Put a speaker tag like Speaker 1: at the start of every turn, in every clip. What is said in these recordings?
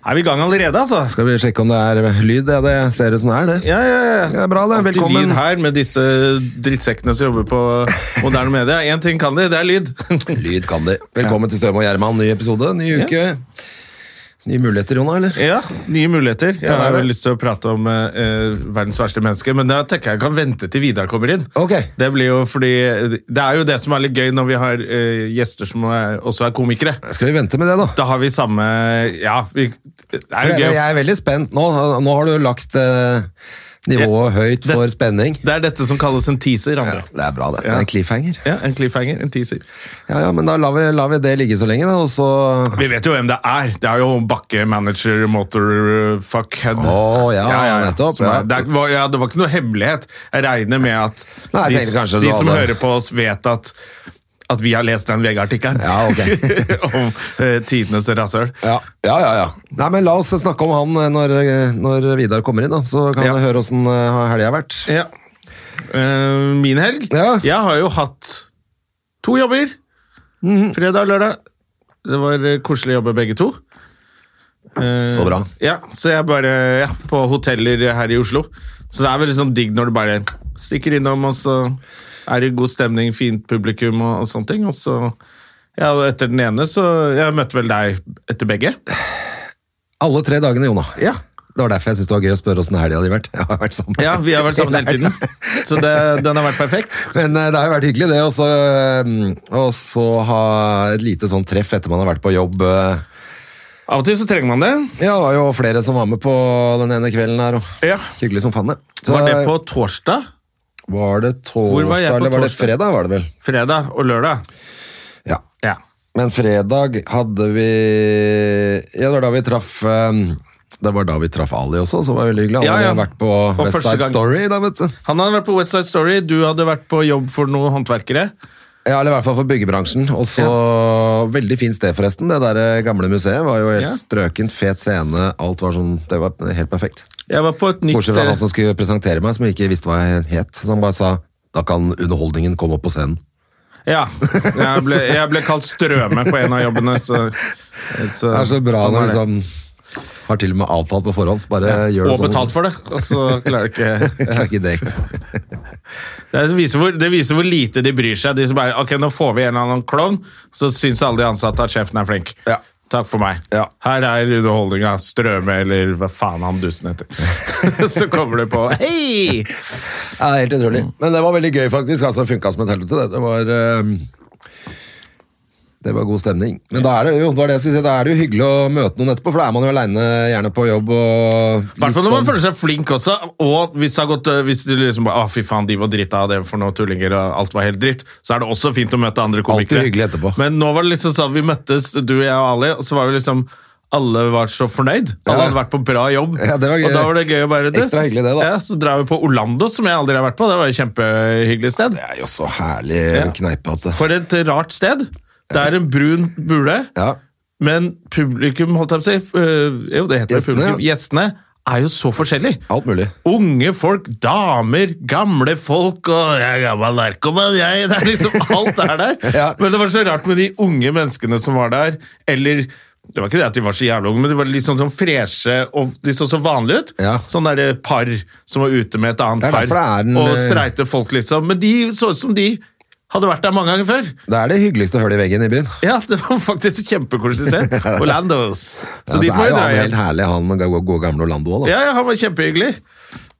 Speaker 1: Er vi i gang allerede, altså?
Speaker 2: Skal vi sjekke om det er lyd? Ja, det ser ut som det er det.
Speaker 1: Ja, ja, ja.
Speaker 2: Det er bra, det.
Speaker 1: Alltid
Speaker 2: Velkommen.
Speaker 1: lyd her med disse drittsekkene som jobber på moderne media. Én ting kan de, det er lyd.
Speaker 2: Lyd kan de. Velkommen til Støme og Gjerman. Ny episode, ny uke. Nye muligheter, Jonna, eller?
Speaker 1: Ja, nye muligheter. Jeg
Speaker 2: Ja, det er
Speaker 1: har jo
Speaker 2: det.
Speaker 1: lyst til å prate om eh, eh, verdens verste menneske, men da tenker jeg jeg kan vente til Vidar kommer inn.
Speaker 2: Ok.
Speaker 1: Det blir jo fordi Det er jo det som er litt gøy når vi har eh, gjester som er, også er komikere.
Speaker 2: Skal vi vente med det, da?
Speaker 1: Da har vi samme Ja, vi, det er
Speaker 2: For
Speaker 1: jo
Speaker 2: jeg,
Speaker 1: gøy.
Speaker 2: jeg er veldig spent nå. Nå har du lagt eh, nivået høyt
Speaker 1: det-
Speaker 2: for spenning.
Speaker 1: Det er dette som kalles en teaser.
Speaker 2: Ja,
Speaker 1: Andre.
Speaker 2: det er bra, det.
Speaker 1: Ja.
Speaker 2: Det er en cliffhanger.
Speaker 1: Ja, En cliffhanger. En teaser.
Speaker 2: Ja, ja, men da lar vi, lar vi det ligge så lenge, da, og så
Speaker 1: Vi vet jo hvem det er. Det er jo Bakke, manager, motor, uh, fuckhead.
Speaker 2: Å, ja, nettopp,
Speaker 1: Som
Speaker 2: ja.
Speaker 1: Er, det, er- var, ja, det var ikke noe hemmelighet. Jeg regner med at
Speaker 2: Nei, jeg
Speaker 1: de,
Speaker 2: tenkte kanskje
Speaker 1: de
Speaker 2: du
Speaker 1: som
Speaker 2: hadde-
Speaker 1: hører på oss, vet at at vi har lest den VG-artikkelen
Speaker 2: Ja, ok.
Speaker 1: om eh, tidenes rasshøl.
Speaker 2: Ja, ja, ja. ja. Nei, men La oss snakke om han eh, når, eh, når Vidar kommer inn, da. så kan
Speaker 1: Ja.
Speaker 2: vi høre åssen helga har vært.
Speaker 1: Ja. Eh, min helg?
Speaker 2: Ja.
Speaker 1: Jeg har jo hatt to jobber. Fredag og lørdag. Det var eh, koselig å jobbe begge to. Eh,
Speaker 2: Så bra.
Speaker 1: Ja, så jeg bare ja, På hoteller her i Oslo. Så det er veldig sånn digg når du bare stikker innom, og så er det god stemning, fint publikum og, og sånne ting. Og så ja, og etter den ene, så Jeg møtte vel deg etter begge.
Speaker 2: Alle tre dagene, Jona.
Speaker 1: Ja.
Speaker 2: Det var derfor jeg syntes det var gøy å spørre åssen helga hadde vært. Jeg har vært sammen.
Speaker 1: ja, vi har vært sammen hele tiden, så det, den har vært perfekt.
Speaker 2: Men eh, det har jo vært hyggelig, det. Og så, eh, og så ha et lite sånn treff etter man har vært på jobb. eh.
Speaker 1: Av og til så trenger man det.
Speaker 2: Ja, det var jo flere som var med på den ene kvelden her. Og.
Speaker 1: Ja.
Speaker 2: Hyggelig som faen, det. Så
Speaker 1: Var det på torsdag?
Speaker 2: Var det
Speaker 1: Hvor
Speaker 2: torsdag,
Speaker 1: var jeg på
Speaker 2: eller var det
Speaker 1: torsdag?
Speaker 2: fredag? var det vel?
Speaker 1: Fredag og lørdag.
Speaker 2: Ja.
Speaker 1: Ja.
Speaker 2: Men fredag hadde vi Ja, det var da vi traff eh, Det var da vi traff Ali også, så det var veldig hyggelig. Han
Speaker 1: Ja, ja.
Speaker 2: hadde vært på
Speaker 1: Og
Speaker 2: West
Speaker 1: første
Speaker 2: Side
Speaker 1: gang.
Speaker 2: Story da, vet du.
Speaker 1: Han hadde vært på West Side Story, du hadde vært på jobb for noen håndverkere.
Speaker 2: Ja, eller i hvert fall for byggebransjen. Og så Veldig fint sted, forresten. Det der eh, gamle museet var jo helt
Speaker 1: Ja.
Speaker 2: strøkent, fet scene. Alt var sånn Det var helt perfekt.
Speaker 1: Jeg var på et nytt
Speaker 2: Bortsett fra han
Speaker 1: eh,
Speaker 2: som skulle presentere meg, som ikke visste hva jeg het. Så han bare sa da kan underholdningen komme opp på scenen.
Speaker 1: Ja. Jeg ble, jeg ble kalt Strøme på en av jobbene, så, så
Speaker 2: Det er så bra
Speaker 1: sånn
Speaker 2: når
Speaker 1: er det.
Speaker 2: liksom har til og med avtalt på forhånd. Bare gjør det
Speaker 1: Og
Speaker 2: sånn.
Speaker 1: betalt for det, og så klarer jeg ikke
Speaker 2: Klarer ikke det.
Speaker 1: Det viser, hvor, det viser hvor lite de bryr seg. De som bare Ok, nå får vi en eller annen klovn, så syns alle de ansatte at sjefen er flink.
Speaker 2: Ja.
Speaker 1: Takk for meg.
Speaker 2: Ja.
Speaker 1: Her er underholdninga. Strøme, eller hva faen han dusten heter. så kommer du på Hei!
Speaker 2: Ja, det er helt utrolig.
Speaker 1: Mm.
Speaker 2: Men det var veldig gøy, faktisk. Altså, Funka som et helvete, det. Det var, eh, det var god stemning. Men da er det, jo, det, var det, jeg skulle si, da er det jo hyggelig å møte noen etterpå, for da er man jo aleine gjerne på jobb. og
Speaker 1: I hvert fall når man
Speaker 2: sånn-
Speaker 1: føler seg flink også. Og hvis det har gått øh, Hvis du liksom bare, ah, fy faen, de var dritt av det for noen tullinger, og alt var helt dritt, så er det også fint å møte andre komikere.
Speaker 2: Alltid hyggelig etterpå.
Speaker 1: Men nå var det liksom sånn vi møttes, du, jeg og Ali, og så var vi liksom alle var så fornøyd. Alle
Speaker 2: Ja.
Speaker 1: hadde vært på bra jobb.
Speaker 2: Ja, det var gøy.
Speaker 1: Og da var det gøy å bare du,
Speaker 2: Ekstra hyggelig det, da.
Speaker 1: Ja, Så drar vi på Orlando, som jeg aldri har vært på. Det var et kjempehyggelig sted.
Speaker 2: Det er jo så herlig
Speaker 1: Ja.
Speaker 2: kneipe at det
Speaker 1: For et rart sted. Det er en brun bule.
Speaker 2: ja.
Speaker 1: Men publikum, holdt jeg på å si, øh, jo, det heter
Speaker 2: Gjestene,
Speaker 1: publikum, gjestene er jo så forskjellige.
Speaker 2: Alt mulig.
Speaker 1: Unge folk, damer, gamle folk og jeg er gammel narkoman, jeg Det er liksom alt er der.
Speaker 2: Ja.
Speaker 1: Men det var så rart med de unge menneskene som var der, eller det var ikke det at de var så jævla unge, men de var liksom sånn freshe, og de så så vanlige ut.
Speaker 2: Ja.
Speaker 1: Sånn derre par som var ute med et
Speaker 2: Det
Speaker 1: annet
Speaker 2: er derfor
Speaker 1: par,
Speaker 2: det er en,
Speaker 1: og
Speaker 2: eh,
Speaker 1: streite folk, liksom. Men de så ut som de hadde vært der mange ganger før.
Speaker 2: Det er det hyggeligste hullet i veggen i byen.
Speaker 1: Ja, det var faktisk kjempekoselig å se. Orlandos. Så
Speaker 2: Ja,
Speaker 1: dit
Speaker 2: så
Speaker 1: må
Speaker 2: Altså, er
Speaker 1: vi
Speaker 2: jo
Speaker 1: dra
Speaker 2: han
Speaker 1: igjen.
Speaker 2: helt herlig, han ga- gode, gamle Orlando òg, da.
Speaker 1: Ja, ja, han var kjempehyggelig.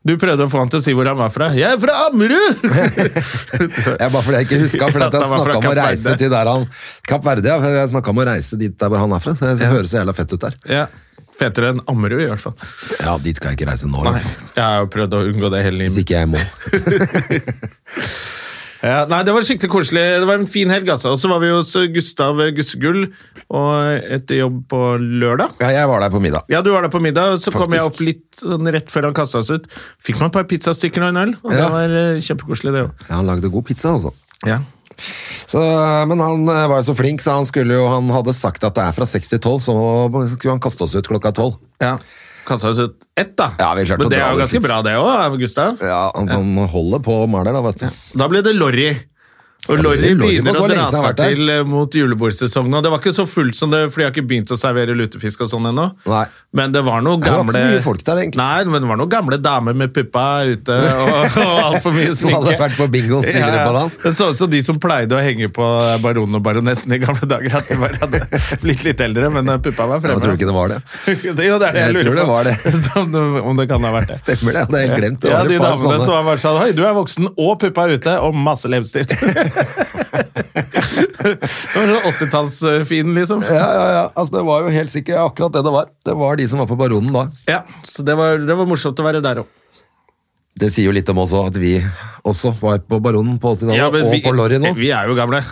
Speaker 1: Du prøvde å få han til å si hvor han var fra. Jeg er fra Ammerud!
Speaker 2: Jeg, bare fordi jeg ikke huska, for
Speaker 1: Ja,
Speaker 2: jeg
Speaker 1: han var fra
Speaker 2: snakka om å
Speaker 1: Kapp
Speaker 2: reise
Speaker 1: Verde.
Speaker 2: til der han Kapp Verde, ja. for Jeg snakka om å reise dit der hvor han er fra. Så jeg høres så jævla fett ut der.
Speaker 1: ja, fetere enn Ammerud, i hvert fall.
Speaker 2: Ja, dit skal jeg ikke reise nå.
Speaker 1: Nei,
Speaker 2: da.
Speaker 1: jeg har jo prøvd å unngå det hele
Speaker 2: Hvis
Speaker 1: livet.
Speaker 2: ikke jeg må.
Speaker 1: Ja, nei, Det var skikkelig koselig. Det var en fin helg. altså. Og så var vi hos Gustav Gussegull og etter jobb på lørdag.
Speaker 2: Ja, jeg var der på middag.
Speaker 1: Ja, Du var der på middag, og så kom jeg
Speaker 2: Faktisk.
Speaker 1: opp litt sånn rett før han kasta oss ut. Fikk meg et par pizzastykker og en øl, og det
Speaker 2: Ja.
Speaker 1: var eh, kjempekoselig, det òg.
Speaker 2: Ja, han lagde god pizza, altså.
Speaker 1: Ja.
Speaker 2: Så, men han eh, var jo så flink, så han, skulle jo, han hadde sagt at det er fra 6 til 12, så skulle han kaste oss ut klokka 12.
Speaker 1: Ja. Kasta oss ut ett, da.
Speaker 2: Ja, vi klarte å
Speaker 1: Men det
Speaker 2: dra
Speaker 1: er jo
Speaker 2: det
Speaker 1: ganske
Speaker 2: litt.
Speaker 1: bra, det òg, Gustav.
Speaker 2: Ja, han, han holder på og maler, da, vet du.
Speaker 1: Da ble det Lorry. Og
Speaker 2: Ja,
Speaker 1: Lorry
Speaker 2: det blir Lorry på
Speaker 1: begynner
Speaker 2: så
Speaker 1: å dra
Speaker 2: lenge den har
Speaker 1: seg
Speaker 2: vært der.
Speaker 1: til eh, mot julebordsesongen. Og det var ikke så fullt som det, for de har ikke begynt å servere lutefisk og sånn ennå.
Speaker 2: Nei.
Speaker 1: Men det var noen
Speaker 2: Det var ikke
Speaker 1: gamle
Speaker 2: så mye folk der, egentlig.
Speaker 1: Nei, men det var noen gamle damer med puppa ute og, og altfor mye
Speaker 2: Som
Speaker 1: sminke.
Speaker 2: hadde vært på bingo tidligere på dagen.
Speaker 1: Det så ut som de som pleide å henge på baronen og baronessen i gamle dager, at de bare hadde blitt litt eldre, men eh, puppa var fremme.
Speaker 2: Jeg tror ikke det var det.
Speaker 1: det, jo, det er det jeg,
Speaker 2: Jeg tror
Speaker 1: lurer
Speaker 2: det var det.
Speaker 1: på. om, det, om det kan ha vært det.
Speaker 2: Stemmer det? Det hadde jeg glemt. Det
Speaker 1: Ja,
Speaker 2: var
Speaker 1: de
Speaker 2: et par
Speaker 1: damene
Speaker 2: sånne.
Speaker 1: som var bare sånn Oi, du er voksen og puppa er ute, og masse leppestift. det var sånn 80-tallsfin, liksom.
Speaker 2: Ja, ja, ja. Altså, det var jo helt sikkert akkurat det det var. Det var de som var på Baronen da.
Speaker 1: Ja, så det var, det var morsomt å være der òg.
Speaker 2: Det sier jo litt om også at vi også var på Baronen på 80-tallet, og på Lorry nå.
Speaker 1: vi er jo gamle,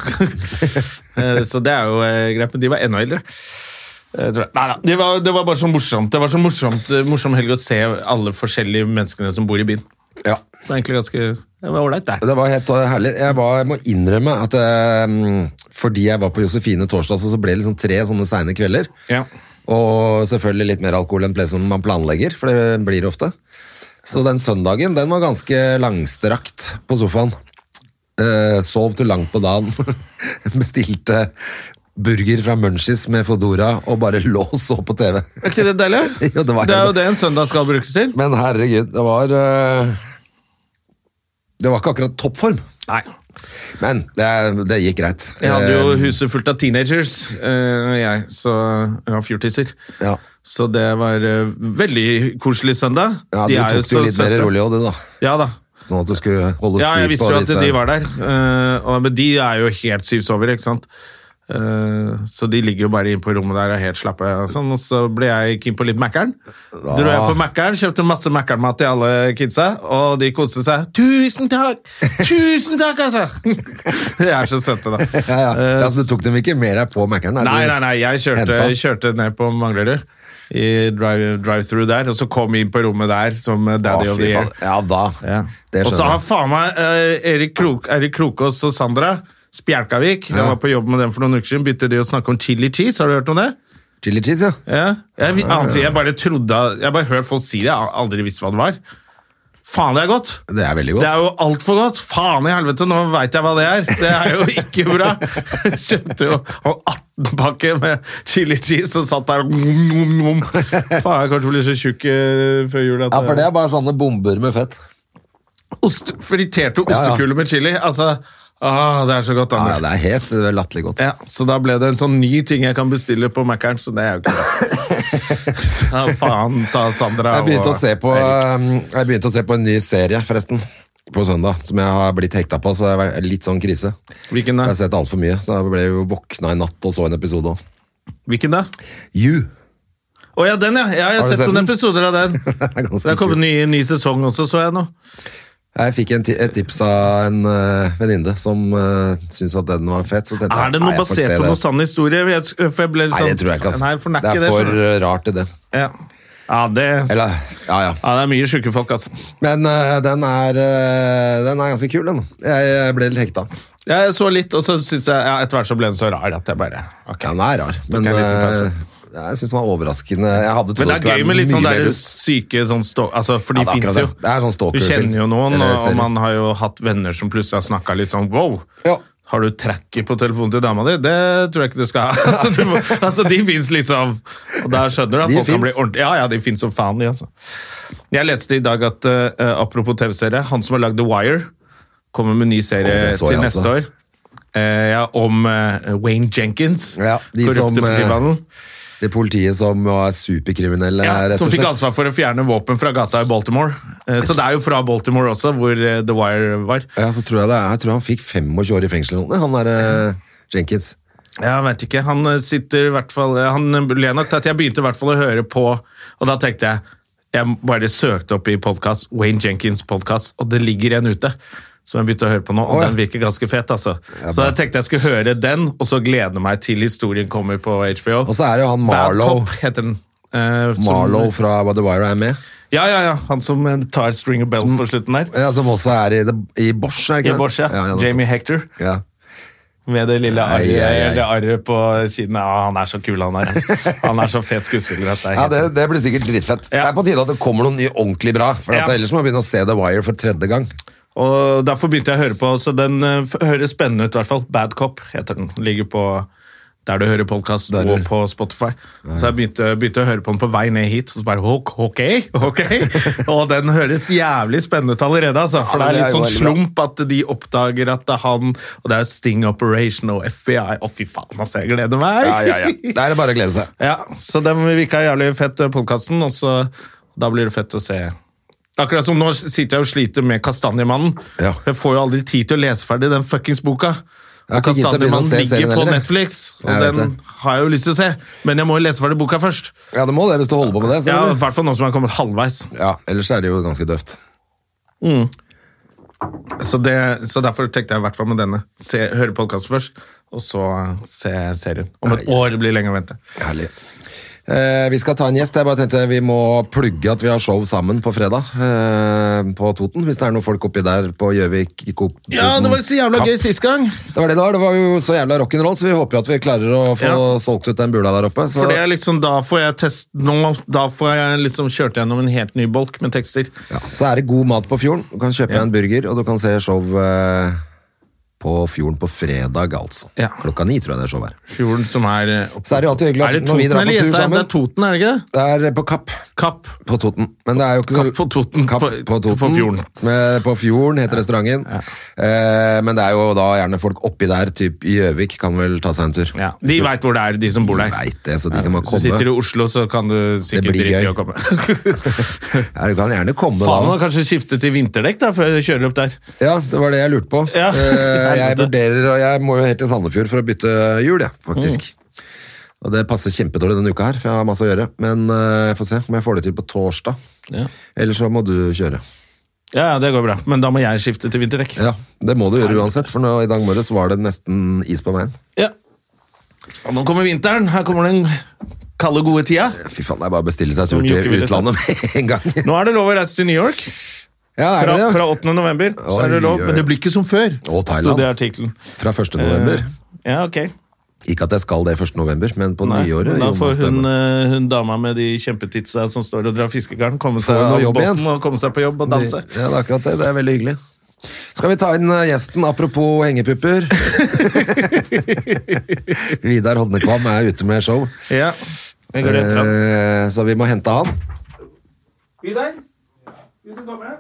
Speaker 1: Eh, så det er jo eh, greit. Men de var enda eldre. Eh, tror jeg. Nei, nei, det, var, det var bare så morsomt Det var så morsomt eh, morsom helg å se alle forskjellige menneskene som bor i byen.
Speaker 2: Ja.
Speaker 1: Det var egentlig ganske Det var ålreit, det.
Speaker 2: Det var helt uh, herlig. Jeg, var, jeg må innrømme at eh, fordi jeg var på Josefine torsdag, så, så ble det liksom tre sånne seine kvelder.
Speaker 1: Ja.
Speaker 2: Og selvfølgelig litt mer alkohol enn det som man planlegger, for det blir det ofte. Så den søndagen, den var ganske langstrakt på sofaen. Eh, sov til langt på dagen. Bestilte burger fra Munchies med Fodora og bare lå og så på TV.
Speaker 1: Er ikke det deilig?
Speaker 2: Jo, det var
Speaker 1: det er jo
Speaker 2: det.
Speaker 1: det en søndag skal brukes til.
Speaker 2: Men herregud, det var eh, Det var ikke akkurat toppform.
Speaker 1: Nei.
Speaker 2: Men det, det gikk greit.
Speaker 1: Jeg hadde jo
Speaker 2: Eh,
Speaker 1: huset fullt av teenagers, eh, jeg, så jeg har fjortiser.
Speaker 2: Ja.
Speaker 1: Så det var eh, veldig koselig søndag.
Speaker 2: ja, Du
Speaker 1: De er jo
Speaker 2: tok det jo
Speaker 1: så
Speaker 2: litt mer
Speaker 1: søte.
Speaker 2: rolig òg, du, da.
Speaker 1: Ja da.
Speaker 2: Sånn at du skulle holde
Speaker 1: Ja, jeg
Speaker 2: styr
Speaker 1: visste
Speaker 2: på
Speaker 1: jo at
Speaker 2: disse-
Speaker 1: de var der. eh, og, men de er jo helt syvsovere, ikke sant. Eh, så de ligger jo bare inne på rommet der og er helt slappe. Og, sånn. og så ble jeg keen på litt Mækkern. Dro jeg på Mækkern, kjøpte masse Mækkern-mat til alle kidsa, og de koste seg. Tusen takk! Tusen takk, altså! de er så søte, da.
Speaker 2: Ja, ja.
Speaker 1: Eh,
Speaker 2: ja, så du tok dem ikke med deg på Mækkern?
Speaker 1: Nei, nei, nei, jeg kjørte,
Speaker 2: hentet.
Speaker 1: kjørte ned på Manglerud i drive- drive-through der, og så kom inn på rommet der som daddy
Speaker 2: Å,
Speaker 1: of
Speaker 2: fy
Speaker 1: the year.
Speaker 2: faen. Ja da.
Speaker 1: Ja.
Speaker 2: Det
Speaker 1: Og så
Speaker 2: skjønner
Speaker 1: har
Speaker 2: jeg.
Speaker 1: faen meg eh, Erik, Krok, Erik Krokås og Sandra Spjelkavik. Jeg
Speaker 2: Ja.
Speaker 1: var på jobb med dem for noen uker siden. Begynte de å snakke om chili cheese, har du hørt om det?
Speaker 2: Chili cheese, ja.
Speaker 1: Ja. Jeg, vi- ante- jeg bare trodde Jeg bare hørte folk si det, jeg har aldri visst hva det var. Faen, det er godt!
Speaker 2: Det er veldig
Speaker 1: Det
Speaker 2: godt.
Speaker 1: er jo altfor godt! Faen i helvete, nå veit jeg hva det er! Det er jo ikke bra! Kjøpte jo en 18-pakke med chili cheese og satt der og nom, nom, nom. Faen, jeg kommer til å bli så tjukk eh, før jul at
Speaker 2: Ja, for det er bare sånne bomber med fett.
Speaker 1: Ost, Friterte
Speaker 2: ja.
Speaker 1: ostekuler med chili. Altså, ah, det er så godt,
Speaker 2: Ja,
Speaker 1: Ander.
Speaker 2: ja, det er helt eh, latterlig godt.
Speaker 1: Ja, så da ble det en sånn ny ting jeg kan bestille på Mækkern, så det er jo ikke bra. Ja, faen ta Sandra
Speaker 2: Jeg begynte,
Speaker 1: og
Speaker 2: å se på,
Speaker 1: Erik.
Speaker 2: eh, jeg begynte å se på en ny serie, forresten. På søndag, som jeg har blitt hekta på, så det er litt sånn krise.
Speaker 1: Hvilken da?
Speaker 2: Jeg har sett altfor mye. Så jeg ble jo våkna i natt og så en episode òg.
Speaker 1: Hvilken da?
Speaker 2: You.
Speaker 1: Å ja, den, ja! Jeg har,
Speaker 2: Har du
Speaker 1: sett
Speaker 2: sett
Speaker 1: noen
Speaker 2: den?
Speaker 1: episoder av den. Det
Speaker 2: er ganske
Speaker 1: har kommet
Speaker 2: kul.
Speaker 1: ny, ny sesong også, så jeg nå.
Speaker 2: Jeg fikk en ti et tips av en uh, venninne som uh, syntes at den var fett. Så tenkte jeg,
Speaker 1: Er det noe
Speaker 2: nei, jeg får
Speaker 1: basert
Speaker 2: se
Speaker 1: på
Speaker 2: det.
Speaker 1: noe sann historie? Jeg, for jeg ble litt
Speaker 2: Nei,
Speaker 1: sånn,
Speaker 2: det tror jeg ikke. ass.
Speaker 1: Nei, for den er
Speaker 2: det
Speaker 1: ikke
Speaker 2: er
Speaker 1: det.
Speaker 2: for
Speaker 1: skjønner du.
Speaker 2: uh, rart til det.
Speaker 1: Ja. Ja, det,
Speaker 2: Eller, ja, ja.
Speaker 1: ja, det er mye sjuke folk, altså.
Speaker 2: Men uh, den, er, uh, den er ganske kul, den. Jeg, jeg ble litt hekta.
Speaker 1: Jeg så litt, og så synes jeg ja, etter hvert så ble den så rar at jeg bare ok.
Speaker 2: Ja, den er rar,
Speaker 1: Tok
Speaker 2: men
Speaker 1: jeg en liten pause.
Speaker 2: uh, jeg syns den var overraskende. Jeg hadde trodd
Speaker 1: Men det
Speaker 2: skulle
Speaker 1: er gøy
Speaker 2: være
Speaker 1: med litt sånn
Speaker 2: mye
Speaker 1: der
Speaker 2: mer ut.
Speaker 1: syke sånn stå... Altså, for de
Speaker 2: Ja, det er
Speaker 1: finnes
Speaker 2: akkurat
Speaker 1: jo.
Speaker 2: det. Det er sånn
Speaker 1: du
Speaker 2: stalkerfilm.
Speaker 1: kjenner jo noen,
Speaker 2: Eller
Speaker 1: og,
Speaker 2: serie.
Speaker 1: og man har jo hatt venner som plutselig har snakka litt sånn wow.
Speaker 2: Ja.
Speaker 1: Har du tracker på telefonen til dama di? Det tror jeg ikke du skal ha. altså, du må, altså, de fins liksom. Og da skjønner du at
Speaker 2: De
Speaker 1: folk kan bli
Speaker 2: finnes.
Speaker 1: ordentlig Ja, ja, de fins som faen, de, altså. Jeg leste i dag at eh, apropos TV-serie, han som har lagd The Wire, kommer med ny
Speaker 2: Å,
Speaker 1: serie
Speaker 2: det så
Speaker 1: til
Speaker 2: jeg
Speaker 1: neste
Speaker 2: også.
Speaker 1: år. Eh, ja, om eh, Wayne Jenkins,
Speaker 2: Ja, de som,
Speaker 1: korrupte
Speaker 2: eh,
Speaker 1: politimannen.
Speaker 2: Det politiet som var superkriminelle,
Speaker 1: Ja,
Speaker 2: rett og slett.
Speaker 1: som fikk ansvar for å fjerne våpen fra gata i Baltimore. Eh, Så det er jo fra Baltimore også, hvor eh, The Wire var.
Speaker 2: Ja, så tror jeg, det er, jeg tror han fikk 25 år i fengsel eller noe, han der uh, Jenkins.
Speaker 1: Jeg vet ikke, han eh, sitter i hvert fall eh, Han eh, ble nok til at jeg begynte i hvert fall å høre på, og da tenkte jeg Jeg bare søkte opp i podcast, Wayne Jenkins podcast, og det ligger en ute. som jeg begynte å høre på nå, og
Speaker 2: Å, ja.
Speaker 1: den virker ganske fet. altså.
Speaker 2: Ja,
Speaker 1: så
Speaker 2: bra.
Speaker 1: jeg tenkte jeg skulle høre den, og så glede meg til historien kommer på HBO.
Speaker 2: Og så er det jo han Marlow.
Speaker 1: Bad Cop heter den. eh, som-
Speaker 2: Marlow fra By The Wire er med.
Speaker 1: Ja, ja, ja. Han som eh, tar Stringer Bell på slutten der.
Speaker 2: Ja, som også er i, det- i Bosch, er det ikke
Speaker 1: I
Speaker 2: det?
Speaker 1: Borsja.
Speaker 2: Ja, ja, nettopp.
Speaker 1: Jamie Hector.
Speaker 2: Ja.
Speaker 1: Med det lille
Speaker 2: Ai,
Speaker 1: arret
Speaker 2: ai, ai.
Speaker 1: det arret på kinnet. Ja, han er så kul, han er. altså. Han er så fet skuespiller. At det er
Speaker 2: Ja,
Speaker 1: helt-
Speaker 2: det, det blir sikkert dritfett.
Speaker 1: Ja.
Speaker 2: Det er på tide at det kommer noe ny ordentlig bra. For at
Speaker 1: Ja.
Speaker 2: Ellers må jeg begynne å se The Wire for tredje gang.
Speaker 1: Og Derfor begynte jeg å høre på, så den eh, f- høres spennende ut. i hvert fall. Bad Cop heter den. Ligger på der du hører podkast
Speaker 2: Der du-
Speaker 1: og på Spotify. Så jeg begynte, begynte å høre på den på vei ned hit, og så bare ok, ok, ok. Og den høres jævlig spennende ut allerede, altså. For
Speaker 2: Ja,
Speaker 1: det er
Speaker 2: men
Speaker 1: litt
Speaker 2: det er jo
Speaker 1: sånn
Speaker 2: veldig bra.
Speaker 1: slump at de oppdager at det er han, og det er Sting Operation og FBI. Å, fy faen, altså. Jeg gleder meg.
Speaker 2: Ja, ja, ja. Da er det bare å glede seg.
Speaker 1: Ja, så den virka jævlig fett, podkasten, og så da blir det fett å se. Akkurat som nå sitter jeg og sliter med Kastanjemannen.
Speaker 2: Ja.
Speaker 1: Jeg får jo aldri tid til å lese ferdig den fuckings boka.
Speaker 2: Jeg
Speaker 1: Og
Speaker 2: har ikke gitt å begynne å
Speaker 1: Kastanjemannen
Speaker 2: se
Speaker 1: ligger
Speaker 2: serien
Speaker 1: på
Speaker 2: heller, jeg.
Speaker 1: Netflix, og
Speaker 2: Jeg vet
Speaker 1: den
Speaker 2: det.
Speaker 1: har jeg jo lyst til å se. Men jeg må jo lese ferdig boka først.
Speaker 2: Ja, det må det hvis du holder på med det. Så
Speaker 1: Ja, I
Speaker 2: ja.
Speaker 1: hvert fall nå som jeg har kommet halvveis.
Speaker 2: Ellers er det jo ganske døvt.
Speaker 1: Så, det, så derfor tenkte jeg i hvert fall med denne. Se, høre podkasten først, og så se serien. Om et år blir lenge å vente.
Speaker 2: Herlig. Eh, vi skal ta en gjest. Jeg bare tenkte Vi må plugge at vi har show sammen på fredag. Eh, på Toten. Hvis det er noen folk oppi der på Gjøvik Ko-
Speaker 1: Ja, det var jo
Speaker 2: Toten,
Speaker 1: så jævla
Speaker 2: Kapp.
Speaker 1: gøy sist gang!
Speaker 2: Det var det det var. Det var jo så jævla rock'n'roll, så vi håper jo at vi klarer å få
Speaker 1: Ja.
Speaker 2: solgt ut den bula der oppe. Så
Speaker 1: For det er liksom, da får jeg test nå, da får jeg liksom kjørt gjennom en helt ny bolk med tekster.
Speaker 2: Ja, så er det god mat på fjorden. Du kan kjøpe deg en burger, og du kan se show eh, på fjorden på fredag, altså.
Speaker 1: Ja.
Speaker 2: Klokka ni, tror jeg det er show her.
Speaker 1: Fjorden som er eh, oppe.
Speaker 2: Så er det jo alltid hyggelig at
Speaker 1: Er det
Speaker 2: når vi
Speaker 1: Toten
Speaker 2: drar på
Speaker 1: eller
Speaker 2: tur
Speaker 1: Jessheim? Det
Speaker 2: sammen-
Speaker 1: er Toten, er det ikke det?
Speaker 2: Det er på Kapp
Speaker 1: Kapp.
Speaker 2: på Toten. Men det er jo ikke
Speaker 1: Kapp på Toten,
Speaker 2: Kapp
Speaker 1: på-
Speaker 2: på, Toten.
Speaker 1: på fjorden.
Speaker 2: Men på fjorden heter restauranten. Eh, men det er jo da gjerne folk oppi der, typ i Gjøvik, kan vel ta seg en tur.
Speaker 1: Ja. De veit hvor det er, de som bor der.
Speaker 2: Veit det, så de kan bare
Speaker 1: Hvis du sitter
Speaker 2: komme.
Speaker 1: i Oslo, så kan du sikkert
Speaker 2: blir
Speaker 1: drite i
Speaker 2: gøy.
Speaker 1: å komme.
Speaker 2: Ja, du kan gjerne komme
Speaker 1: Faen,
Speaker 2: da.
Speaker 1: må kanskje skifte til vinterdekk da, før jeg kjører opp der.
Speaker 2: Ja, det var det jeg lurte på.
Speaker 1: Ja.
Speaker 2: Eh, jeg
Speaker 1: Helvete.
Speaker 2: vurderer, og jeg må jo helt til Sandefjord for å bytte hjul, jeg,
Speaker 1: Mm.
Speaker 2: faktisk. Og det passer kjempedårlig denne uka her, for jeg har masse å gjøre. Men eh, jeg får se om jeg får det til på torsdag.
Speaker 1: Ja.
Speaker 2: Eller så må du kjøre.
Speaker 1: Ja, ja, det går bra. Men da må jeg skifte til vinterdekk.
Speaker 2: Ja, Det må du gjøre uansett, for nå, i dag morges var det nesten is på veien.
Speaker 1: Ja. Og nå kommer vinteren. Her kommer den kalde, gode tida.
Speaker 2: Fy faen, det er bare å bestille seg tur
Speaker 1: Som
Speaker 2: til
Speaker 1: joker ville sagt.
Speaker 2: utlandet med en gang.
Speaker 1: Nå er det lov å reise til New York.
Speaker 2: Ja, er
Speaker 1: Fra,
Speaker 2: det
Speaker 1: fra
Speaker 2: det?
Speaker 1: 8. november. Så er det
Speaker 2: Oi,
Speaker 1: lov,
Speaker 2: oi,
Speaker 1: men det
Speaker 2: oi.
Speaker 1: blir ikke som før.
Speaker 2: Og Thailand.
Speaker 1: Sto det i artikkelen.
Speaker 2: Fra 1. november.
Speaker 1: Eh, Ja, ok.
Speaker 2: Ikke at jeg skal det 1. november, men på
Speaker 1: Nei,
Speaker 2: nyåret.
Speaker 1: men da
Speaker 2: Jonas
Speaker 1: får hun,
Speaker 2: Stemme.
Speaker 1: eh, hun dama med de kjempetitsa som står og drar fiskegarn, komme seg
Speaker 2: hun noe
Speaker 1: av
Speaker 2: jobb
Speaker 1: båten
Speaker 2: igjen?
Speaker 1: og komme seg på jobb og danse.
Speaker 2: Ja, det er akkurat det. Det er veldig hyggelig. Skal vi ta inn eh, gjesten, apropos hengepupper? Vidar Hodnekvam er ute med show,
Speaker 1: Ja, jeg går rett fram.
Speaker 2: Eh, så vi må hente han.
Speaker 1: Vidar, vil du komme?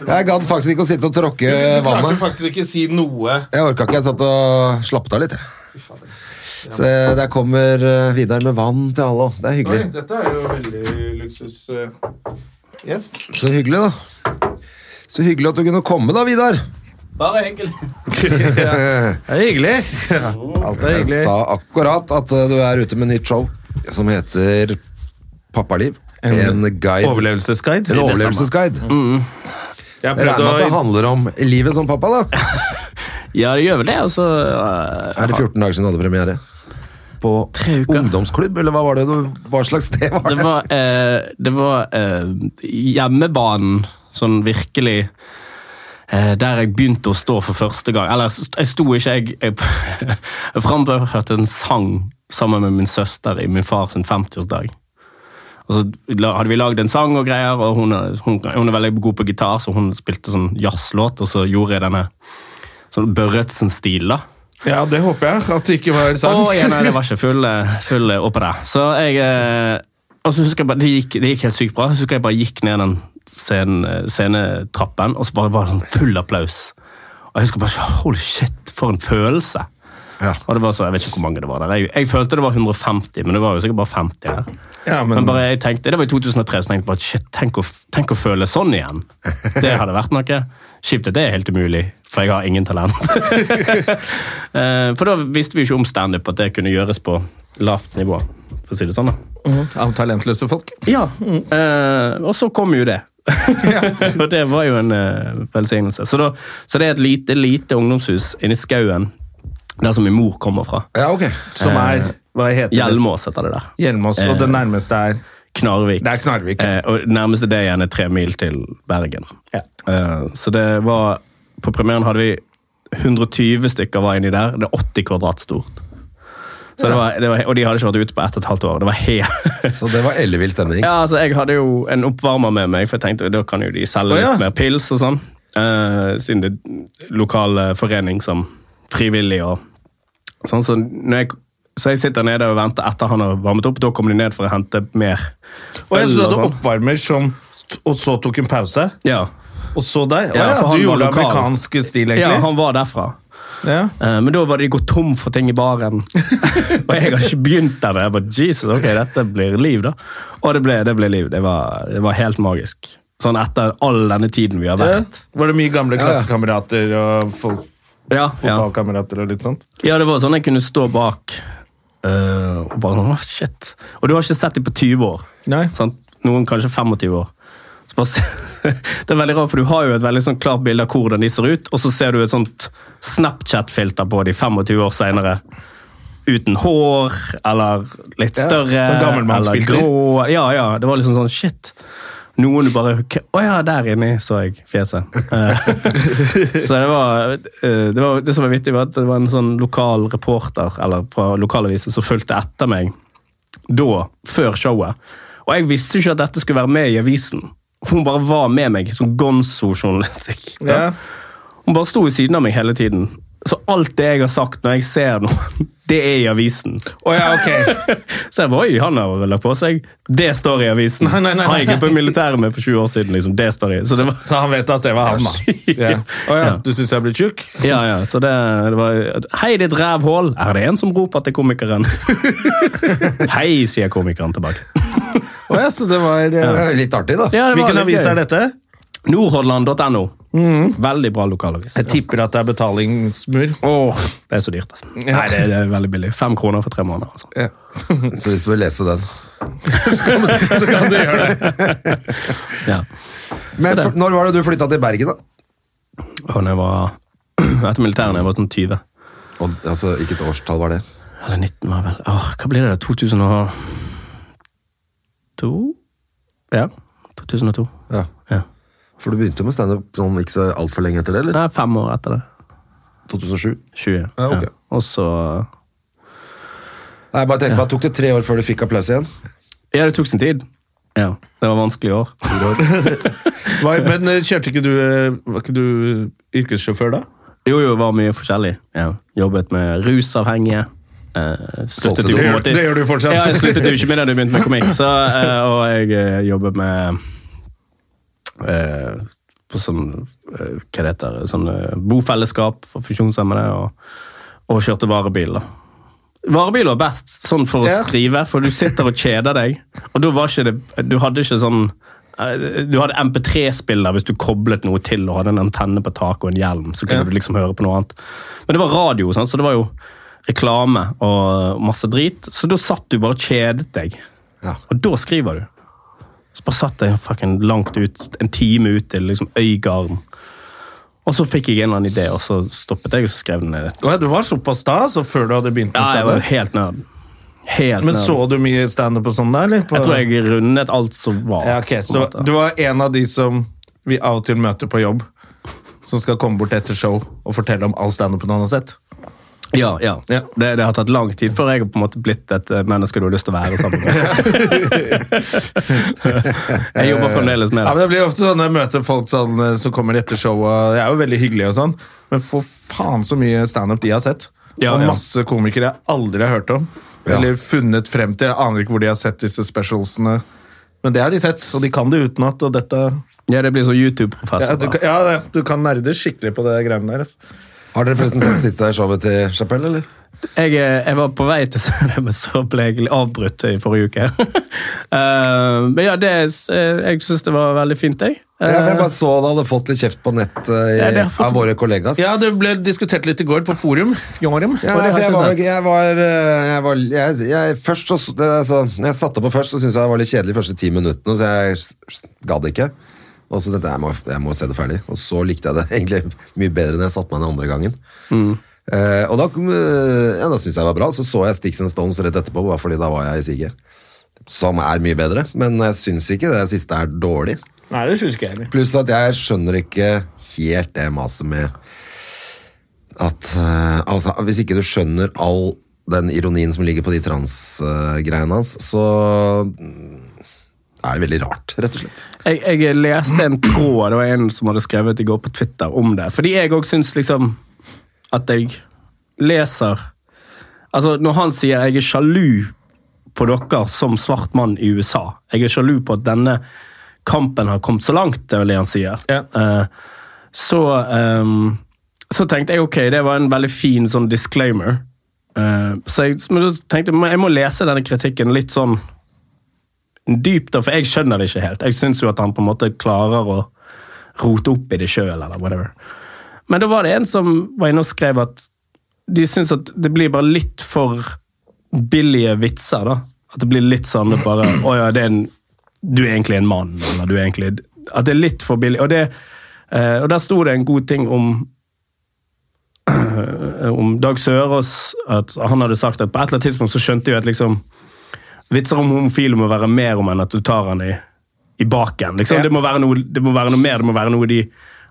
Speaker 2: Jeg gadd faktisk ikke å sitte og tråkke
Speaker 1: Jeg klarte
Speaker 2: vannet.
Speaker 1: faktisk ikke si noe.
Speaker 2: Jeg orka ikke, jeg satt og slappet av litt. jeg. Så eh, der kommer eh, Vidar med vann til alle. også. Det er
Speaker 1: Oi,
Speaker 2: hyggelig.
Speaker 1: dette er jo veldig luksus eh, gjest.
Speaker 2: Så hyggelig, da. Så hyggelig at du kunne komme, da, Vidar.
Speaker 3: Bare hyggelig.
Speaker 1: ja. Det er hyggelig. Ja, Alt er hyggelig.
Speaker 2: Jeg sa akkurat at eh, du er ute med nytt show som heter Pappaliv. En, guide.
Speaker 1: Overlevelsesguide.
Speaker 2: en overlevelsesguide.
Speaker 3: Mm.
Speaker 1: Jeg
Speaker 2: Jeg regner med at det
Speaker 1: prøvde å
Speaker 2: handler om livet som pappa, da.
Speaker 3: Ja, det gjør vel det. Og så eh,
Speaker 2: Er det 14 dager siden du hadde premiere? På
Speaker 3: Tre uker.
Speaker 2: ungdomsklubb, eller hva var det du Hva slags sted var
Speaker 3: Det
Speaker 2: det?
Speaker 3: var, eh, det var eh, hjemmebanen, sånn virkelig eh, der jeg begynte å stå for første gang. Eller, jeg sto ikke, jeg, jeg, jeg frambørte en sang sammen med min søster i min fars 50-årsdag. Og så la- hadde vi lagd en sang og greier, og hun er, hun, hun er veldig god på gitar, så hun spilte sånn jazzlåt, og så gjorde jeg denne sånn Børretzen-stil, da.
Speaker 1: Ja, det håper jeg. At det ikke var
Speaker 3: Å,
Speaker 1: sant.
Speaker 3: ja, nei, det var ikke full, eh, full oppå der. Så jeg eh, Og så husker jeg bare, det gikk, det gikk helt sykt bra. Så husker jeg bare gikk ned den scenen, eh, scenetrappen, og så bare var det sånn full applaus. Og jeg husker bare så, Holy shit, for en følelse.
Speaker 2: Ja.
Speaker 3: Og det var så, Jeg vet ikke hvor mange det var der. Jeg, jeg følte det var 150, men det var jo sikkert bare 50 her.
Speaker 1: Ja,
Speaker 3: Men
Speaker 1: men,
Speaker 3: bare jeg tenkte, Det var i 2003, så tenkte jeg bare shit, tenk å, tenk å føle sånn igjen. Det hadde vært noe. Kjipt at det er helt umulig, for jeg har ingen talent. Eh, for da visste vi jo ikke om standup, at det kunne gjøres på lavt nivå, for å si det sånn. da.
Speaker 1: Av talentløse folk.
Speaker 3: Ja, eh, og så kom jo det. og det var jo en eh, velsignelse. Så, da, så det er et lite, lite ungdomshus inni skauen, der som min mor kommer fra.
Speaker 2: Ja, ok.
Speaker 1: Som er Hva heter
Speaker 3: Hjelmås heter det der.
Speaker 1: det? Hjelmås. Og det nærmeste er
Speaker 3: Knarvik.
Speaker 1: Det er Knarvik.
Speaker 3: Eh, og nærmeste det igjen er tre mil til Bergen.
Speaker 1: Ja.
Speaker 3: Eh, så det var På premieren hadde vi 120 stykker var inni der. Det er 80 kvadrat stort. Så det var, det var, og de hadde ikke vært ute på ett og et halvt år. Det var helt
Speaker 2: Så det var ellevill stemning.
Speaker 3: Ja, altså, jeg hadde jo en oppvarmer med meg, for jeg tenkte da kan jo de selge
Speaker 1: Å, ja.
Speaker 3: litt mer pils og sånn. Eh, siden det er lokal eh, forening som frivillig og sånn. Så, når jeg, så jeg sitter nede og venter etter han har varmet opp. Da kommer de ned for å hente mer
Speaker 1: Og jeg så
Speaker 3: øl
Speaker 1: du
Speaker 3: og
Speaker 1: hadde
Speaker 3: sånn.
Speaker 1: oppvarmer som Og så tok en pause,
Speaker 3: Ja.
Speaker 1: og så deg. Å
Speaker 3: Ja,
Speaker 1: ja,
Speaker 3: for han
Speaker 1: du
Speaker 3: var
Speaker 1: gjorde det
Speaker 3: lokal.
Speaker 1: amerikansk stil,
Speaker 3: ja,
Speaker 1: egentlig.
Speaker 3: han var derfra.
Speaker 1: Ja.
Speaker 3: Eh, men da var de gått tom for ting i baren. og jeg hadde ikke begynt der. Jeg bare, Jesus, ok, dette blir liv, da. Og det ble, det ble liv. Det var, det var helt magisk. Sånn etter all denne tiden vi har
Speaker 1: Ja.
Speaker 3: vært.
Speaker 1: Var det mye gamle
Speaker 2: ja.
Speaker 1: klassekamerater og folk,
Speaker 3: Ja, ja.
Speaker 1: fotballkamerater og litt sånt?
Speaker 3: ja, det var sånn jeg kunne stå bak eh, og bare sånn, «Åh, shit. Og du har ikke sett dem på 20 år.
Speaker 1: Nei.
Speaker 3: Sant? Noen kanskje 25 år. Så bare, se- det er veldig rart, for du har jo et veldig sånn klart bilde av hvordan de ser ut, og så ser du et sånt Snapchat-filter på de 25 år senere. Uten hår, eller litt
Speaker 1: Ja,
Speaker 3: større,
Speaker 1: sånn
Speaker 3: eller
Speaker 1: gammelmannsfilter.
Speaker 3: grå. Ja, ja, det var liksom sånn, shit. Noen du bare, «K- å ja, der inne så jeg fjeset. Eh, så det var, eh, det var, det som var vittig var at det var en sånn lokal reporter, eller fra lokalavisen, som fulgte etter meg da, før showet. Og jeg visste jo ikke at dette skulle være med i avisen. Hun bare var med meg som gonzo-journalistikk.
Speaker 1: Ja.
Speaker 3: Hun bare sto i siden av meg hele tiden. Så alt det jeg har sagt når jeg ser noe, det er i avisen.
Speaker 1: Å ja, ok.
Speaker 3: Så jeg bare, oi, han har vel lagt på seg. Det står i avisen.
Speaker 1: Nei, nei, nei,
Speaker 3: Han gikk jo
Speaker 1: nei.
Speaker 3: på militæret med for 20 år siden, liksom. Det står i. Så det var...
Speaker 1: Så han vet at det var han, da. Ja. Å ja,
Speaker 3: Ja.
Speaker 1: du syns jeg er blitt tjukk?
Speaker 3: Ja, ja, så det, det var... Hei, ditt rævhål! Er det en som roper til komikeren? Hei, sier komikeren tilbake.
Speaker 1: Å ja, så det var eh,
Speaker 2: Det er Litt artig, da.
Speaker 3: Ja, det var
Speaker 1: Hvilken
Speaker 3: litt
Speaker 1: avis
Speaker 3: gøy.
Speaker 1: er dette?
Speaker 3: Nordhordland.no.
Speaker 2: Mm.
Speaker 3: Veldig bra lokalavis.
Speaker 1: Jeg tipper at det er betalingsmur.
Speaker 3: Åh, det er så dyrt, altså. Nei, det, det er veldig billig. Fem kroner for tre måneder. Altså.
Speaker 1: Ja.
Speaker 2: Så hvis du vil lese den.
Speaker 1: Så kan du gjøre det.
Speaker 3: Ja.
Speaker 2: Men for, når var det du flytta til Bergen, da?
Speaker 3: Og når jeg var Etter militæret da jeg var sånn 20.
Speaker 2: Og, altså, ikke et årstall var det.
Speaker 3: Eller 19, var jeg vel. Åh, hva blir det? da? 2002? Ja. 2002.
Speaker 2: Ja.
Speaker 3: Ja.
Speaker 2: For du begynte jo med standup sånn ikke så altfor lenge etter det, eller?
Speaker 3: Nei, fem år etter det.
Speaker 2: 2007?
Speaker 3: 20.
Speaker 2: Ja, ok.
Speaker 3: Og så
Speaker 2: Nei, jeg bare tenkte, bare Tok det tre år før du fikk applaus igjen?
Speaker 3: Ja, det tok sin tid. Ja. Det var vanskelige år.
Speaker 1: Hva, men eh, kjørte ikke du eh, Var ikke du yrkessjåfør da?
Speaker 3: Jo, jo, var mye forskjellig. Ja. Jobbet med rusavhengige. Eh,
Speaker 2: Solgte
Speaker 3: sluttet jo
Speaker 2: du-
Speaker 3: på en
Speaker 1: Det gjør-
Speaker 3: måte
Speaker 1: det gjør du fortsatt.
Speaker 3: Ja, jeg sluttet jo ikke med det da jeg begynte med komikk. Så, eh, og jeg eh, jobbet med eh, på sånn eh, Hva det heter Sånn eh, bofellesskap for funksjonshemmede. Og, og kjørte varebil, da. Varebil var best sånn for å
Speaker 1: Ja.
Speaker 3: skrive, for du sitter og kjeder deg. Og da var ikke det Du hadde ikke sånn eh, du hadde MP3-spiller hvis du koblet noe til og hadde en antenne på taket og en hjelm. så kunne
Speaker 1: Ja.
Speaker 3: du liksom høre på noe annet. Men det var radio, sant? så det var jo reklame og masse drit. Så da satt du bare og kjedet deg.
Speaker 2: Ja.
Speaker 3: Og da skriver du. Så bare satt jeg fucking langt ut, en time ut til liksom Øygarden. Og så fikk jeg en eller annen idé, og så stoppet jeg og så skrev den ned.
Speaker 1: Å ja, du var såpass da, så før du hadde begynt med
Speaker 3: Ja, jeg var
Speaker 1: standup?
Speaker 3: helt nerd. Helt
Speaker 1: Men
Speaker 3: nerd.
Speaker 1: så du mye standup og sånn da, eller? På-
Speaker 3: Jeg tror jeg rundet alt som var.
Speaker 1: Ja, ok,
Speaker 3: på en
Speaker 1: Så
Speaker 3: måte.
Speaker 1: du var en av de som vi av og til møter på jobb, som skal komme bort etter show og fortelle om all standupen han har sett?
Speaker 3: ja, ja.
Speaker 1: Ja.
Speaker 3: Det, det har tatt lang tid før jeg har på en måte blitt et eh, menneske du har lyst til å være sammen med. jeg jobber fremdeles med
Speaker 1: Ja, men
Speaker 3: det.
Speaker 1: Det blir ofte sånn når jeg møter folk sånn, eh, som kommer etter show, og jeg er jo veldig hyggelig og sånn, men for faen så mye standup de har sett.
Speaker 3: Ja,
Speaker 1: og
Speaker 3: ja.
Speaker 1: masse komikere jeg aldri har hørt om.
Speaker 2: Ja.
Speaker 1: Eller funnet frem til. Jeg aner ikke hvor de har sett disse specialsene. Men det har de sett, og de kan det utenat. Og dette
Speaker 3: Ja, det blir sånn
Speaker 1: ja,
Speaker 3: YouTube-professor.
Speaker 1: du,
Speaker 3: da.
Speaker 1: kan- ja, det- du kan nerde skikkelig på det greiene der. Altså.
Speaker 2: Har dere forresten sett siste showet til Chapelle, eller?
Speaker 3: jeg, eh, jeg var på vei til å se det, men så ble jeg avbrutt i forrige uke. Eh, men ja, det, eh, jeg syns det var veldig fint, jeg.
Speaker 2: Ja, for jeg bare så det hadde fått litt kjeft på nett eh,
Speaker 3: Ja, det har fått-
Speaker 2: av våre kollegas.
Speaker 1: Ja, det ble diskutert litt i går på forum. Fjorum.
Speaker 2: Ja,
Speaker 3: det
Speaker 2: nei, for jeg
Speaker 3: hørtes
Speaker 1: sånn?
Speaker 2: var,
Speaker 3: ut.
Speaker 2: jeg var, eh, jeg var jeg, jeg, Først så det, altså, Når jeg satte på først, så syntes jeg det var litt kjedelig de første ti minuttene, så jeg s- s- gadd ikke. Og så tenkte jeg jeg må, jeg må se det ferdig. Og så likte jeg det egentlig mye bedre enn jeg satte meg ned andre gangen. Eh, og da, kom, eh, ja, da syntes jeg det var bra. Så så jeg Sticks and Stones rett etterpå, bare fordi da var jeg i siget. Som er mye bedre, men jeg syns ikke det siste er dårlig.
Speaker 1: Nei, det syns ikke jeg heller.
Speaker 2: Pluss at jeg skjønner ikke helt det maset med at eh, altså, Hvis ikke du skjønner all den ironien som ligger på de transgreiene hans, så mm, er det veldig rart, rett og slett.
Speaker 3: Jeg, jeg leste en tråd, det var en som hadde skrevet i går på Twitter om det. Fordi jeg òg syns liksom at jeg leser Altså, når han sier 'jeg er sjalu på dere som svart mann i USA', jeg er sjalu på at denne kampen har kommet så langt, det er vel det han sier.
Speaker 1: Ja.
Speaker 3: Eh, så, ehm, så tenkte jeg ok, det var en veldig fin sånn disclaimer. Eh, så jeg, men så tenkte jeg men jeg må lese denne kritikken litt sånn dypt, da, for jeg skjønner det ikke helt. Jeg syns jo at han på en måte klarer å rote opp i det sjøl, eller whatever. Men da var det en som var inne og skrev at de syns at det blir bare litt for billige vitser, da. At det blir litt sånn at bare Å ja, det er en, du er egentlig en mann, eller du er egentlig At det er litt for billig. Og, det, eh, og der sto det en god ting om om Dag Sørås, at han hadde sagt at på et eller annet tidspunkt så skjønte jeg at liksom vitser om homofile må være mer om enn at du tar han i, i baken. Liksom. Det, må være noe, det må være noe mer, det må være noe de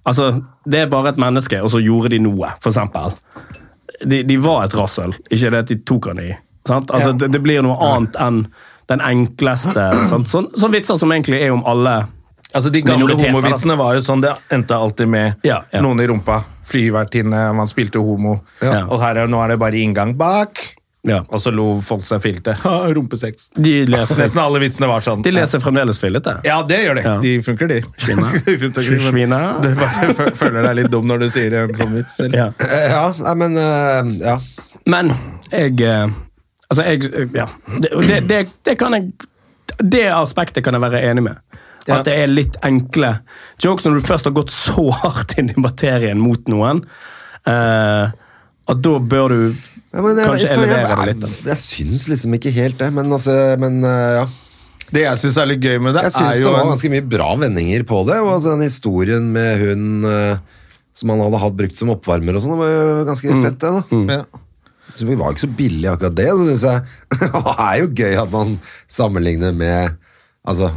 Speaker 3: Altså, det er bare et menneske, og så gjorde de noe, for eksempel. De, de var et rasshøl, ikke det at de tok han i. Sant? Altså, det, det blir noe annet enn den enkleste sant? Sånn, sånn vitser som egentlig er om alle
Speaker 1: Altså, De gamle
Speaker 3: Minoriteter, da.
Speaker 1: homovitsene var jo sånn, det endte alltid med
Speaker 3: Ja, ja.
Speaker 1: noen i rumpa, flyvertinne, man spilte homo,
Speaker 3: Ja.
Speaker 1: og her er, nå er det bare inngang bak,
Speaker 3: ja.
Speaker 1: og så lo folk seg filte. Ha, Rumpesex.
Speaker 3: de, leser,
Speaker 1: Nesten alle vitsene var sånn.
Speaker 3: de leser fremdeles fillete.
Speaker 1: Ja, det gjør det.
Speaker 3: Ja.
Speaker 1: De funker, de. Rundt omkring, men
Speaker 3: Svina.
Speaker 1: Du bare fø- føler deg litt dum når du sier en sånn vits. eller?
Speaker 3: Ja.
Speaker 2: Eh, Ja, nei, men eh, ja.
Speaker 3: Men jeg eh, Altså, jeg eh, Ja. Det, og det, det, det kan jeg Det aspektet kan jeg være enig med.
Speaker 1: Ja.
Speaker 3: At det er litt enkle jokes når du først har gått så hardt inn i materien mot noen. eh, at da bør du
Speaker 2: ja men, jeg-
Speaker 3: kanskje
Speaker 2: jeg- jeg-
Speaker 3: elevere det litt.
Speaker 2: Jeg, jeg syns liksom ikke helt det, men altså men, eh, ja.
Speaker 1: Det jeg syns er litt gøy med det,
Speaker 2: Jeg syns
Speaker 1: er
Speaker 2: det
Speaker 1: jo
Speaker 2: var
Speaker 1: en
Speaker 2: ganske mye bra vendinger på det. Og altså, den historien med hun eh, som han hadde hatt brukt som oppvarmer og sånn, det var jo ganske
Speaker 1: Mm.
Speaker 2: fett, det. da
Speaker 1: Ja.
Speaker 2: Så vi var jo ikke så billig akkurat det, så synes jeg. det er jo gøy at man sammenligner med Altså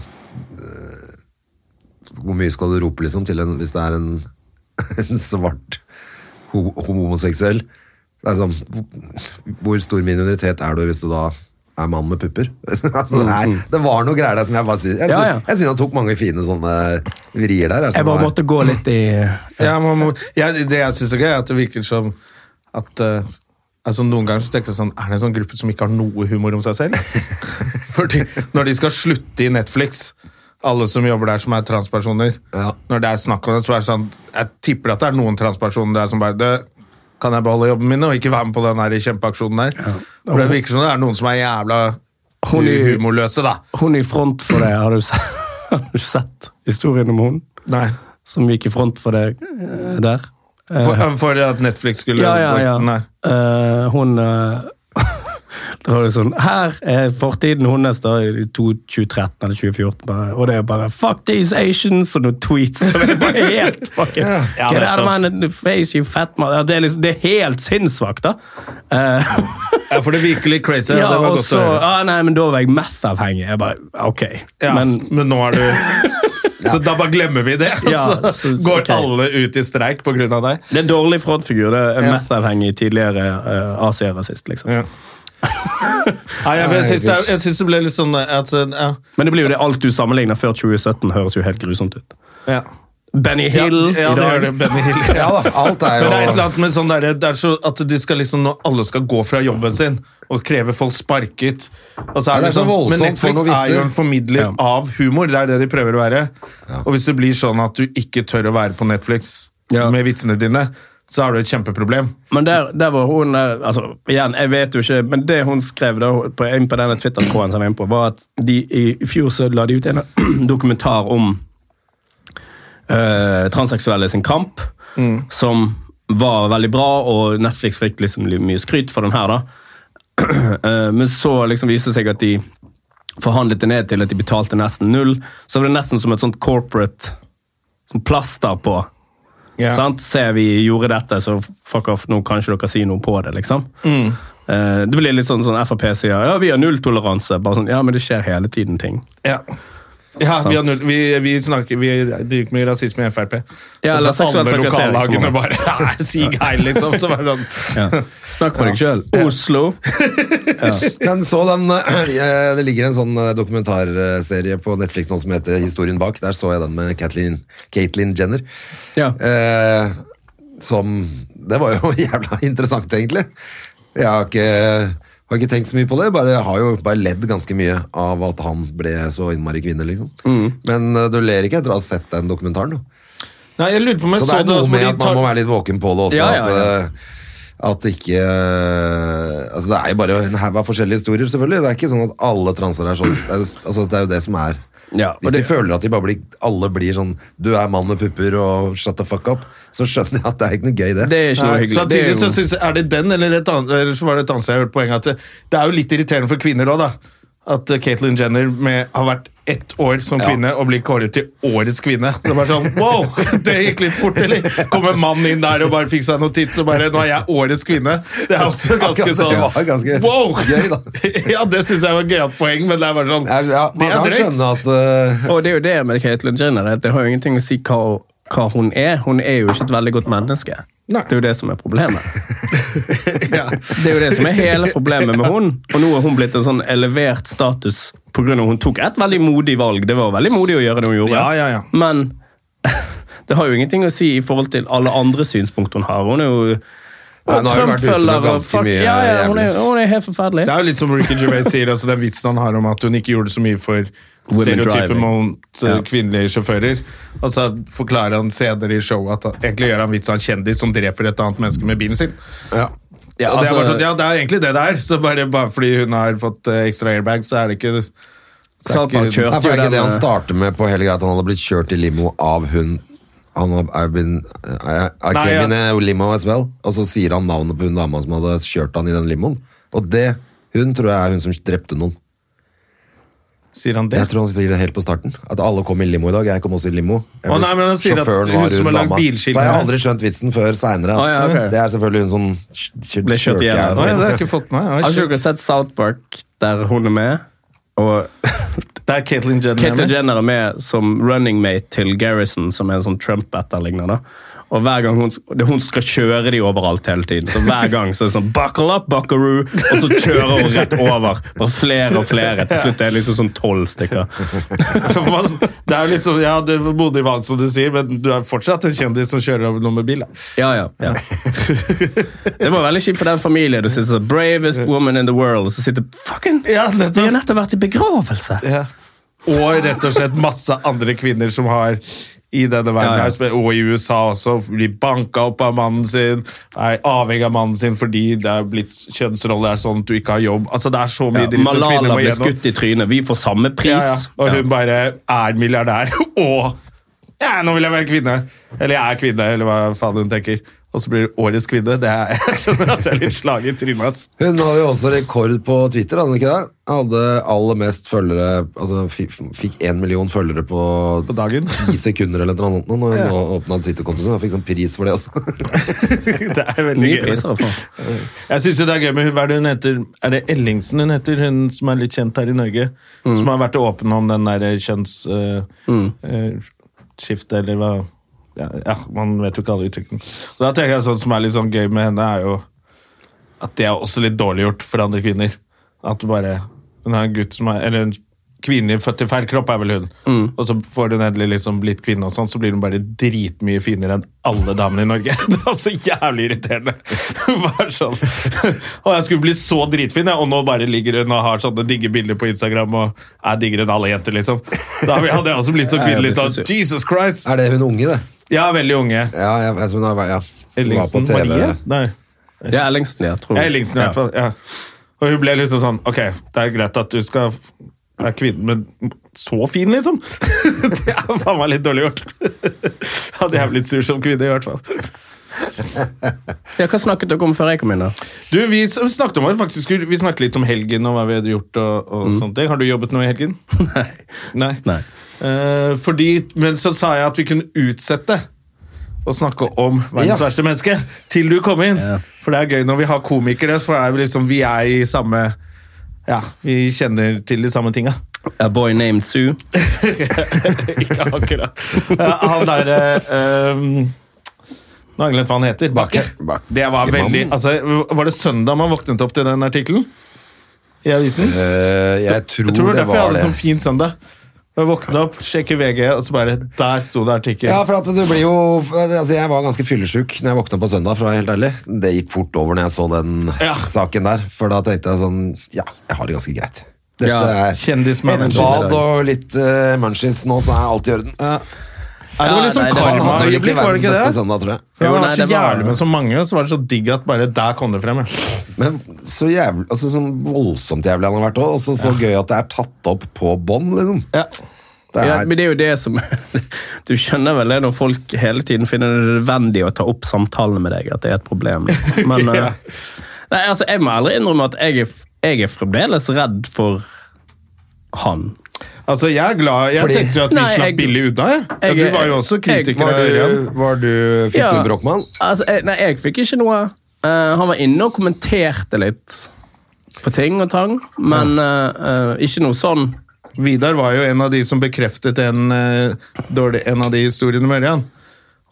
Speaker 2: øh, Hvor mye skal du rope, liksom, til en, hvis det er en, en svart ho homoseksuell? Det er sånn Hvor stor minoritet er du hvis du da er mann med pupper? altså, nei, det var noe greier der som jeg bare synes Jeg
Speaker 3: Ja,
Speaker 2: synes,
Speaker 3: ja.
Speaker 2: jeg synes han tok mange fine sånne vrier der. altså,
Speaker 3: Jeg bare
Speaker 2: det var-
Speaker 3: måtte gå litt i
Speaker 1: Ja, man må, ja, det jeg syns er gøy, er at det virker som at eh, altså Noen ganger så tenker jeg sånn Er det en sånn gruppe som ikke har noe humor om seg selv? Fordi når de skal slutte i Netflix, alle som jobber der som er transpersoner
Speaker 2: Ja.
Speaker 1: Når det er snakk om det, så er det sånn Jeg tipper at det er noen transpersoner der som bare det, Kan jeg beholde jobben min og ikke være med på den her kjempeaksjonen der? For det virker som det er noen som er jævla
Speaker 3: Hun i-
Speaker 1: humorløse, da.
Speaker 3: Hun i front for det, har du sett, har du sett historien om hun
Speaker 1: Nei.
Speaker 3: som gikk i front for det eh, der? Eh,
Speaker 1: For, for at Netflix skulle
Speaker 3: Ja, ja, ja.
Speaker 1: Nei.
Speaker 3: Eh, hun eh, Det var jo sånn Her er fortiden hennes da i to- 2013 eller 2014, bare, og det er bare 'fuck these Asians' og noen tweets. som er bare helt fucking
Speaker 1: Ja,
Speaker 3: Get out
Speaker 1: nettopp.
Speaker 3: of my n- face, you fat man. Ja, det, er liksom, det er helt sinnssvakt, da. Eh,
Speaker 1: Ja, for det virker litt crazy.
Speaker 3: ja,
Speaker 1: det var
Speaker 3: og
Speaker 1: godt
Speaker 3: så
Speaker 1: å høre.
Speaker 3: ah, Nei, men da var jeg meth-avhengig. Jeg bare OK.
Speaker 1: Ja, men,
Speaker 3: Men
Speaker 1: nå er du Så da bare glemmer vi det, og
Speaker 3: Ja,
Speaker 1: så,
Speaker 3: så- så-
Speaker 1: går
Speaker 3: ok.
Speaker 1: alle ut i streik pga. deg.
Speaker 3: det er dårlig frontfigur. Det er
Speaker 1: Ja.
Speaker 3: meth-avhengig tidligere uh, Asia-rasist, liksom.
Speaker 1: Ja. Nei, jeg, jeg, syns det, er- jeg syns det ble litt sånn at, ja,
Speaker 3: Men det blir jo det alt du sammenligner før 2017, høres jo helt grusomt ut.
Speaker 1: ja.
Speaker 3: Benny
Speaker 1: Ja,
Speaker 3: Hill
Speaker 1: ja,
Speaker 3: i
Speaker 1: det
Speaker 3: dag.
Speaker 1: gjør det. Benny Hill.
Speaker 2: Ja da, alt er jo
Speaker 1: Men det er et eller annet med sånn der, det er så at de skal liksom, nå alle skal gå fra jobben sin og kreve folk sparket. Og så
Speaker 2: Ja,
Speaker 1: er
Speaker 2: det
Speaker 1: det
Speaker 2: er så
Speaker 1: sånn,
Speaker 2: voldsomt
Speaker 1: men
Speaker 2: for
Speaker 1: Netflix
Speaker 2: noen vitser.
Speaker 1: er jo en formidler
Speaker 3: Ja.
Speaker 1: av humor, det er det de prøver å være. Og hvis det blir sånn at du ikke tør å være på Netflix
Speaker 3: Ja.
Speaker 1: med vitsene dine, så har du et kjempeproblem.
Speaker 3: Men der, der var hun der, altså, igjen, jeg vet jo ikke, men det hun skrev da, på, inn på denne Twitter-tråden som jeg var inne på, var at de, i fjor så la de ut en dokumentar om eh, transseksuelle sin kamp,
Speaker 1: Mm.
Speaker 3: som var veldig bra, og Netflix fikk liksom li- mye skryt for den her, da. Eh, Men så liksom viste det seg at de forhandlet det ned til at de betalte nesten null. Så var det nesten som et sånt corporate sånn plaster på. Sant? Se, vi gjorde dette, så fuck off, nå kan ikke dere si noe på det, liksom.
Speaker 1: Mm.
Speaker 3: Eh, Det blir litt sånn, sånn Frp sier ja, vi har nulltoleranse. Bare sånn, ja, men det skjer hele tiden ting.
Speaker 1: Ja. Ja, vi, har null, vi, vi snakker Vi driver ikke med rasisme i Frp.
Speaker 3: Ja, eller
Speaker 1: så Altså, alle
Speaker 3: seksuell trakassering,
Speaker 1: lokallagene
Speaker 3: som man-
Speaker 1: bare «Nei, Sig heil, liksom. Så bare sånn.
Speaker 3: Snakk for deg sjøl. Oslo.
Speaker 2: Men så den eh, Det ligger en sånn eh, dokumentarserie på Netflix nå som heter Historien bak. Der så jeg den med Caitlyn Caitlyn Jenner.
Speaker 3: Ja.
Speaker 2: Eh, som Det var jo jævla interessant, egentlig. Jeg har ikke, har ikke tenkt så mye på det. Bare, jeg har jo bare ledd ganske mye av at han ble så innmari kvinne, liksom. Men eh, du ler ikke etter å ha sett den dokumentaren. Da.
Speaker 1: Nei, jeg lurer på om jeg
Speaker 2: Så
Speaker 1: så,
Speaker 2: det er
Speaker 1: det
Speaker 2: noe
Speaker 1: også,
Speaker 2: med
Speaker 1: fordi
Speaker 2: at man må være litt våken på det også.
Speaker 3: altså Ja, ja, ja.
Speaker 2: At, eh, at ikke eh, Altså, det er jo bare en haug av forskjellige historier, selvfølgelig. Det er ikke sånn at alle transer er sånn. Det er, jo- altså, det er jo det som er
Speaker 3: Ja, og
Speaker 2: Hvis de
Speaker 3: det-
Speaker 2: føler at de bare blir, alle blir sånn Du er mann med pupper og shut the fuck up, så skjønner jeg at det er ikke noe gøy, det.
Speaker 3: Det er ikke noe
Speaker 1: Nei,
Speaker 3: hyggelig.
Speaker 1: Samtidig
Speaker 3: Det er
Speaker 1: så
Speaker 3: jo-
Speaker 1: synes jeg, er det den, eller, et annet, eller så var det et annet sted jeg hørte poenget, at det, det er jo litt irriterende for kvinner òg, da. At eh, Caitlyn Jenner med, har vært ett år som kvinne og blir kåret til årets kvinne. Det var sånn, wow, det gikk litt fort, eller? Kom en mann inn der og bare fikk seg noen tits og bare Nå er jeg årets kvinne. Det er også ganske
Speaker 2: Akkurat,
Speaker 1: sånn
Speaker 2: det var ganske
Speaker 1: wow!
Speaker 2: gøy, da.
Speaker 1: ja, det syns jeg var et gøyalt poeng, men det er bare sånn
Speaker 2: Jeg- ja, man
Speaker 1: Det er
Speaker 2: kan
Speaker 1: drøyt.
Speaker 2: skjønne at eh,
Speaker 3: Og det er jo det med Caitlyn Jenner, at det har jo ingenting å si hva, hva hun er. Hun er jo ikke et veldig godt menneske.
Speaker 1: Nei.
Speaker 3: Det er jo det som er problemet.
Speaker 1: ja.
Speaker 3: Det er jo det som er hele problemet med hun. Og nå er hun blitt en sånn elevert status pga. hun tok et veldig modig valg. Det var veldig modig å gjøre det hun gjorde.
Speaker 1: Ja, ja, ja.
Speaker 3: Men det har jo ingenting å si i forhold til alle andre synspunkt hun har. Hun er jo
Speaker 2: Nei, nå har hun vært ute med
Speaker 3: Trump-følger og
Speaker 2: ganske
Speaker 3: fuck-
Speaker 2: mye
Speaker 3: ja, ja, hun, er,
Speaker 2: jævlig.
Speaker 3: hun er helt forferdelig.
Speaker 1: Det er jo litt som Ricky Gervais sier, altså den vitsen han har om at hun ikke gjorde så mye for
Speaker 3: Women
Speaker 1: stereotypen
Speaker 3: driving.
Speaker 1: mot eh,
Speaker 3: Ja.
Speaker 1: kvinnelige sjåfører. Og så forklarer han senere i showet at han, egentlig gjør han vits av en kjendis som dreper et annet menneske med bilen sin.
Speaker 3: Ja,
Speaker 1: og det er bare
Speaker 3: altså-
Speaker 1: sånn, ja, det er egentlig det det er. Så bare, bare fordi hun har fått eh, ekstra airbag, så er det ikke
Speaker 3: South Park
Speaker 1: ikke-
Speaker 2: Nei,
Speaker 3: kjørte
Speaker 2: for det
Speaker 3: jo
Speaker 2: er ikke det
Speaker 1: eh,
Speaker 2: han
Speaker 3: den eh,
Speaker 2: starter med på hele greia, at han hadde blitt kjørt i limo av hun. Han har I've been, I, I
Speaker 1: Nei,
Speaker 2: came
Speaker 1: ja.
Speaker 2: in a limo as well. Og så sier han navnet på hun dama som hadde kjørt han i den limoen. Og det, hun tror jeg er hun som drepte noen.
Speaker 1: Sier han det?
Speaker 2: Jeg tror han sier det helt på starten. At alle kom i limo i dag. Jeg kom også i limo. Jeg
Speaker 1: Å,
Speaker 2: ble-
Speaker 1: nei, men han sier at
Speaker 2: sjåføren
Speaker 1: hun
Speaker 2: var
Speaker 1: som har lagd
Speaker 2: dama.
Speaker 1: bilskiltet
Speaker 2: Så jeg har
Speaker 1: her.
Speaker 2: aldri skjønt vitsen før seinere.
Speaker 3: Å, ja, ok.
Speaker 2: Det er selvfølgelig hun som kj- kj-
Speaker 3: Ble kjørt
Speaker 1: Å,
Speaker 3: ihjel,
Speaker 1: ja, det
Speaker 2: jævla.
Speaker 1: har jeg ikke fått med meg. Oi,
Speaker 3: Har ikke
Speaker 1: shit.
Speaker 3: dere sett South Park, der hun er med? Og
Speaker 1: Det er Caitlyn Jenner.
Speaker 3: Caitlyn
Speaker 1: med.
Speaker 3: Jenner er med som running mate til Garrison, som er en sånn Trump-etterligner. da. Og hver gang hun, det, hun skal kjøre de overalt hele tiden. Så hver gang så er det sånn 'buckle up, buckaroo', og så kjører hun rett over. Bare flere og flere. Til slutt er det liksom sånn tolv stykker.
Speaker 1: det er jo liksom, ja, det er modig valg, som du sier, men du er fortsatt en kjendis som kjører over noen med bil. Da.
Speaker 3: Ja, ja, ja. Det var veldig kjipt for den familien. Du sitter sånn 'bravest woman in the world', og så sitter fucking
Speaker 1: Ja, nettopp.
Speaker 3: Vi har nettopp vært i begravelse!
Speaker 1: Og rett og slett masse andre kvinner som har i denne verden,
Speaker 3: Ja, ja.
Speaker 1: her, og i USA også, blir banka opp av mannen sin, er avhengig av mannen sin fordi det er blitt kjønnsrolle, det er sånn at du ikke har jobb. Altså, det er så mye
Speaker 3: Ja,
Speaker 1: dritt som
Speaker 3: Malala
Speaker 1: kvinner må
Speaker 3: ble
Speaker 1: gjennom.
Speaker 3: skutt i trynet. Vi får samme pris.
Speaker 1: Ja, ja. Og hun bare er milliardær, og ja, nå vil jeg være kvinne. Eller jeg er kvinne, eller hva faen hun tenker. Og så blir det årets kvinne. Det er, jeg skjønner at det er litt slag i trynet hans.
Speaker 2: Hun hadde jo også rekord på Twitter, hadde hun ikke det? Hadde aller mest følgere Altså fikk, fikk én million følgere på,
Speaker 1: På dagen.
Speaker 2: ti sekunder eller noe sånt nå, når hun ja. åpna Twitter-kontoen sin. Hun fikk sånn pris for det også.
Speaker 1: Det er veldig
Speaker 3: Mye
Speaker 1: gøy.
Speaker 3: priser å få.
Speaker 1: Jeg synes jo det er gøy med hun, hva er det hun heter? Er det Ellingsen hun heter, hun som er litt kjent her i Norge? Som har vært åpen om den der eh, kjønnsskiftet, eh, eller hva ja, ja, man vet jo ikke alle uttrykkene. Og da tenker jeg sånn som er litt sånn gøy med henne, er jo at det er også litt dårlig gjort for andre kvinner. At du bare Hun er en gutt som er Eller en kvinne født i feil kropp, er vel hun. Og så får hun endelig liksom blitt kvinne, og sånn, så blir hun bare dritmye finere enn alle damene i Norge. Det var så jævlig irriterende! Bare sånn. Og jeg skulle bli så dritfin, jeg, og nå bare ligger hun og har sånne digge bilder på Instagram og er diggere enn alle jenter, liksom. Da hadde jeg også blitt så kvinnelig sånn. Jesus Christ!
Speaker 2: er det hun unge, det?
Speaker 1: Jeg er veldig unge.
Speaker 2: Ja, jeg, jeg, hun har- ja. Hun var på
Speaker 1: Ellingsen
Speaker 2: TV.
Speaker 1: Marie? Nei.
Speaker 3: Det er Ellingsen, jeg tror.
Speaker 1: Ja, Ellingsen i hvert fall. Ja. Og hun ble liksom sånn Ok, det er greit at du skal er kvinnen, men så fin, liksom! det er faen meg litt dårlig gjort. Hadde jeg blitt sur som kvinne, i hvert fall.
Speaker 3: Ja, Hva snakket dere om før jeg kom inn? da?
Speaker 1: Du, Vi s- snakket om at vi faktisk skulle, vi snakket litt om helgen og hva vi hadde gjort. og, og sånne ting. Har du jobbet noe i helgen?
Speaker 3: Nei.
Speaker 1: Nei.
Speaker 3: Nei.
Speaker 1: Eh, fordi, men så sa jeg at vi kunne utsette å snakke om verdens
Speaker 2: Ja.
Speaker 1: verste menneske til du kom inn.
Speaker 3: Ja.
Speaker 1: For det er gøy når vi har komikere, for er vi, liksom, vi er i samme Ja, vi kjenner til de samme tinga.
Speaker 3: A boy named Sue.
Speaker 1: Ikke akkurat. han derre eh, Nå har jeg glemt hva han heter. Bakke.
Speaker 2: Bakke.
Speaker 1: Det var veldig altså, Var det søndag man våknet opp til den artikkelen? I avisen?
Speaker 2: Eh, jeg tror,
Speaker 1: Jeg tror det var
Speaker 2: det
Speaker 1: derfor jeg
Speaker 2: var
Speaker 1: hadde
Speaker 2: det.
Speaker 1: en sånn fin søndag. Jeg våknet opp, sjekker VG, og så bare Der sto det artikkel.
Speaker 2: Ja, for at det blir jo altså Jeg var ganske fyllesyk når jeg våkna på søndag, for å være helt ærlig. Det gikk fort over når jeg så den
Speaker 1: Ja.
Speaker 2: saken der, for da tenkte jeg sånn Ja, jeg har det ganske greit. Dette
Speaker 3: Ja,
Speaker 2: er et
Speaker 1: Kjendismanager.
Speaker 2: bad og litt uh, munchins nå, så er alt i orden.
Speaker 1: Nei, det var litt sånn
Speaker 3: Ja, nei, det var-
Speaker 2: Han hadde nok ikke
Speaker 1: karmaøyeblikk, var det
Speaker 2: verdens
Speaker 1: ikke
Speaker 2: beste sånn.
Speaker 1: det?
Speaker 2: søndag, tror jeg.
Speaker 1: For han
Speaker 3: Jo, nei,
Speaker 1: var så
Speaker 3: det var-
Speaker 1: jævlig med så mange, og så var det så digg at bare der kom det frem. Ja.
Speaker 2: Men så jævlig, altså sånn voldsomt jævlig han har vært òg, og så så gøy at det er tatt opp på bånd, liksom.
Speaker 1: Ja.
Speaker 2: Det
Speaker 3: Ja,
Speaker 2: er,
Speaker 3: men det er jo det som Du skjønner vel det når folk hele tiden finner det nødvendig å ta opp samtalen med deg, at det er et problem. Men
Speaker 1: Ja.
Speaker 3: eh, Nei, altså, jeg må ærlig innrømme at jeg er, jeg er fremdeles redd for han.
Speaker 1: Altså, jeg er glad Jeg
Speaker 2: Fordi-
Speaker 1: tenkte jo at vi
Speaker 3: Nei,
Speaker 1: slapp
Speaker 3: jeg-
Speaker 1: billig unna, jeg. Ja,
Speaker 3: jeg-
Speaker 1: du var jo også
Speaker 3: jeg-
Speaker 1: kritiker
Speaker 2: var
Speaker 1: av Ørjan.
Speaker 2: du, eh, var du Fikk
Speaker 3: Ja.
Speaker 2: du bråk med han?
Speaker 3: Altså, jeg, nei, jeg fikk ikke noe. Eh, han var inne og kommenterte litt på ting og tang, men eh, eh, ikke noe sånn.
Speaker 1: Vidar var jo en av de som bekreftet en, eh, dårlig, en av de historiene med Ørjan.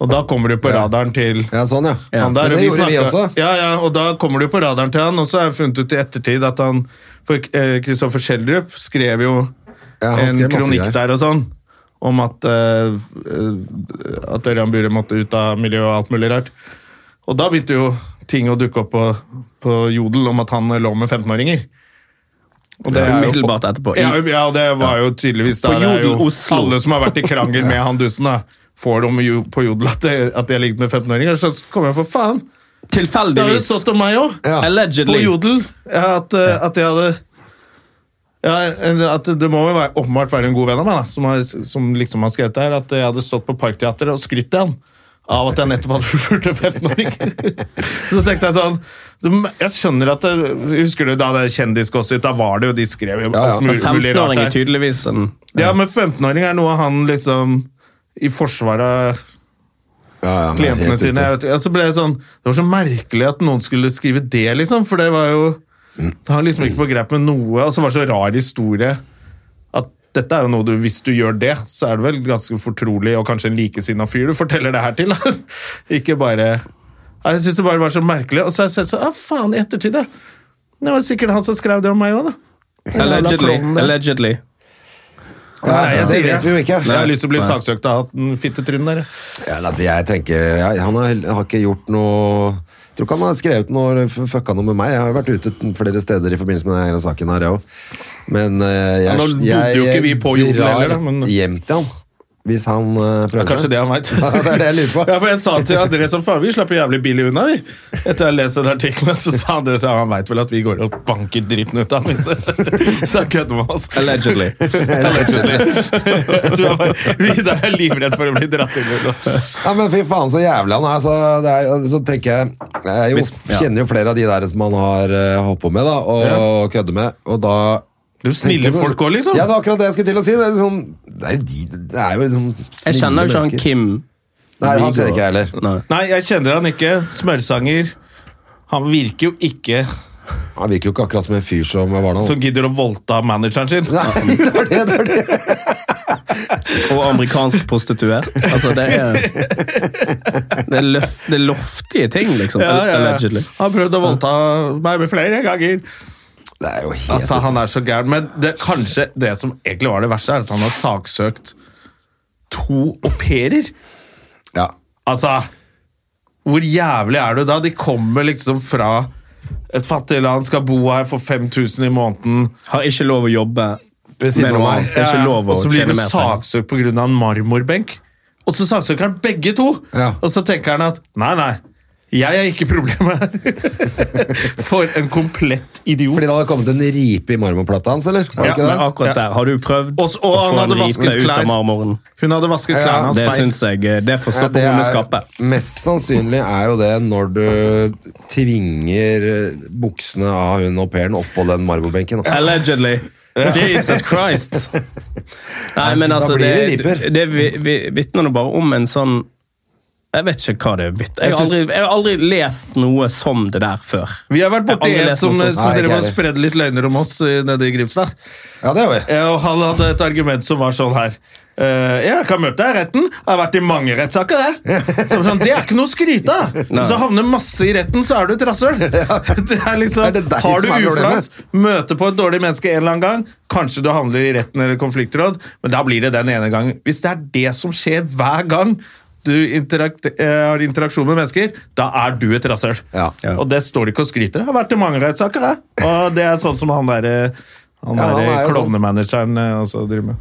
Speaker 1: Og da kommer du på radaren til
Speaker 2: Ja, sånn, ja.
Speaker 3: Ja.
Speaker 1: han der.
Speaker 2: Men
Speaker 1: og
Speaker 2: det gjorde vi
Speaker 1: snakket-
Speaker 2: også.
Speaker 1: Ja, ja, og da kommer du på radaren til han, og så har jeg funnet ut i ettertid at han For eh, Kristoffer Schjelderup skrev jo
Speaker 2: Ja, han
Speaker 1: en
Speaker 2: skrev masse
Speaker 1: kronikk
Speaker 2: greier.
Speaker 1: der og sånn. Om at, eh, eh, at Ørjan Bure måtte ut av miljøet og alt mulig rart. Og da begynte jo ting å dukke opp på, på Jodel om at han lå med 15-åringer. Og det er jo-
Speaker 3: Umiddelbart etterpå.
Speaker 1: Ja, ja, og det var jo tydeligvis da.
Speaker 3: På
Speaker 1: Det er
Speaker 3: Jodel
Speaker 1: jo
Speaker 3: Oslo.
Speaker 1: Alle som har vært i krangel med han dusen, da, får dem jo på Jodel at det- at de har ligget med 15-åringer. Så kommer jeg for faen! Det har jo
Speaker 3: Tilfeldigvis.
Speaker 1: stått om meg òg!
Speaker 2: Ja.
Speaker 1: På
Speaker 3: Allegedly.
Speaker 1: Jodel. Ja, at, eh, at jeg hadde ja, at Det må jo være, åpenbart være en god venn av meg da, som, har, som liksom har skrevet det her, at jeg hadde stått på Parkteatret og skrytt igjen av at jeg nettopp hadde fulgt en 15-åring. Så tenkte jeg sånn så Jeg skjønner at det, Husker du da det kjendisgossip? Da var det jo de skrev jo
Speaker 2: Ja, ja.
Speaker 1: alt mulig, mulig
Speaker 3: 15-åring er
Speaker 1: rart der.
Speaker 3: tydeligvis en
Speaker 1: Ja, men 15-åring er noe han liksom I forsvaret av
Speaker 2: Ja, ja, nei,
Speaker 1: klientene
Speaker 2: helt
Speaker 1: sine.
Speaker 2: ute.
Speaker 1: Jeg vet, ikke. og så ble jeg sånn, Det var så merkelig at noen skulle skrive det, liksom. For det var jo Det har liksom ikke på grep med noe. Og så var det så rar historie at dette er jo noe du Hvis du gjør det, så er det vel ganske fortrolig og kanskje en likesinna fyr du forteller det her til. da. ikke bare Nei, Jeg syns det bare var så merkelig. Og så har jeg sett sånn ah, faen, i ettertid, ja. Det var sikkert han som skrev det om meg òg, da.
Speaker 3: Allegedly.
Speaker 1: klovn, det.
Speaker 3: Allegedly.
Speaker 1: Nei, jeg
Speaker 2: det
Speaker 1: sier
Speaker 2: vet vi jo ikke.
Speaker 1: Jeg har lyst til å bli saksøkt av han fittetrynet der. jeg.
Speaker 2: Ja, men altså, jeg tenker ja, Han har, har ikke gjort noe Jeg tror ikke han har skrevet noe eller f- fucka noe med meg. Jeg har jo vært ute t- flere steder i forbindelse med denne saken her, jeg òg. Men eh,
Speaker 1: Ja,
Speaker 2: jeg,
Speaker 1: nå bodde jo ikke vi på Jodel
Speaker 2: drar
Speaker 1: heller, da, men-
Speaker 2: hjem til han hvis han eh, prøver.
Speaker 1: Kanskje det han veit.
Speaker 2: Ja, det er det jeg lurer på.
Speaker 1: Ja, for jeg sa til André som faen, vi slapp jo jævlig billig unna, vi. Etter jeg leste den artikkelen, så sa André at han veit vel at vi går og banker dritten ut av ham. Så så han kødder med oss.
Speaker 3: Allegedly.
Speaker 1: Jeg tror han bare- Vidar er livredd for å bli dratt inn i noe.
Speaker 2: Ja, men fy faen så jævlig han er. Så, det er, så tenker jeg Jeg jo,
Speaker 1: Hvis- ja.
Speaker 2: kjenner jo flere av de der som han har eh, holdt på med da, og kødder med, og da
Speaker 1: Det er jo snille
Speaker 2: tenker jeg sånn-
Speaker 1: folk òg, liksom.
Speaker 2: Ja, det er akkurat det jeg skulle til å si. Det er, liksom, det er, jo de, det er jo liksom
Speaker 3: Jeg
Speaker 2: snille
Speaker 3: kjenner jo ikke han
Speaker 2: mennesker.
Speaker 3: Kim.
Speaker 2: Nei, han kjenner ikke jeg heller.
Speaker 3: Nei.
Speaker 1: Nei, jeg kjenner han ikke. Smørsanger. Han virker jo ikke
Speaker 2: Han virker jo ikke akkurat som en fyr som var noe
Speaker 1: som gidder å voldta manageren sin.
Speaker 2: Nei, det var det, det var det.
Speaker 3: Og amerikansk prostituert. Altså, det er Det er, løf, det er loftige ting, liksom.
Speaker 1: Ja, ja, ja.
Speaker 3: Allegedly.
Speaker 1: Han prøvde å voldta meg flere ganger.
Speaker 2: Det er jo helt
Speaker 1: Altså, han er så gæren. Men det, kanskje det som egentlig var det verste, er at han har saksøkt to au pairer.
Speaker 2: ja.
Speaker 1: Altså, hvor jævlig er du da? De kommer liksom fra et fattig land, skal bo her for 5000 i måneden.
Speaker 3: Har ikke lov å jobbe.
Speaker 2: Ved siden av
Speaker 3: Mener man.
Speaker 2: meg.
Speaker 3: Det er ikke lov å
Speaker 1: og så blir
Speaker 3: tjene
Speaker 1: du
Speaker 3: mer penger.
Speaker 1: saksøkt pga. en marmorbenk. Og så saksøker han begge to!
Speaker 2: Ja.
Speaker 1: Og så tenker han at nei, nei, Jeg er ikke problemet her. For en komplett idiot.
Speaker 2: Fordi det hadde kommet en ripe i marmorplata hans, eller? Var det
Speaker 1: Ja,
Speaker 2: ikke det?
Speaker 1: men
Speaker 3: Akkurat
Speaker 1: Ja.
Speaker 3: der. Har du prøvd
Speaker 1: Og så- og han hadde vasket
Speaker 3: ripe ut
Speaker 1: klær.
Speaker 3: av marmoren?
Speaker 1: Hun hadde vasket
Speaker 2: Ja,
Speaker 1: klærne hans
Speaker 3: Det
Speaker 1: feil.
Speaker 3: syns jeg eh, Det får
Speaker 2: Ja,
Speaker 3: stå på
Speaker 2: det
Speaker 3: hennes
Speaker 2: er,
Speaker 3: kappe.
Speaker 2: mest sannsynlig er jo det når du tvinger eh, buksene av hun au pairen oppå den marmorbenken. da.
Speaker 3: Allegedly. Jesus Christ! Nei, men
Speaker 2: Da
Speaker 3: altså,
Speaker 2: blir
Speaker 3: det,
Speaker 2: det riper.
Speaker 3: det vi- vi- vitner nå bare om en sånn Jeg vet ikke hva det er vitner jeg,
Speaker 2: Jeg
Speaker 3: har
Speaker 2: syns-
Speaker 3: aldri- jeg har aldri lest noe som det der før.
Speaker 1: Vi har vært borti en
Speaker 3: Jeg har aldri lest
Speaker 1: som,
Speaker 3: noe sånt.
Speaker 1: som
Speaker 2: Nei,
Speaker 1: drev
Speaker 2: ikke
Speaker 1: og
Speaker 2: jeg.
Speaker 1: spredde litt løgner om oss eh, nede i Grimstad.
Speaker 2: Ja, det gjør vi.
Speaker 1: Eh, Og han hadde et argument som var sånn her. eh, ja, jeg kan møte deg i retten. Jeg har vært i mange rettssaker, jeg. Så var det sånn, det er ikke noe å skryte av!
Speaker 3: Nei.
Speaker 1: Så havner masse i retten, så er du et rasshøl. Det er
Speaker 2: Er
Speaker 1: liksom,
Speaker 2: det deg
Speaker 1: har du
Speaker 2: som er
Speaker 1: uflaks, møter på et dårlig menneske en eller annen gang, kanskje du handler i retten eller konfliktråd, men da blir det den ene gangen. Hvis det er det som skjer hver gang du interakt, eh, har interaksjon med mennesker, da er du et rasshøl.
Speaker 2: Ja.
Speaker 3: Ja.
Speaker 1: Og det står det ikke og skryter. Jeg har vært i mange rettssaker, jeg. Og det er sånn som han derre han
Speaker 2: Ja, han
Speaker 1: der
Speaker 2: er jo sånn.
Speaker 1: klovnemanageren eh, også driver med.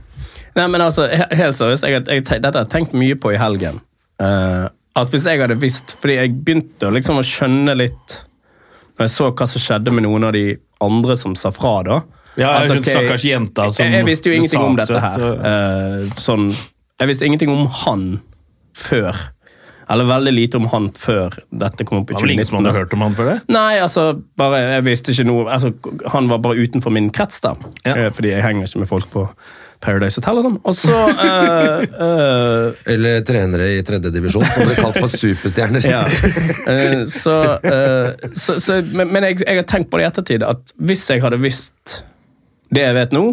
Speaker 3: Nei, men altså, he- helt seriøst, jeg, har- jeg, te- dette har jeg tenkt mye på i helgen. Eh, at hvis jeg hadde visst, fordi jeg begynte å liksom å skjønne litt når jeg så hva som skjedde med noen av de andre som sa fra da.
Speaker 1: Ja, hun
Speaker 3: ok,
Speaker 1: stakkars jenta som
Speaker 3: jeg, jeg visste jo
Speaker 1: ble
Speaker 3: ingenting om dette
Speaker 1: saksøkt,
Speaker 3: her.
Speaker 1: og-
Speaker 3: eh, sånn, jeg visste ingenting om han før. Eller veldig lite om han før dette kom opp i
Speaker 1: Det var vel ingen som
Speaker 3: 2019.
Speaker 1: hadde
Speaker 3: da.
Speaker 1: hørt om han før det?
Speaker 3: Nei, altså, bare, jeg visste ikke noe altså, Han var bare utenfor min krets, da. Eh, Fordi jeg henger ikke med folk på Paradise Hotel og sånn. Og så eh, eh,
Speaker 2: Eller trenere i tredjedivisjon som blir kalt for superstjerner.
Speaker 3: Ja. Eh, så, eh, så, så, men men jeg, jeg har tenkt på det i ettertid, at hvis jeg hadde visst det jeg vet nå,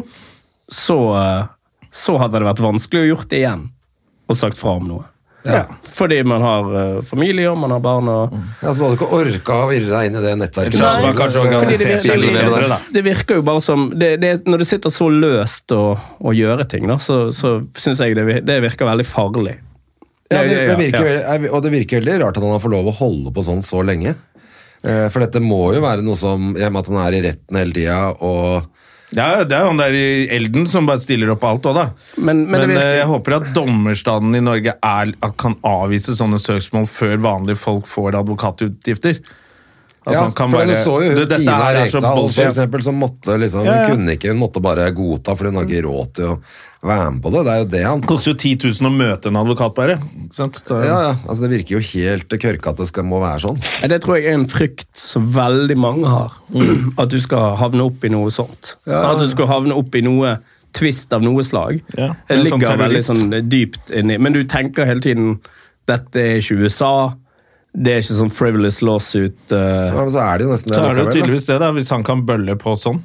Speaker 3: så, eh, så hadde det vært vanskelig å gjort det igjen og sagt fra om noe.
Speaker 2: Ja.
Speaker 3: Fordi man har eh, familie, og man har barn og
Speaker 2: Ja, så du hadde ikke orka å virre deg inn i det nettverket.
Speaker 1: Så hadde man kanskje
Speaker 2: Nei.
Speaker 3: Fordi det,
Speaker 1: organisert
Speaker 3: det,
Speaker 1: seg litt
Speaker 2: det-
Speaker 1: bedre, da.
Speaker 3: det virker jo bare som det, det, Når det sitter så løst å, å gjøre ting, da, så, så syns jeg det, vir- det virker veldig farlig.
Speaker 2: Ja, det, det
Speaker 3: Ja,
Speaker 2: virker,
Speaker 3: ja.
Speaker 2: veldig- Og det virker veldig rart at han har fått lov å holde på sånn så lenge. Eh, For dette må jo være noe som I og med at han er i retten hele tida og
Speaker 1: Det er, det er jo han der i Elden som bare stiller opp på alt òg, da.
Speaker 3: Men, men, det
Speaker 1: Men eh,
Speaker 3: virker,
Speaker 1: jeg håper at dommerstanden i Norge er, at kan avvise sånne søksmål før vanlige folk får advokatutgifter. At
Speaker 2: Ja,
Speaker 1: man kan
Speaker 2: for
Speaker 1: bare-
Speaker 2: du så jo
Speaker 1: Du,
Speaker 2: hun
Speaker 1: dette
Speaker 2: Tina
Speaker 1: her er så
Speaker 2: Rekdal for
Speaker 1: bullshit.
Speaker 2: eksempel, som måtte liksom,
Speaker 1: Ja, ja.
Speaker 2: hun kunne ikke, hun måtte bare godta, for hun har ikke råd til å være med på det. Det er jo det han
Speaker 1: Det koster jo 10 000 å møte en advokat, bare. Ikke sant? Da-
Speaker 2: Ja, ja, altså Det virker jo helt kørka at det skal, må være sånn.
Speaker 3: det tror jeg er en frykt som veldig mange har. At du skal havne opp i noe sånt. Så at du skal havne opp i noe tvist av noe slag.
Speaker 1: Ja,
Speaker 3: Det
Speaker 1: en sånn
Speaker 3: ligger veldig
Speaker 1: terrorist.
Speaker 3: sånn dypt inni Men du tenker hele tiden Dette er ikke USA. Det er ikke sånn frivolous lawsuit. eh,
Speaker 2: Ja, men så er det jo nesten det.
Speaker 1: Så er det jo
Speaker 2: likevel, da.
Speaker 1: tydeligvis det, da, hvis han kan bølle på sånn.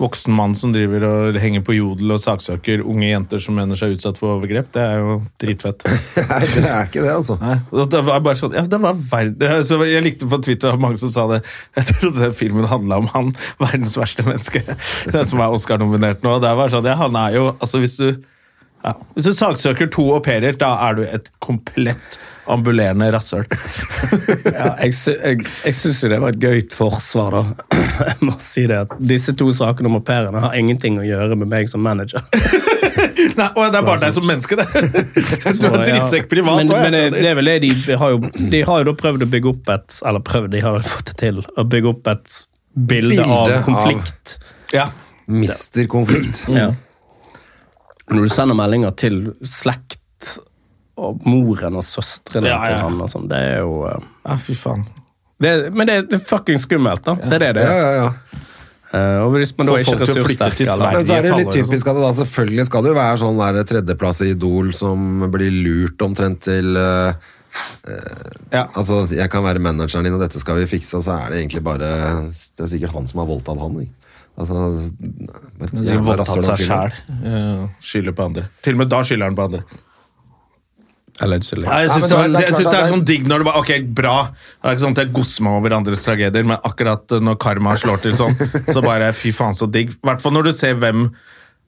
Speaker 1: Voksen mann som driver og henger på jodel og saksøker unge jenter som mener seg utsatt for overgrep. Det er jo dritfett.
Speaker 2: Nei, det er ikke det, altså.
Speaker 1: Nei, og det var bare sånn, ja, det var verd så Jeg likte på Twitter at mange som sa det. Jeg trodde den filmen handla om han, verdens verste menneske, den som er Oscar-nominert nå. Det var sånn, ja, han er jo, altså Hvis du ja, hvis du saksøker to au pairer, da er du et komplett ambulerende rasshøl.
Speaker 3: Ja, jeg, sy jeg, jeg syns jo det var et gøyt forsvar, da. Jeg må si det at Disse to sakene om au pairene har ingenting å gjøre med meg som manager.
Speaker 1: Nei, å, det er bare deg som menneske, det! Du er
Speaker 3: Så, ja.
Speaker 1: drittsekk privat
Speaker 3: Men,
Speaker 1: også, jeg
Speaker 3: men det,
Speaker 1: skjønner.
Speaker 3: det er vel det, de har jo, de har jo da prøvd å bygge opp et Eller prøvd, de har vel fått det til. Å bygge opp et bilde,
Speaker 2: Bilde
Speaker 3: av
Speaker 2: av-
Speaker 3: konflikt.
Speaker 1: Ja.
Speaker 2: Mister konflikt.
Speaker 1: Mm.
Speaker 3: Ja. Når du sender meldinger til slekt og moren og søstrene
Speaker 1: Ja, ja.
Speaker 3: til han og sånn, det er jo eh,
Speaker 1: ja, fy faen.
Speaker 3: det, er- Men det er, det er fucking skummelt, da. Det er det det
Speaker 2: Ja,
Speaker 3: er.
Speaker 2: ja, ja.
Speaker 3: Eh, Og hvis man da
Speaker 1: Få
Speaker 3: ikke
Speaker 1: folk
Speaker 3: er
Speaker 1: til å flytte til
Speaker 3: ressurssterk eller
Speaker 1: Sverige.
Speaker 2: Men så er det jo litt
Speaker 1: Tallere og
Speaker 2: typisk at det da selvfølgelig skal det jo være sånn der tredjeplass i Idol som blir lurt omtrent til eh,
Speaker 1: Ja.
Speaker 2: Altså, jeg kan være manageren din, og dette skal vi fikse, og så er det egentlig bare Det er sikkert han som har voldtatt han, ikke? Altså,
Speaker 1: Men så voldtatt seg sjæl. Skylder på andre. Til og med da skylder han på andre.
Speaker 3: Allegedly.
Speaker 1: Nei, jeg
Speaker 2: Nei,
Speaker 1: syns
Speaker 2: men
Speaker 1: det,
Speaker 2: det er-
Speaker 1: var-
Speaker 2: det er
Speaker 1: jeg synes det
Speaker 2: klart
Speaker 1: er
Speaker 2: at det er-
Speaker 1: sånn digg når det bare Ok, bra. Det er ikke sånn at jeg gosser meg over andres tragedier, men akkurat eh, når karma slår til sånn, så bare fy faen, så digg. I hvert fall når du ser hvem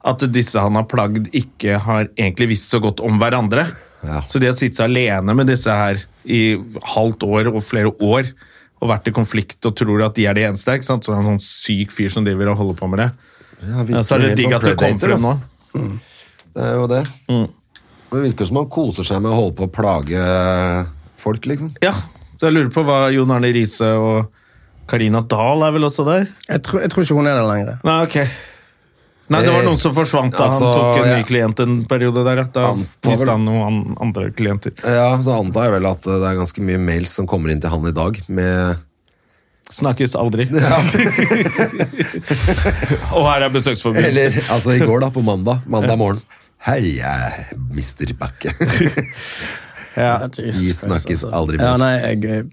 Speaker 1: at disse han har plagd, ikke har egentlig visst så godt om hverandre.
Speaker 2: Ja.
Speaker 1: Så de har sittet alene med disse her i halvt år og flere år og vært i konflikt og tror at de er de eneste. ikke sant? Så det er en sånn syk fyr som driver og holder på med det. Ja, så er det digg at det kom frem nå.
Speaker 2: sånn
Speaker 1: Mm.
Speaker 2: Det er jo det. Det virker som han koser seg med å holde på å plage folk, liksom.
Speaker 1: Ja, Så jeg lurer på hva Jon Arne Riise og Karina Dahl er vel også der?
Speaker 3: Jeg tror, jeg tror ikke hun er der lenger.
Speaker 1: Nei, ok. Nei, det var noen som forsvant da han
Speaker 2: Altså,
Speaker 1: tok en
Speaker 2: ja.
Speaker 1: ny klient en periode der. ja. Da
Speaker 2: Han tar vel-
Speaker 1: mista han noen an- andre klienter.
Speaker 2: Ja, så antar jeg vel at eh, det er ganske mye mails som kommer inn til han i dag med
Speaker 1: Snakkes aldri. og her er besøksforbud.
Speaker 2: Eller altså i går, da, på mandag. Mandag morgen. Hei, jeg er Mr. Bakke.
Speaker 1: Ja.
Speaker 3: Jesus
Speaker 2: Vi
Speaker 3: Christ, altså.
Speaker 2: snakkes aldri mer.
Speaker 3: Ja, nei, jeg, jeg,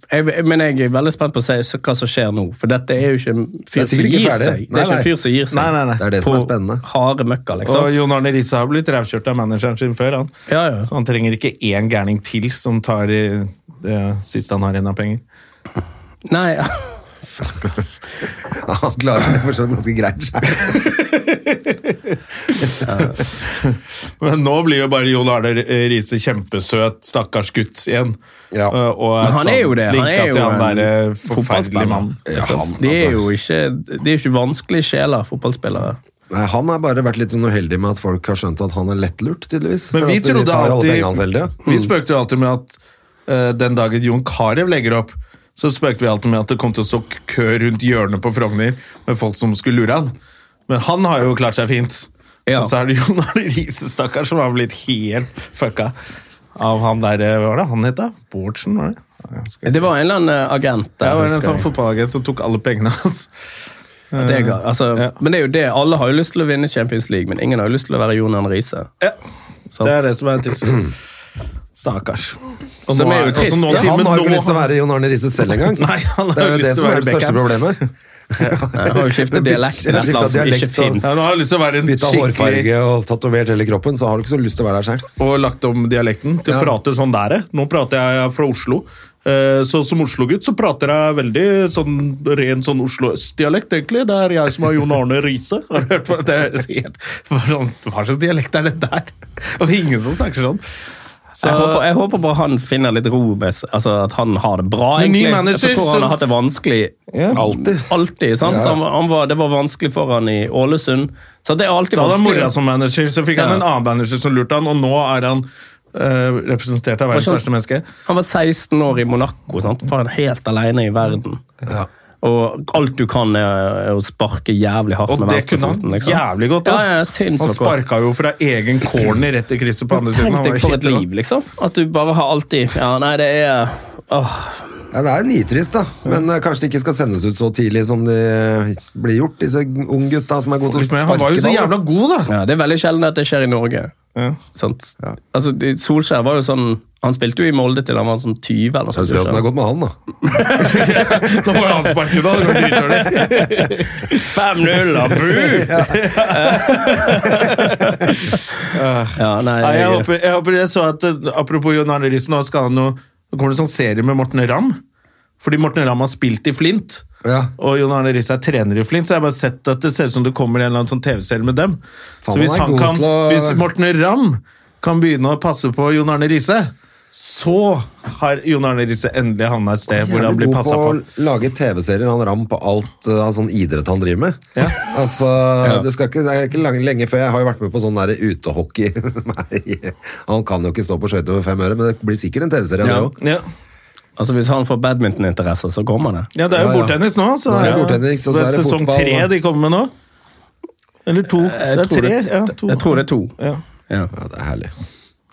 Speaker 3: men jeg er veldig spent på å se s- hva som skjer nå. For dette er jo ikke en fyr
Speaker 2: Det er
Speaker 3: som
Speaker 2: sikkert ikke
Speaker 3: gir
Speaker 2: ferdig.
Speaker 3: seg. Det
Speaker 2: Nei,
Speaker 3: er ikke en
Speaker 2: nei.
Speaker 3: fyr som gir seg.
Speaker 1: Nei, nei, nei.
Speaker 2: Det er det som er
Speaker 3: På
Speaker 2: spennende.
Speaker 3: Harde møkka, liksom.
Speaker 1: Og Jon Arne Riise har blitt rævkjørt av manageren sin før, han.
Speaker 3: Ja, ja.
Speaker 1: Så han trenger ikke én gærning til som tar i det siste han har igjen av penger.
Speaker 3: Nei,
Speaker 2: Han klarer det for så vidt ganske greit selv.
Speaker 1: Men nå blir jo bare Jon Arne Riise kjempesøt, stakkars gutt igjen.
Speaker 2: Ja.
Speaker 1: Eh, Og
Speaker 3: Men han
Speaker 1: sånn
Speaker 3: er jo det. Han
Speaker 1: linka
Speaker 3: er
Speaker 1: til
Speaker 3: jo
Speaker 1: han
Speaker 3: en
Speaker 1: derre forferdelige
Speaker 3: fotballspiller.
Speaker 1: mannen.
Speaker 2: Ja, han,
Speaker 3: de er
Speaker 2: altså.
Speaker 3: jo ikke, de er ikke vanskelige sjeler, fotballspillere.
Speaker 2: Nei, han har bare vært litt sånn uheldig med at folk har skjønt at han er lettlurt, tydeligvis.
Speaker 1: Men
Speaker 2: For
Speaker 1: vi
Speaker 2: at de
Speaker 1: trodde
Speaker 2: tar jo alle
Speaker 1: alltid
Speaker 2: pengene hans hele tiden.
Speaker 1: Mm. Vi spøkte jo alltid med at eh, den dagen Jon Carew legger opp, så spøkte vi alltid med at det kom til å stå kø rundt hjørnet på Frogner med folk som skulle lure han. Men han har jo klart seg fint.
Speaker 3: Ja.
Speaker 1: Og så er det Jon Arne Riise, stakkar, som har blitt helt fucka av han der eh, Hva var det han het, da? Bårdsen, var det? Ja, jeg husker
Speaker 3: Det
Speaker 1: ikke.
Speaker 3: var en eller annen eh, agent
Speaker 1: Det
Speaker 3: der.
Speaker 1: var en
Speaker 3: husker
Speaker 1: sånn
Speaker 3: jeg.
Speaker 1: fotballagent som tok alle pengene hans.
Speaker 3: At det er ga- altså,
Speaker 1: Ja.
Speaker 3: Men det er jo det. Alle har jo lyst til å vinne Champions League, men ingen har jo lyst til å være Jon Arne Riise.
Speaker 1: Ja,
Speaker 3: sant?
Speaker 1: Det er det som er trist. Stakkars. Og
Speaker 3: Som er jo trist.
Speaker 1: også nå-
Speaker 2: Ja, han
Speaker 1: men
Speaker 2: har
Speaker 1: nå-
Speaker 2: jo ikke lyst til å være Jon Arne Riise selv engang.
Speaker 1: Nei, han har
Speaker 2: det er
Speaker 1: jo
Speaker 2: jo det
Speaker 1: lyst til å
Speaker 2: som er
Speaker 1: være
Speaker 2: det største
Speaker 1: Beckham.
Speaker 2: problemet.
Speaker 3: Jeg har jo skiftet dialekt til et
Speaker 2: Skiftet
Speaker 3: eller annet som ikke
Speaker 2: dialekt og-
Speaker 3: fins.
Speaker 1: Ja, nå har jeg lyst til å være en
Speaker 2: Bytta
Speaker 1: skikkelig
Speaker 2: hårfarge og tatovert hele kroppen, så har du ikke så lyst til å være der selv.
Speaker 1: Og lagt om dialekten til å
Speaker 2: Ja.
Speaker 1: prate sånn der. eh. Nå prater jeg fra Oslo. Eh, Så som Oslo-gutt så prater jeg veldig sånn ren sånn Oslo øst-dialekt, egentlig. Det er jeg som er Jon Arne Riise. Har du hørt hva det er? Helt- hva sånn- Hva slags dialekt er det der? Og ingen som snakker sånn. Så,
Speaker 3: jeg, håper, jeg håper bare han finner litt ro med seg, altså at han har det bra.
Speaker 1: Men ny
Speaker 3: egentlig.
Speaker 1: manager,
Speaker 3: jeg tror han
Speaker 1: så-
Speaker 3: har hatt det vanskelig
Speaker 2: Alltid.
Speaker 3: alltid. sant?
Speaker 2: Ja.
Speaker 3: Han, var- han var, det var vanskelig for han i Ålesund. Så det er alltid
Speaker 1: da altså- hadde han
Speaker 3: vanskelig.
Speaker 1: mora som manager, så fikk han
Speaker 3: Ja.
Speaker 1: en annen manager som lurte han, og nå er han eh, representert av verdens
Speaker 3: Hva skjøn-
Speaker 1: verste menneske.
Speaker 3: Han var 16 år i Monaco, sant? Faen, helt alene i verden.
Speaker 2: Ja.
Speaker 3: Og alt du kan, er er å sparke jævlig hardt
Speaker 1: Og
Speaker 3: med
Speaker 1: det kunne han
Speaker 3: venstrefoten. liksom.
Speaker 1: jævlig godt. da.
Speaker 3: Ja, ja, sinnssykt
Speaker 1: han
Speaker 3: godt.
Speaker 1: sparka jo fra egen corner rett i krysset på andre siden. Han
Speaker 3: Tenk deg
Speaker 1: var
Speaker 3: for
Speaker 1: helt
Speaker 3: et liv, liksom. At du bare har alltid Ja, nei, det er åh.
Speaker 2: Ja, det er nitrist, da. Men eh, kanskje det ikke skal sendes ut så tidlig som de blir gjort, disse unggutta som er gode til å
Speaker 3: liksom.
Speaker 1: Men han var jo så
Speaker 2: sparke
Speaker 1: jævla
Speaker 2: ball.
Speaker 1: god, da!
Speaker 3: Ja, det er veldig sjelden at det skjer i Norge.
Speaker 1: Ja.
Speaker 3: Sant? Altså, de- Solskjær var jo sånn Han spilte jo i Molde til han var sånn 20 eller noe
Speaker 2: Så
Speaker 3: sånt.
Speaker 2: vi ser åssen det har gått med han, da.
Speaker 1: Nå får han sparken, da. Det går dritdårlig. sånn
Speaker 3: 5-0, da! Bu! ja, nei,
Speaker 1: Nei, jeg,
Speaker 3: jeg,
Speaker 1: håper, jeg håper jeg så at eh, Apropos John Arne Riise, nå skal han jo Nå kommer det en sånn serie med Morten Ramm. Fordi Morten Ramm har spilt i Flint.
Speaker 2: Ja.
Speaker 1: Og John Arne Riise er trener i Flint, så jeg har bare sett at det ser ut som det kommer en eller annen sånn TV-serie med dem.
Speaker 2: Faen,
Speaker 1: så hvis,
Speaker 2: han er
Speaker 1: han
Speaker 2: god
Speaker 1: kan,
Speaker 2: til å-
Speaker 1: hvis Morten Ramm kan begynne å passe på John Arne Riise, så har John Arne Riise endelig havna et sted hvor han
Speaker 2: Jævlig
Speaker 1: blir
Speaker 2: god
Speaker 1: passa på.
Speaker 2: på å lage TV-serier, han Ram, på alt eh, av sånn idrett han driver med. altså, Det, skal ikke, det er ikke lang, lenge før jeg har jo vært med på sånn der utehockey. Nei, han kan jo ikke stå på skøyter over fem øre, men det blir sikkert en TV-serie av
Speaker 1: Ja.
Speaker 2: det òg.
Speaker 1: Ja.
Speaker 3: altså, hvis han får badmintoninteresse, så kommer det.
Speaker 1: ja, det er jo
Speaker 2: Ja, ja.
Speaker 1: bordtennis nå. Så
Speaker 2: Nå er det
Speaker 1: er jo-
Speaker 2: bordtennis, og så
Speaker 1: det
Speaker 2: er det
Speaker 1: sesong
Speaker 2: fotball,
Speaker 1: tre
Speaker 2: og-
Speaker 1: de kommer med nå. Eller to. det er
Speaker 3: tror
Speaker 1: tre.
Speaker 3: det-
Speaker 1: ja, to.
Speaker 3: Jeg tror det er to.
Speaker 1: Ja. Mm.
Speaker 3: Ja,
Speaker 2: Ja, det er herlig.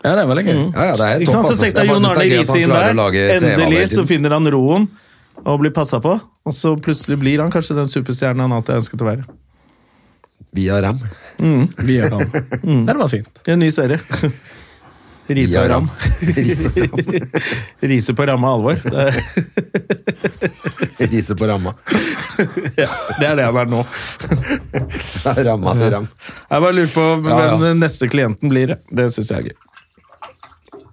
Speaker 3: ja det er veldig gøy.
Speaker 2: Ja, ja, det er
Speaker 1: Ikke sant,
Speaker 2: topp,
Speaker 1: så
Speaker 2: altså.
Speaker 1: tenkte jeg
Speaker 2: bare
Speaker 1: Jon
Speaker 2: synes
Speaker 1: Arne
Speaker 2: det er gøy at
Speaker 1: Riise
Speaker 2: han
Speaker 1: inn
Speaker 2: klarer å
Speaker 1: der.
Speaker 2: lage TV av det
Speaker 1: Endelig
Speaker 2: hele
Speaker 1: så
Speaker 2: tiden.
Speaker 1: finner han roen og blir passa på. Og så plutselig blir han kanskje den superstjernen han alltid ønsket å være.
Speaker 2: Via Ram.
Speaker 3: Vi er han.
Speaker 1: Mm.
Speaker 3: Ja, det var fint.
Speaker 1: I en ny serie. Riise
Speaker 2: Via
Speaker 1: og Ram.
Speaker 2: Riise og Ram.
Speaker 1: Riise på ramme alvor. Det,
Speaker 2: Riise på ramma.
Speaker 1: det er det han er nå.
Speaker 2: ramma til Ram.
Speaker 1: Jeg bare lurer på hvem
Speaker 2: Ja, ja.
Speaker 1: den neste klienten blir. Det syns jeg er gøy.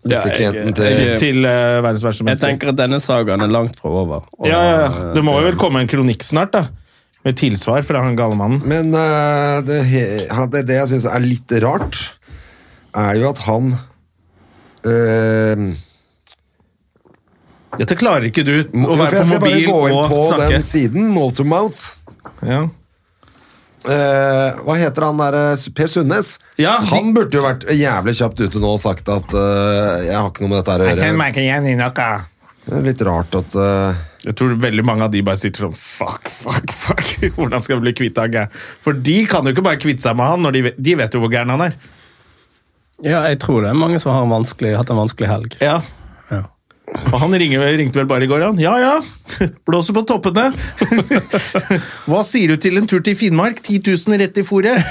Speaker 2: Neste klienten til
Speaker 3: Jeg,
Speaker 1: Til eh, verdens verste
Speaker 3: jeg
Speaker 1: menneske.
Speaker 3: tenker at denne sagaen er langt fra over. Og-
Speaker 1: Ja, ja, ja. Det må jo vel komme en kronikk snart, da. Med tilsvar fra han gale mannen.
Speaker 2: Men eh, det, he- han- det, det jeg syns er litt rart, er jo at han eh,
Speaker 1: Dette klarer ikke du.
Speaker 2: må-
Speaker 1: Å
Speaker 2: jo, for
Speaker 1: være
Speaker 2: Jeg
Speaker 1: på
Speaker 2: skal bare
Speaker 1: mobil
Speaker 2: gå inn
Speaker 1: og
Speaker 2: på
Speaker 1: snakke.
Speaker 2: den siden, Motormouth.
Speaker 1: Ja.
Speaker 2: Eh, hva heter han der eh, Per Sundnes?
Speaker 1: Ja, de-
Speaker 2: han burde jo vært jævlig kjapt ute nå og sagt at eh, jeg har ikke noe med dette her å gjøre.
Speaker 1: meg ikke igjen i noe.
Speaker 2: Det er litt rart at eh,
Speaker 1: Jeg tror veldig mange av de bare sitter sånn Fuck, fuck, fuck. Hvordan skal jeg bli kvitt han gæren? For de kan jo ikke bare kvitte seg med han, når de, vet- de vet jo hvor gæren han er.
Speaker 3: Ja, jeg tror det er mange som har en vanskelig, hatt en vanskelig helg.
Speaker 1: Ja.
Speaker 3: Ja.
Speaker 1: Og han ringer, vel- ringte vel bare i går, han. Ja ja, blåser på toppene. Hva sier du til en tur til Finnmark? 10 000 rett i fòret.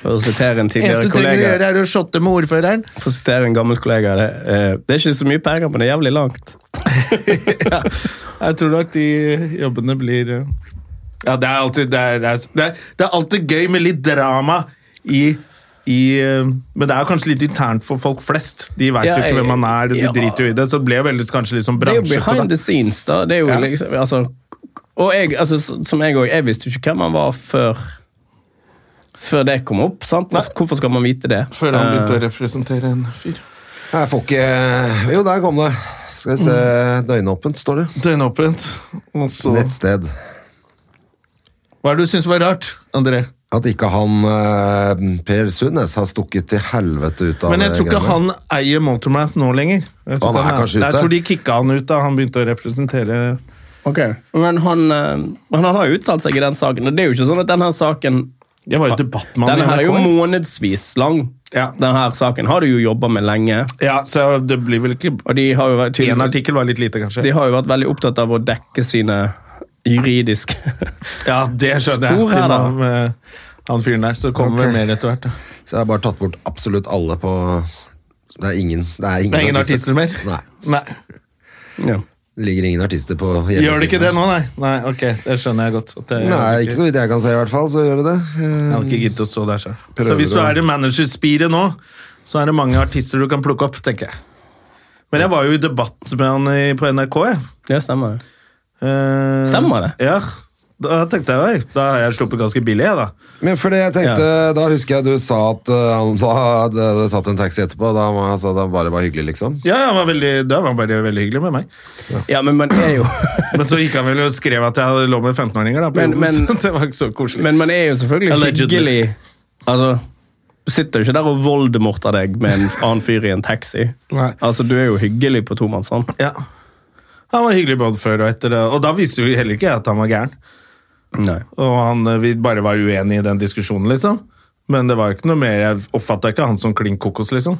Speaker 3: For å sitere en
Speaker 1: Eneste du
Speaker 3: tidligere
Speaker 1: trenger å
Speaker 3: kollega,
Speaker 1: gjøre, er å shotte med ordføreren.
Speaker 3: for å sitere en gammel kollega det, eh, det er ikke så mye penger, men det er jævlig langt.
Speaker 1: ja. Jeg tror nok de jobbene blir eh, Ja, det er alltid, det er, det er, det er, det er alltid gøy med litt drama i i, eh, men det er jo kanskje litt internt for folk flest. De veit
Speaker 3: Ja,
Speaker 1: jo ikke hvem man er. og De
Speaker 3: ja.
Speaker 1: driter jo i det, så det ble jo veldig kanskje litt sånn
Speaker 3: Det er jo
Speaker 1: bransje på
Speaker 3: behind the
Speaker 1: det.
Speaker 3: scenes, da. Det er jo
Speaker 1: Ja.
Speaker 3: liksom, altså, og jeg, altså, s- som jeg òg, jeg visste jo ikke hvem han var før før det kom opp. sant? Altså, hvorfor skal man vite det?
Speaker 1: Før han begynte å representere en fyr.
Speaker 2: Jeg får ikke Jo, der kom det. Skal vi se Døgnåpent, står det.
Speaker 1: Døgnåpent. Og Mm. så
Speaker 2: Nettsted.
Speaker 1: Hva er det du syns var rart, André?
Speaker 2: At ikke han eh, Per Sundnes har stukket til helvete ut av
Speaker 1: Men jeg
Speaker 2: det
Speaker 1: tror ikke
Speaker 2: greiene.
Speaker 1: han eier Motormouth nå lenger. Jeg tror,
Speaker 2: Han
Speaker 1: ikke
Speaker 2: er kanskje ute.
Speaker 1: jeg tror de kicka han ut da han begynte å representere
Speaker 3: Eh, Ok, Men han, eh, men han har jo uttalt seg i den saken, og det er jo ikke sånn at denne saken
Speaker 1: Jeg var jo debatt med han
Speaker 3: Denne
Speaker 1: i
Speaker 3: her er jo
Speaker 1: NRK.
Speaker 3: månedsvis lang.
Speaker 1: Ja.
Speaker 3: Denne her saken har du jo jobba med lenge,
Speaker 1: Ja, så det blir vel ikke
Speaker 3: og de har jo vært
Speaker 1: Én
Speaker 3: tydeligvis-
Speaker 1: artikkel var litt lite,
Speaker 3: de
Speaker 1: kanskje.
Speaker 3: har jo vært veldig opptatt av å dekke sine juridiske
Speaker 1: Ja, det skjønner jeg.
Speaker 3: Spor her,
Speaker 1: Til
Speaker 3: da.
Speaker 1: og med han fyren der, så kommer
Speaker 2: Ok.
Speaker 1: vel mer etter hvert. da.
Speaker 2: Så jeg har bare tatt bort absolutt alle på Det er ingen Det er ingen,
Speaker 1: Det er ingen artister mer?
Speaker 2: Nei.
Speaker 1: Nei.
Speaker 3: ja.
Speaker 2: Det ligger ingen artister på
Speaker 1: Gjør det ikke det
Speaker 2: hjemmesiden.
Speaker 1: nå, nei? Nei, ok, Det skjønner jeg godt. At det,
Speaker 2: Nei, ikke så vidt jeg kan se, i hvert fall. Så gjør det det.
Speaker 1: Jeg
Speaker 2: Eh,
Speaker 1: hadde ikke giddet å stå der selv.
Speaker 2: Prøver
Speaker 1: Så hvis du
Speaker 2: å-
Speaker 1: er i managerspiret nå, så er det mange artister du kan plukke opp, tenker jeg. Men jeg var jo i debatt med han i- på NRK, jeg.
Speaker 3: det stemmer. det.
Speaker 1: Eh,
Speaker 3: Stemmer det?
Speaker 1: Ja. Da tenkte jeg oi, da har jeg sluppet ganske billig, jeg, da.
Speaker 2: Men for det jeg tenkte, Da husker jeg du sa at eh, han da hadde hadde tatt en taxi etterpå. Da var- han sa at han bare var hyggelig, liksom.
Speaker 1: Ja, han var veldig, da var han bare veldig hyggelig med meg.
Speaker 3: Ja, men man er jo
Speaker 1: Men så gikk han vel og skrev at jeg lå med 15-åringer, da. På men,
Speaker 3: Men- men-
Speaker 1: så det var ikke så koselig.
Speaker 3: Men man er jo selvfølgelig
Speaker 1: Allegedly.
Speaker 3: hyggelig. Altså, du sitter jo ikke der og voldemorter deg med en annen fyr i en taxi.
Speaker 1: Nei.
Speaker 3: Altså, Du er jo hyggelig på tomannshånd.
Speaker 1: Ja. Han var hyggelig både før og etter det, og da visste jo heller ikke jeg at han var gæren.
Speaker 3: Nei.
Speaker 1: Og han, eh, vi bare var uenige i den diskusjonen, liksom. Men det var jo ikke noe mer, jeg oppfatta ikke han som klin kokos, liksom.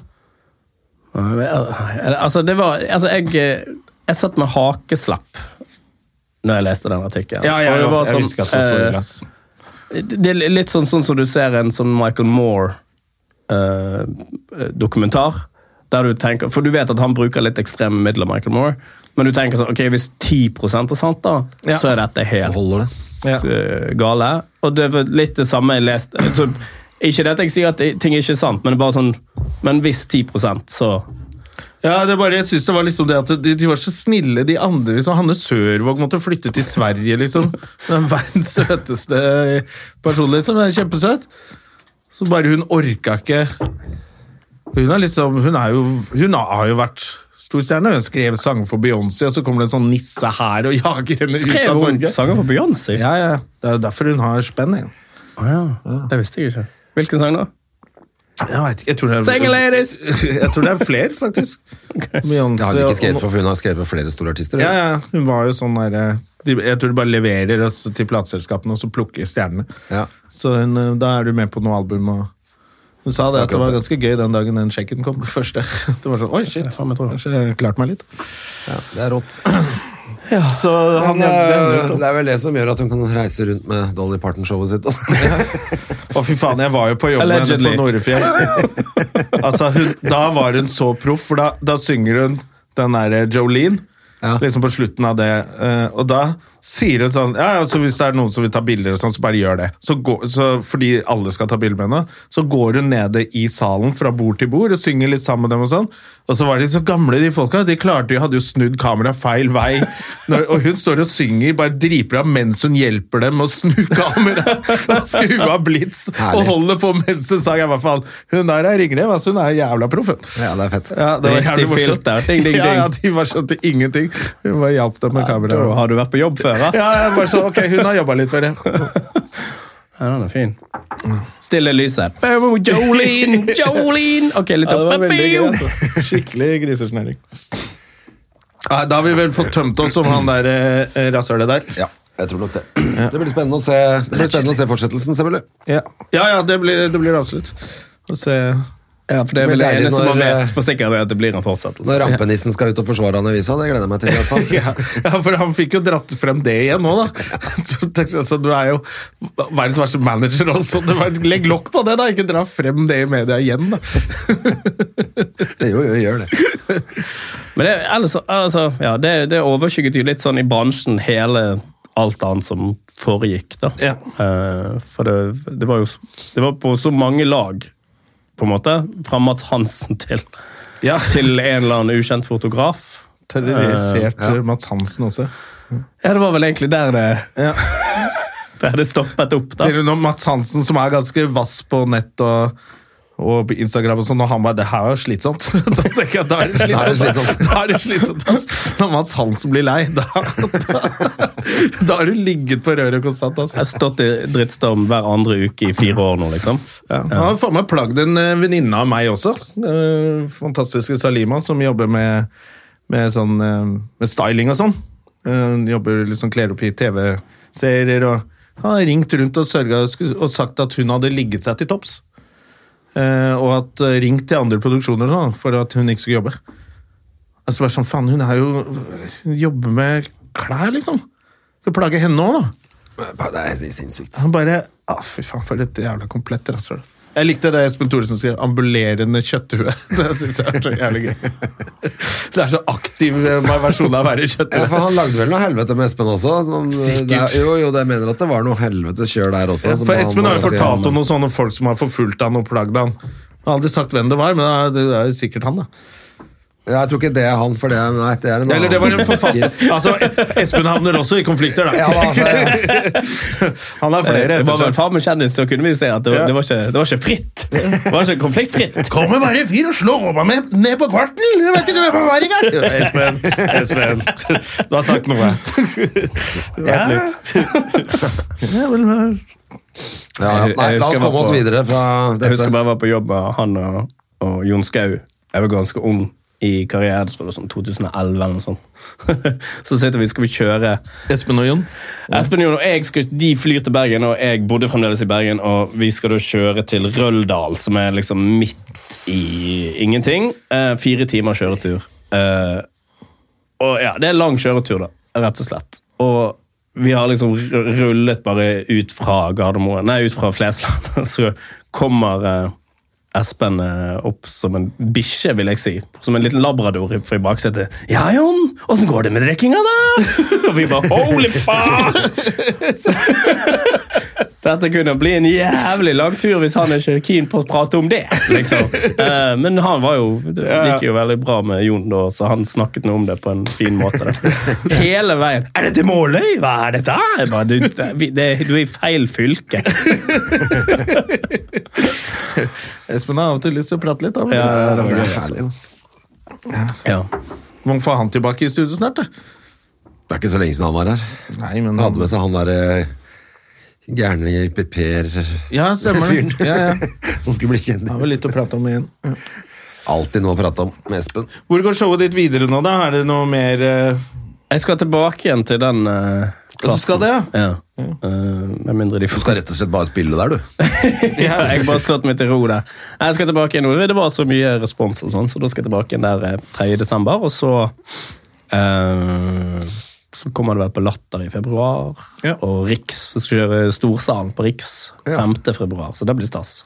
Speaker 3: Altså, det var Altså, jeg, eh, jeg satt med hakeslapp når jeg leste den artikkelen.
Speaker 1: Ja, jeg,
Speaker 3: Og det var
Speaker 1: jeg
Speaker 3: sånn,
Speaker 1: visste ikke at det var så
Speaker 3: eh,
Speaker 1: ille, ass.
Speaker 3: Det er litt sånn, sånn som du ser en sånn Michael Moore-dokumentar. der du tenker, For du vet at han bruker litt ekstreme midler, Michael Moore. Men du tenker sånn, ok, hvis 10 er sant, da,
Speaker 1: Ja.
Speaker 3: så er dette
Speaker 2: Så
Speaker 3: helt
Speaker 2: holder det.
Speaker 1: Ja.
Speaker 3: eh, gale. Og det var litt det samme jeg leste. Så, ikke det at jeg sier at ting ikke er sant, men det er bare sånn, men hvis 10 så
Speaker 1: Ja, det er bare, jeg synes det var liksom det at de, de var så snille, de andre. liksom. Hanne Sørvåg måtte flytte til Sverige, liksom. Den verdens søteste person, liksom. Den er kjempesøt. Så bare hun orka ikke Hun er liksom Hun, er jo, hun har jo vært storstjerne. Hun skrev sanger for Beyoncé, og så kommer det en sånn nisse her og jager henne ut
Speaker 3: Skrev
Speaker 1: av
Speaker 3: hun
Speaker 1: Norge.
Speaker 3: sanger for Beyoncé?
Speaker 1: Ja, ja. Det er jo derfor hun har spenn. Jeg,
Speaker 3: Å ja. Det visste jeg ikke. Hvilken sang da?
Speaker 1: jeg vet ikke. Jeg tror det er,
Speaker 3: Single ladies!
Speaker 1: Jeg tror det er flere, faktisk.
Speaker 2: Jeg
Speaker 1: Beyoncé
Speaker 2: hadde ikke
Speaker 1: og-
Speaker 2: skrevet for, for hun har skrevet for flere store artister.
Speaker 1: Ja, ja, hun var jo sånn der eh, de, Jeg tror de bare leverer oss til plateselskapene, og så plukker stjernene.
Speaker 2: Ja.
Speaker 1: Så hun, eh, da er du med på noe album. Og hun sa det at det var
Speaker 2: Akkurat det.
Speaker 1: ganske gøy den dagen den sjekken kom. det første. Det var sånn, oi shit,
Speaker 3: faen, jeg tror det.
Speaker 1: kanskje jeg klarte meg litt.
Speaker 2: Det er rått.
Speaker 1: Så han
Speaker 2: Men,
Speaker 1: nevnte henne
Speaker 2: eh,
Speaker 1: ut.
Speaker 2: det er vel det som gjør at hun kan reise rundt med Dolly Parton-showet sitt.
Speaker 1: Å, fy faen, jeg var jo på jobb med henne på
Speaker 3: Allegedly.
Speaker 1: Norefjell. altså, hun, da var hun så proff, for da, da synger hun den derre Jolene.
Speaker 2: Ja.
Speaker 1: Liksom på slutten av det. eh, og da sier hun sånn Ja, altså hvis det er noen som vil ta bilder, og sånn, så bare gjør det. Så går, så, fordi alle skal ta bilder med henne. Så går hun nede i salen fra bord til bord og synger litt sammen med dem. Og sånn Og så var de så gamle, de folka. De klarte jo, hadde jo snudd kameraet feil vei. Når, og hun står og synger, bare driper av mens hun hjelper dem å snu kameraet. og Skru av blits og
Speaker 2: Herlig.
Speaker 1: holder på mens hun sang. Jeg bare faen, hun der er ringrev, altså. Hun er jævla proff, hun.
Speaker 2: Ja, det er fett.
Speaker 1: Ja, det var
Speaker 3: Riktig
Speaker 1: jævlig morsomt.
Speaker 3: filter. Ding, ding,
Speaker 1: Ja, ja,
Speaker 3: ding.
Speaker 1: de var sånn til ingenting. Hun bare hjalp dem med
Speaker 3: Da
Speaker 1: kameraet.
Speaker 3: har du vært på jobb før, ass.
Speaker 1: Ja, jeg bare sånn, ok, hun har jobba litt for det.
Speaker 3: Ja, den er fin. Stille lyset. Boom, Jolene, Jolene! Ok, litt
Speaker 1: Ja, det
Speaker 3: opp.
Speaker 1: var veldig gøy,
Speaker 3: Boom!
Speaker 1: altså. Skikkelig grisesnøring. Nei, Da har vi vel fått tømt oss om han der eh, rasshølet der.
Speaker 2: Ja, jeg tror nok det. Det blir spennende å se, det blir spennende å se fortsettelsen, selvfølgelig.
Speaker 1: Ja, ja, ja det, blir, det blir det absolutt. Å se.
Speaker 3: Ja, for det er
Speaker 2: Det blir
Speaker 3: vel det
Speaker 2: deilig
Speaker 3: eneste
Speaker 1: sånn,
Speaker 2: når,
Speaker 3: man
Speaker 2: eh,
Speaker 3: vet for sikkert, er at det blir en fortsettelse.
Speaker 2: Når rampenissen skal ut og forsvare han i visa, det gleder jeg meg til. i hvert fall.
Speaker 1: Ja, ja, for han fikk jo dratt frem det igjen nå, da. Så tenker jeg, altså, du er jo verdens verste manager også. Du bare, legg lokk på det, da. Ikke dra frem det i media igjen, da.
Speaker 2: Jo, jo, gjør det.
Speaker 3: Men det, ellers, så- altså, ja, det, det overskygget jo litt sånn i bransjen hele alt annet som foregikk, da.
Speaker 1: Ja.
Speaker 3: Eh, for det, det var jo s- det var på så mange lag, på en måte. Fra Mads Hansen til,
Speaker 1: Ja.
Speaker 3: til en eller annen ukjent fotograf.
Speaker 1: Terrorisert eh, Mats Hansen også.
Speaker 3: Ja, det var vel egentlig der det,
Speaker 1: Ja.
Speaker 3: der det stoppet opp, da.
Speaker 1: Til og med Mats Hansen, som er ganske vass på nett og, og på Instagram og sånn, og han bare 'Det her er jo slitsomt'. Da tenker jeg, da er det
Speaker 2: Da er det
Speaker 1: slitsomt.
Speaker 2: slitsomt.
Speaker 1: Da er det slitsomt, ass. Når Mats Hansen blir lei, da da- Da har du ligget på røret konstant, ass.
Speaker 3: Jeg har stått i drittstorm hver andre uke i fire år nå, liksom.
Speaker 1: Ja. Han har faen meg plagd en eh, venninne av meg også. Eh, Fantastiske Salima, som jobber med, med, sånn, eh, med styling og sånn. Eh, Jobber liksom Kler opp i TV-serier og Han har ringt rundt og sørga og sagt at hun hadde ligget seg til topps. Eh, Og at eh, ringt til andre produksjoner og sånn, for at hun ikke skulle jobbe. Altså bare sånn, faen, Hun er jo Hun jobber med klær, liksom. Skal plage henne òg, da.
Speaker 2: Det er sinnssykt.
Speaker 1: Han bare ah, Fy faen, for et jævla komplett rasshøl. Altså. Jeg likte det Espen Thoresen skrev. Ambulerende kjøtthue. Det syns jeg er så jævlig gøy. Det er så aktiv eh, versjon av å være
Speaker 2: Ja, for
Speaker 1: kjøtthue.
Speaker 2: Han lagde vel noe helvete med Espen også? Som, eh,
Speaker 1: Sikkert.
Speaker 2: Det, er- jo, jo, det- jeg mener at det var noe helvetes kjør der også. som
Speaker 1: For
Speaker 2: han
Speaker 1: Espen har jo
Speaker 2: også-
Speaker 1: fortalt om noen sånne folk som har forfulgt han og plagd han. Jeg har aldri sagt hvem det var, men det er jo sikkert han, da.
Speaker 2: Ja, jeg tror ikke det er han, for det er, nei, det er en
Speaker 1: Eller det var en
Speaker 2: annen
Speaker 1: forfatter.
Speaker 2: kiss.
Speaker 1: Altså, Espen havner også i konflikter, da.
Speaker 2: Ja, da, det-
Speaker 1: Han har flere.
Speaker 3: Det var
Speaker 1: etter
Speaker 3: vel
Speaker 1: seg.
Speaker 3: far med kjendis, så kunne vi se at det,
Speaker 1: Ja.
Speaker 3: det, var, ikke, det var ikke fritt. Det var ikke konfliktfritt.
Speaker 1: Kommer bare en fyr og slår meg med, ned på kvarten! Jeg vet ikke hvem han var engang! Espen, Espen, du har sagt noe. Ja. ja, vel, vel.
Speaker 2: ja, ja. Nei,
Speaker 3: Jeg
Speaker 2: la
Speaker 3: husker
Speaker 2: oss
Speaker 3: jeg var
Speaker 2: komme oss
Speaker 3: på-
Speaker 2: videre fra
Speaker 3: Jeg husker
Speaker 2: dette.
Speaker 3: bare jeg var på jobb med han og, og Jon Skau. Jeg var ganske ung i karrieren, jeg tror det var sånn 2011 eller noe sånt. Så sitter vi, skal vi kjøre
Speaker 1: Espen og Jon.
Speaker 3: Espen Jon og jeg skal, de flyr til Bergen, og jeg bodde fremdeles i Bergen. Og vi skal da kjøre til Røldal, som er liksom midt i ingenting. Eh, fire timer kjøretur. Eh, og ja, det er lang kjøretur, da, rett og slett. Og vi har liksom ru- rullet bare ut fra Gardermoen, nei, ut fra Flesland. og Så kommer eh, Espen eh, opp som en bikkje, vil jeg si. Som en liten labrador i- fra i baksetet. 'Ja, Jon, åssen går det med drikkinga, da?' Og vi bare 'holy fuck'! Så- Dette kunne bli en jævlig lang tur hvis han ikke er keen på å prate om det. liksom. Eh, men han var jo, det gikk jo veldig bra med Jon, da, så han snakket noe om det på en fin måte. Da. Hele veien. 'Er dette Måløy? Hva er dette?' Jeg bare, du, det, vi- det, du er i feil fylke.
Speaker 1: Espen har av og til lyst til å prate litt. Da.
Speaker 2: Ja, det er herlig, altså. da.
Speaker 3: Ja.
Speaker 1: Må få han tilbake i studio snart. Da.
Speaker 2: Det er ikke så lenge siden han var her.
Speaker 1: Nei, men
Speaker 2: Han hadde med seg han derre gærne Per
Speaker 1: Ja, stemmer det.
Speaker 2: Fyren.
Speaker 1: Ja, ja.
Speaker 2: som skulle bli
Speaker 1: Har vel
Speaker 2: kjendis.
Speaker 1: litt å prate om igjen.
Speaker 2: Alltid noe å prate om med Espen.
Speaker 1: Hvor går showet ditt videre nå, da? Er det noe mer eh,
Speaker 3: Jeg skal tilbake igjen til den eh,
Speaker 1: Ja, så skal det, ja.
Speaker 3: ja. Eh, med mindre de
Speaker 2: Du skal rett og slett bare spille der, du.
Speaker 3: Ja, jeg har bare slått meg til ro der. Nei, Jeg skal tilbake igjen nå. Det var så mye respons, og sånn, så da skal jeg tilbake igjen der eh, 3. desember. Og så eh, Så kommer det vel på Latter i februar.
Speaker 1: Ja.
Speaker 3: Og Riks. Jeg skal kjøre Storsalen på Riks 5. februar, så det blir stas.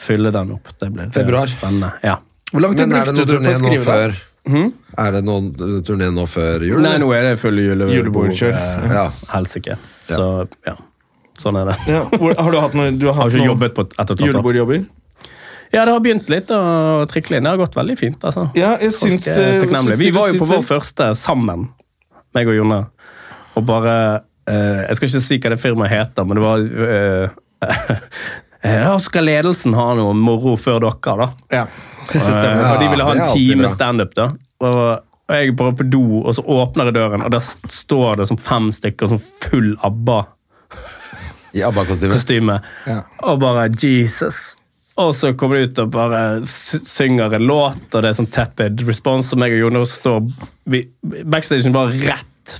Speaker 3: Fylle den opp. Det blir eh,
Speaker 2: Februar.
Speaker 3: spennende. Ja.
Speaker 1: Hvor lang tid
Speaker 2: Men er det
Speaker 1: brukte du
Speaker 2: noen
Speaker 1: på å
Speaker 2: turné nå
Speaker 1: skrive Hmm? det?
Speaker 2: før Er det noen uh, turné nå før jul?
Speaker 3: Nei,
Speaker 2: eller?
Speaker 3: nå er det fulle julebord.
Speaker 1: Julebordkjør.
Speaker 3: eh,
Speaker 2: Ja.
Speaker 3: Helsike. Så ja. Sånn er det.
Speaker 1: Ja. Hvor, har du hatt noe Du har
Speaker 3: Har
Speaker 1: hatt
Speaker 3: ikke
Speaker 1: noe
Speaker 3: jobbet på et og et halvt år.
Speaker 1: julebordjobber?
Speaker 3: Ja, det har begynt litt å trikle inn. Det har gått veldig fint. altså.
Speaker 1: Ja, jeg
Speaker 3: Folk
Speaker 1: syns
Speaker 3: er
Speaker 1: eh,
Speaker 3: takknemlige.
Speaker 1: syns-
Speaker 3: Vi var jo på
Speaker 1: syns-
Speaker 3: vår første sammen, meg og Jonna. Og bare eh, Jeg skal ikke si hva det firmaet heter, men det var eh, Ja, skal ledelsen ha noe moro før dere, da?
Speaker 1: Ja.
Speaker 3: Eh, og de ville ha
Speaker 2: det er
Speaker 3: en
Speaker 2: alltid bra.
Speaker 3: time standup, da. Og, og jeg bare på do, og så åpner jeg døren, og der s- står det som fem stykker som full ABBA
Speaker 2: I ABBA-kostyme.
Speaker 3: kostyme. Og bare Jesus. Og så kommer de ut og bare sy- synger en låt, og det er sånn tepid response. Og meg og Jonas står vi, backstagen bare rett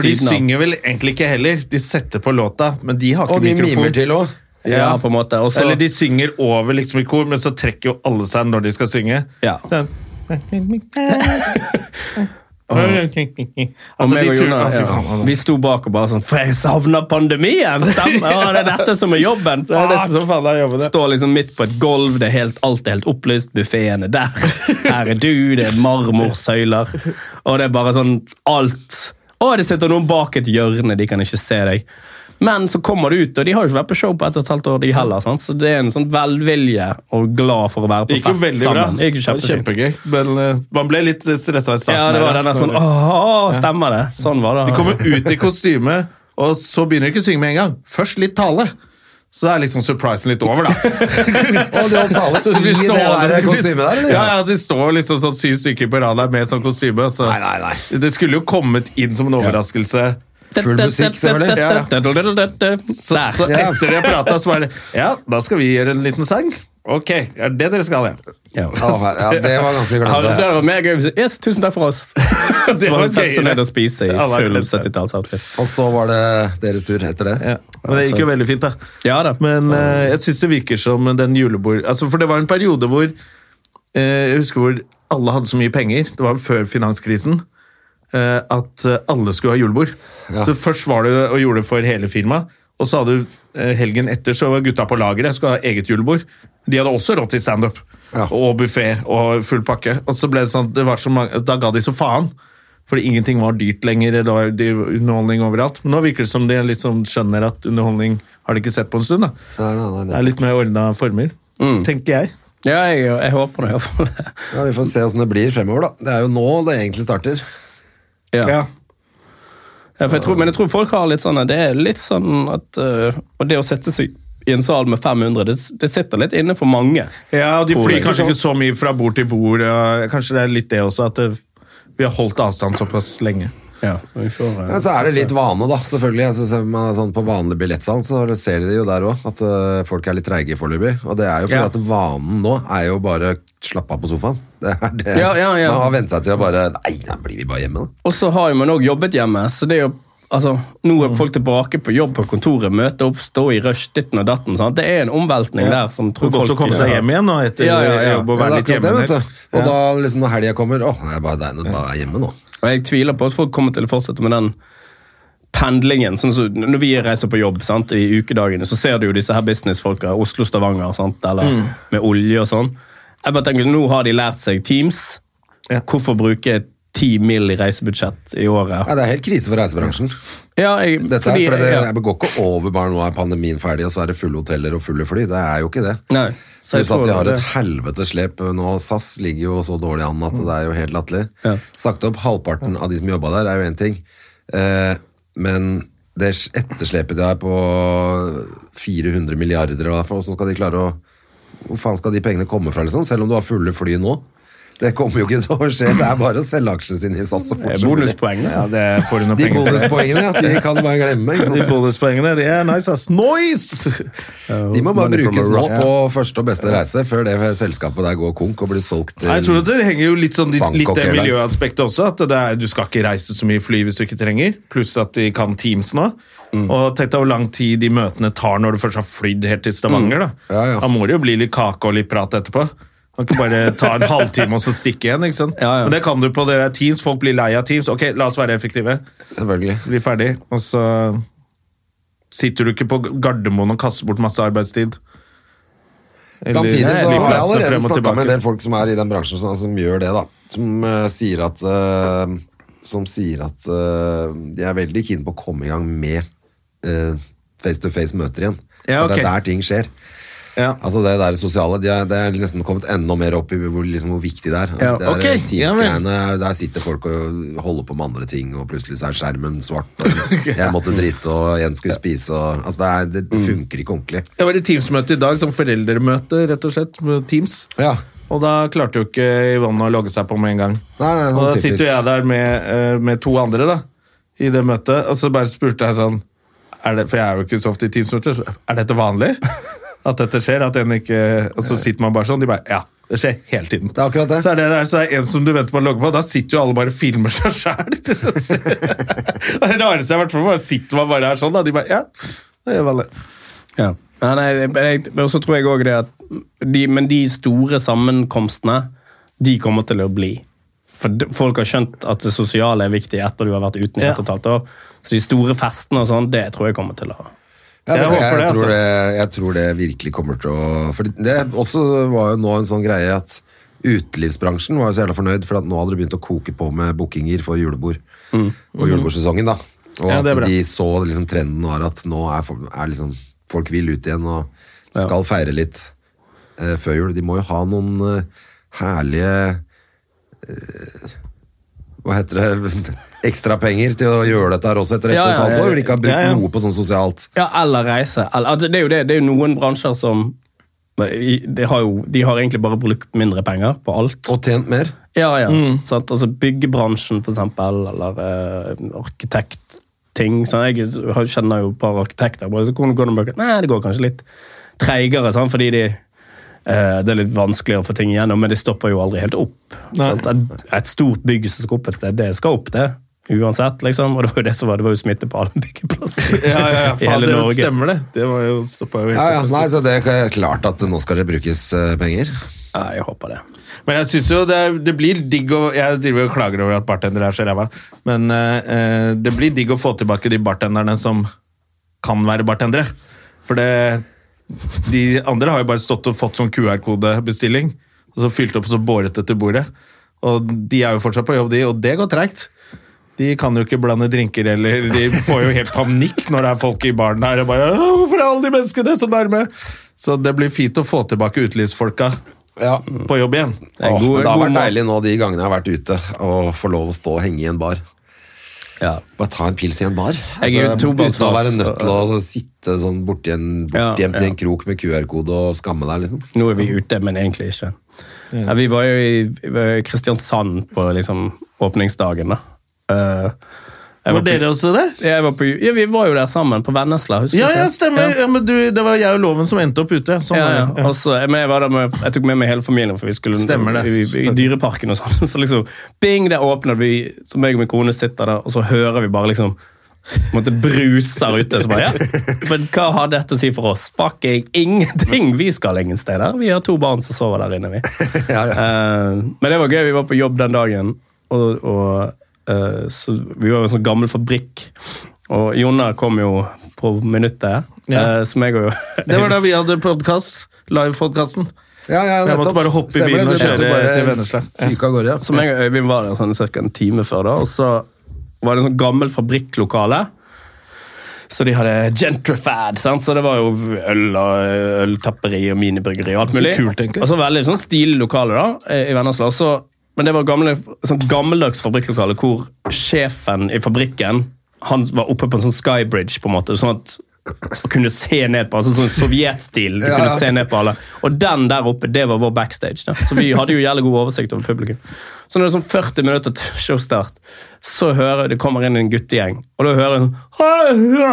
Speaker 1: For de
Speaker 3: siden av.
Speaker 1: synger vel egentlig ikke heller. De setter på låta, men de har
Speaker 2: Og
Speaker 1: ikke
Speaker 2: de
Speaker 1: mikrofon.
Speaker 2: mimer til òg.
Speaker 3: Ja, på en måte. Og så,
Speaker 1: Eller de synger over liksom i kor, men så trekker jo alle seg når de skal synge.
Speaker 3: Ja.
Speaker 1: Sånn.
Speaker 3: og
Speaker 1: altså,
Speaker 3: meg
Speaker 1: de
Speaker 3: og
Speaker 1: tror,
Speaker 3: Jonas,
Speaker 1: altså, faen,
Speaker 3: ja. Vi sto bak og bare sånn For jeg savner pandemien! Stemmer! Ja, det er dette som er jobben!
Speaker 1: Det er dette som faen er jobben, det.
Speaker 3: Står liksom midt på et gulv, det er helt, alt er helt opplyst, buffeen er der. Her er du, det er marmorsøyler. Og det er bare sånn alt. Å, det sitter noen bak et hjørne, de kan ikke se deg. Men så kommer du ut, og de har jo ikke vært på show på ett og et halvt år, de heller. Sant? Så det er en sånn velvilje og glad for å være
Speaker 1: Det
Speaker 3: på
Speaker 1: gikk jo
Speaker 3: fest
Speaker 1: veldig bra.
Speaker 3: sammen. Det gikk jo
Speaker 1: Det var
Speaker 3: kjempefint.
Speaker 1: Kjempegøy. Men eh, man ble litt stressa i starten.
Speaker 3: Ja, det var
Speaker 1: her,
Speaker 3: den der
Speaker 1: da.
Speaker 3: sånn Åh, stemmer det? Sånn var det.
Speaker 1: De kommer ut i kostyme, og så begynner de ikke å synge med en gang. Først litt tale. Så det er liksom surprisen litt over, da.
Speaker 2: Og de omtaler
Speaker 1: Så de
Speaker 2: i
Speaker 1: blir
Speaker 2: det
Speaker 1: stående-
Speaker 2: der kostymet der, eller?
Speaker 1: Ja, ja, de står liksom sånn syv stykker på rad der med sånn kostyme. og Så.
Speaker 2: Nei, nei, nei.
Speaker 1: Det skulle jo kommet inn som en overraskelse.
Speaker 2: Full musikk, selvfølgelig.
Speaker 1: Så,
Speaker 3: Der.
Speaker 1: så
Speaker 2: Ja.
Speaker 1: etter det prata, så bare Ja, da skal vi gjøre en liten sang. Ok, er det dere skal, ja?
Speaker 3: Ja.
Speaker 2: Ja, det var ganske
Speaker 3: Ja,
Speaker 2: glemt.
Speaker 3: det
Speaker 2: det.
Speaker 3: var mer gøy. Yes, tusen takk for oss. Så var
Speaker 1: var
Speaker 3: vi satt
Speaker 1: gøyere.
Speaker 3: seg ned og spise i
Speaker 1: Ja, det var
Speaker 3: full
Speaker 1: gøyere.
Speaker 3: 70-tallsoutfit.
Speaker 2: Og så var det deres tur etter det.
Speaker 1: Ja, men det gikk jo veldig fint, da.
Speaker 3: Ja da.
Speaker 1: Men eh, jeg syns det virker som den julebord... Altså, for det var en periode hvor eh, Jeg husker hvor alle hadde så mye penger. Det var jo før finanskrisen. eh, at eh, alle skulle ha julebord. Så først var det og gjorde det for hele firmaet. Og så hadde du, eh, helgen etter så var gutta på lageret skulle ha eget julebord. De hadde også råd til standup
Speaker 2: Ja.
Speaker 1: og buffé og full pakke. Og så ble det sånn, det var så mange, da ga de så faen. Fordi ingenting var dyrt lenger. Det var det var underholdning overalt. Men nå virker det som de liksom skjønner at underholdning har de ikke sett på en stund. da.
Speaker 2: Nei, nei, nei,
Speaker 1: Det er litt mer ordna former, tenker jeg.
Speaker 3: Ja, jeg, jeg håper det, i hvert fall.
Speaker 2: Ja, Vi får se åssen det blir fremover, da. Det er jo nå det egentlig starter.
Speaker 3: Ja. Ja, for jeg tror, men jeg tror folk har litt sånn Det er litt sånn at øh, Og det å sette seg i en sal med 500, det, det sitter litt inne for mange.
Speaker 1: Ja, og de
Speaker 3: Tror
Speaker 1: flyr
Speaker 3: jeg.
Speaker 1: kanskje ikke så mye fra bord til bord. og Kanskje det er litt det også, at det, vi har holdt avstand såpass lenge.
Speaker 3: Ja, så vi får, øh,
Speaker 2: Ja, Altså, så er det litt vane, da. selvfølgelig. Jeg synes, eh, man er sånn, på vanlig billettsalg så ser de det jo der òg, at eh, folk er litt treige foreløpig. Og det er jo fordi
Speaker 1: Ja.
Speaker 2: at vanen nå er jo bare slappe av på sofaen. Det er det.
Speaker 3: Ja, ja, ja.
Speaker 2: Man har vent seg til å bare Nei, da blir vi bare hjemme, da.
Speaker 3: Og så har jo man òg jobbet hjemme, så det er jo Altså, Nå
Speaker 1: Mm.
Speaker 3: er folk tilbake på jobb på kontoret, møte opp, stå i rush, ditten og datten. Sant? Det er en omveltning der som
Speaker 1: Det
Speaker 3: tror
Speaker 1: er sånn, godt å
Speaker 3: folk
Speaker 1: komme seg hjem igjen nå, etter
Speaker 3: Ja, ja, ja.
Speaker 1: jobb og
Speaker 2: Ja,
Speaker 1: være
Speaker 2: det er
Speaker 1: litt
Speaker 2: akkurat
Speaker 1: hjemme.
Speaker 2: det, vet
Speaker 1: der.
Speaker 2: du. Og da liksom når helga kommer Åh, det er bare deilig å bare være hjemme nå.
Speaker 3: Og jeg tviler på at folk kommer til å fortsette med den pendlingen. Sånn som når vi reiser på jobb sant, i ukedagene, så ser du jo disse her businessfolka, Oslo-Stavanger, sant, eller
Speaker 1: Mm.
Speaker 3: med olje og sånn. Jeg bare tenker, Nå har de lært seg Teams.
Speaker 1: Ja.
Speaker 3: Hvorfor bruke ti mill. i reisebudsjett i året?
Speaker 2: Ja, det er helt krise for reisebransjen.
Speaker 3: Ja, jeg,
Speaker 2: Dette
Speaker 3: fordi
Speaker 2: er, for det,
Speaker 3: jeg-
Speaker 2: det går ikke over bare nå er pandemien ferdig, og så er det fulle hoteller og fulle fly. Det er jo ikke det.
Speaker 3: Nei. Så jeg
Speaker 2: Pluss at
Speaker 3: tror
Speaker 2: de har
Speaker 3: det-
Speaker 2: et helvetes slep nå. SAS ligger jo så dårlig an at det er jo helt latterlig.
Speaker 3: Ja.
Speaker 2: Sagt opp halvparten av de som jobba der, er jo én ting. Eh, men det etterslepet de har på 400 milliarder, eller hva det er for noe, så skal de klare å Hvor faen skal de pengene komme fra, liksom? Selv om du har fulle fly nå. Det kommer jo ikke til å skje. Det er bare å selge aksjene sine i SAS så
Speaker 3: det
Speaker 2: fort
Speaker 3: er
Speaker 2: som mulig.
Speaker 3: bonuspoeng. da.
Speaker 1: Ja, det får du noe
Speaker 2: De
Speaker 1: penger for.
Speaker 2: bonuspoengene, ja. De kan du bare glemme. Ikke
Speaker 1: De
Speaker 2: sant?
Speaker 1: bonuspoengene, de er nice, ass. Noise!
Speaker 2: De må bare
Speaker 3: Money from
Speaker 2: brukes
Speaker 3: a
Speaker 2: nå
Speaker 3: rock.
Speaker 2: på første og beste reise, før det selskapet der går konk og blir solgt eh, til
Speaker 1: Nei, Jeg tror at det henger jo litt sånn litt, litt
Speaker 2: Bangkok
Speaker 1: det
Speaker 2: Airlines.
Speaker 1: miljøaspektet også. At det er, du skal ikke reise så mye fly hvis du ikke trenger. Pluss at de kan Teams nå.
Speaker 2: Mm.
Speaker 1: Og tenk deg hvor lang tid de møtene tar når du først har flydd helt til Stavanger. Da
Speaker 2: Mm. Ja, ja.
Speaker 1: Da må det jo bli litt kake og litt prat etterpå. Kan ikke bare ta en halvtime og så stikke igjen. ikke sant?
Speaker 3: Ja, ja.
Speaker 1: Men det kan du på det der Teams. Folk blir lei av Teams. Ok, la oss være effektive.
Speaker 2: Selvfølgelig.
Speaker 1: Bli ferdig. Og så sitter du ikke på Gardermoen og kaster bort masse arbeidstid. Eller-
Speaker 2: Samtidig så
Speaker 1: Eller
Speaker 2: har jeg
Speaker 1: plassene
Speaker 2: allerede
Speaker 1: frem og
Speaker 2: snakka med en
Speaker 1: tilbake.
Speaker 2: del folk som er i den bransjen som, som gjør det, da. Som eh, sier at eh, Som sier at eh, de er veldig keen på å komme i gang med eh, face to face-møter igjen.
Speaker 1: Ja,
Speaker 2: For
Speaker 1: ok.
Speaker 2: Det er der ting skjer.
Speaker 1: Ja.
Speaker 2: Altså Det der sosiale de er, Det er nesten kommet enda mer opp i hvor, liksom, hvor viktig det er.
Speaker 1: Ja,
Speaker 2: det er
Speaker 1: ok.
Speaker 2: eh,
Speaker 1: Ja, men-
Speaker 2: Teams-greiene, Der sitter folk og holder på med andre ting, og plutselig så er skjermen svart. Og jeg måtte drite, og en skulle spise og Altså Det, er,
Speaker 1: Mm.
Speaker 2: det funker ikke ordentlig.
Speaker 1: Jeg var i Teams-møte i dag, som foreldremøte, rett og slett. med Teams. Og da klarte jo ikke Yvonne å logge seg på med en gang.
Speaker 2: Nei, nei, sånn
Speaker 1: og da
Speaker 2: typisk.
Speaker 1: sitter jo jeg der med, eh, med to andre, da, i det møtet, og så bare spurte jeg sånn er det, For jeg er jo ikke så ofte i Teams-møter. så, Er dette vanlig? at dette skjer. At en ikke, og så sitter man bare sånn. De bare Ja, det skjer hele tiden.
Speaker 2: Det er akkurat det.
Speaker 1: Så er det der, så er det en som du venter på å logge på, da sitter jo alle bare og filmer seg sjæl. det rareste jeg har vært for meg, sitter man bare her sånn, da. De bare Ja, det gjør vel det.
Speaker 3: Ja. Ja, nei, jeg, jeg, og så tror jeg òg det at de, Men de store sammenkomstene, de kommer til å bli. For d- folk har skjønt at det sosiale er viktig etter du har vært uten i
Speaker 1: Ja.
Speaker 3: ett og et halvt år. Så de store festene og sånn, det tror jeg kommer til å
Speaker 2: Ja, det,
Speaker 1: Jeg
Speaker 2: jeg,
Speaker 1: håper det, altså.
Speaker 2: tror det, jeg tror det virkelig kommer til å For det også var jo nå en sånn greie at utelivsbransjen var jo så jævla fornøyd, for at nå hadde det begynt å koke på med bookinger for julebord. Og julebordsesongen, da. Og
Speaker 1: Mm. Ja, det er
Speaker 2: at
Speaker 1: bra.
Speaker 2: de så liksom trenden var at nå er, folk- er liksom folk vil ut igjen og skal feire litt eh, før jul. De må jo ha noen eh, herlige eh, Hva heter det? Ekstrapenger til å gjøre dette her også etter ett
Speaker 3: Ja,
Speaker 2: og et
Speaker 3: ja,
Speaker 2: halvt
Speaker 3: ja.
Speaker 2: år. Hvor de ikke har brukt
Speaker 1: Ja, ja.
Speaker 2: noe på sånn sosialt.
Speaker 3: Ja, eller reise. Eller, altså, det, er jo det. det er jo noen bransjer som i- de har, jo, de har egentlig bare brukt mindre penger på alt.
Speaker 2: Og tjent mer.
Speaker 3: Ja, ja.
Speaker 1: Mm.
Speaker 3: Sant? Altså byggebransjen, for eksempel, eller eh, arkitektting. Sånn, jeg har- kjenner jo et par arkitekter. Bare, så hvordan går det med dere? Nei, det går kanskje litt treigere, sant? fordi de eh, det er litt vanskeligere å få ting igjennom, men det stopper jo aldri helt opp.
Speaker 1: Nei.
Speaker 3: sant? Et, et stort bygg som skal opp et sted, det skal opp, det. Uansett, liksom. Og det var jo det som var, det var jo smitte på alle byggeplasser
Speaker 1: Ja, ja, ja,
Speaker 3: i
Speaker 1: faen,
Speaker 3: hele
Speaker 1: det
Speaker 3: Norge.
Speaker 1: stemmer, det. Det var jo, stoppet jo helt
Speaker 2: Ja, ja,
Speaker 1: opp.
Speaker 2: nei, så det er klart at nå skal det brukes eh, penger.
Speaker 3: Ja, jeg håper det.
Speaker 1: Men jeg synes jo det, det blir digg å Jeg driver jo og klager over at bartendere er så ræva, men eh, eh, det blir digg å få tilbake de bartenderne som kan være bartendere. For det De andre har jo bare stått og fått sånn QR-kodebestilling, og så fylt opp og så båret etter bordet. Og de er jo fortsatt på jobb, de, og det går treigt. De kan jo ikke blande drinker, eller de får jo helt panikk når det er folk i baren her. og bare, «Å, 'Hvorfor er alle de menneskene så nærme?' Så det blir fint å få tilbake utelivsfolka
Speaker 2: Ja.
Speaker 1: på jobb igjen.
Speaker 3: er en
Speaker 2: Åh,
Speaker 3: god-
Speaker 2: men det har
Speaker 3: god
Speaker 2: vært
Speaker 3: mat.
Speaker 2: deilig nå de gangene jeg har vært ute og får lov å stå og henge i en bar. Bare ta en pils i en bar. Altså,
Speaker 3: Jeg er jo
Speaker 2: uten å
Speaker 3: tobakksfas,
Speaker 2: være nødt til
Speaker 3: og-
Speaker 2: å sitte sånn borti en,
Speaker 3: Ja,
Speaker 2: borti hjem til
Speaker 3: ja.
Speaker 2: en krok med QR-kode og skamme deg, liksom.
Speaker 3: Nå er vi ute, men egentlig ikke. Ja, vi var jo i vi var i Kristiansand på liksom, åpningsdagen, da. Eh, jeg
Speaker 1: Var dere også det?
Speaker 3: på, jeg var på, ja, vi var jo der sammen, på Vennesla. husker
Speaker 1: Ja,
Speaker 3: du ikke?
Speaker 1: ja, stemmer. Ja, men du, det var jeg og Loven som endte opp ute. Sånn
Speaker 3: Ja,
Speaker 1: var
Speaker 3: ja.
Speaker 1: det.
Speaker 3: Og så- men jeg, var der med, jeg tok med meg hele familien, for vi skulle
Speaker 1: Stemmer det,
Speaker 3: i, i, i Dyreparken og sånn. Så liksom, bing, der åpner vi, så meg og min kone sitter der, og så hører vi bare liksom på en måte bruser ute. Så bare, ja. Men hva har dette å si for oss? Fucking ingenting! Vi skal ingen steder. Vi har to barn som sover der inne, vi.
Speaker 2: Ja, ja.
Speaker 3: Eh, men det var gøy. Vi var på jobb den dagen. Og, og, eh, så vi var i en sånn gammel fabrikk. Og Jonna kom jo på minuttet.
Speaker 1: Ja.
Speaker 3: eh, som jeg og
Speaker 1: Det var da vi hadde podkast. Live-podkasten.
Speaker 2: Ja, ja,
Speaker 1: Jeg måtte
Speaker 2: nettopp.
Speaker 1: bare hoppe i
Speaker 2: Stemmer det,
Speaker 1: bilen og
Speaker 2: du måtte
Speaker 1: kjøre
Speaker 2: bare
Speaker 1: til Vennesla.
Speaker 2: Fyke av gårde, ja.
Speaker 3: Som jeg og Øyvind var der sånn, cirka en time før, da, og så var det en sånn gammel fabrikklokale. Så de hadde gentrified, sant? så det var jo øl og øltapperi og miniburgeri og alt mulig.
Speaker 1: kult, egentlig.
Speaker 3: og så veldig sånn stilig lokale da, eh, i Vennesla. Så, men det var gamle, sånn gammeldags fabrikklokale hvor sjefen i fabrikken han var oppe på en sånn skybridge, på en måte, sånn at og kunne se ned på altså sånn sovjetstil. Du
Speaker 2: Ja, ja.
Speaker 3: kunne se ned på alle. Og den der oppe, det var vår backstage. Da. Så vi hadde jo jævlig god oversikt over publikum. Så når det er sånn 40 minutter til showstart, så hører det kommer inn en guttegjeng, og da hører jeg sånn «Hei, ja!»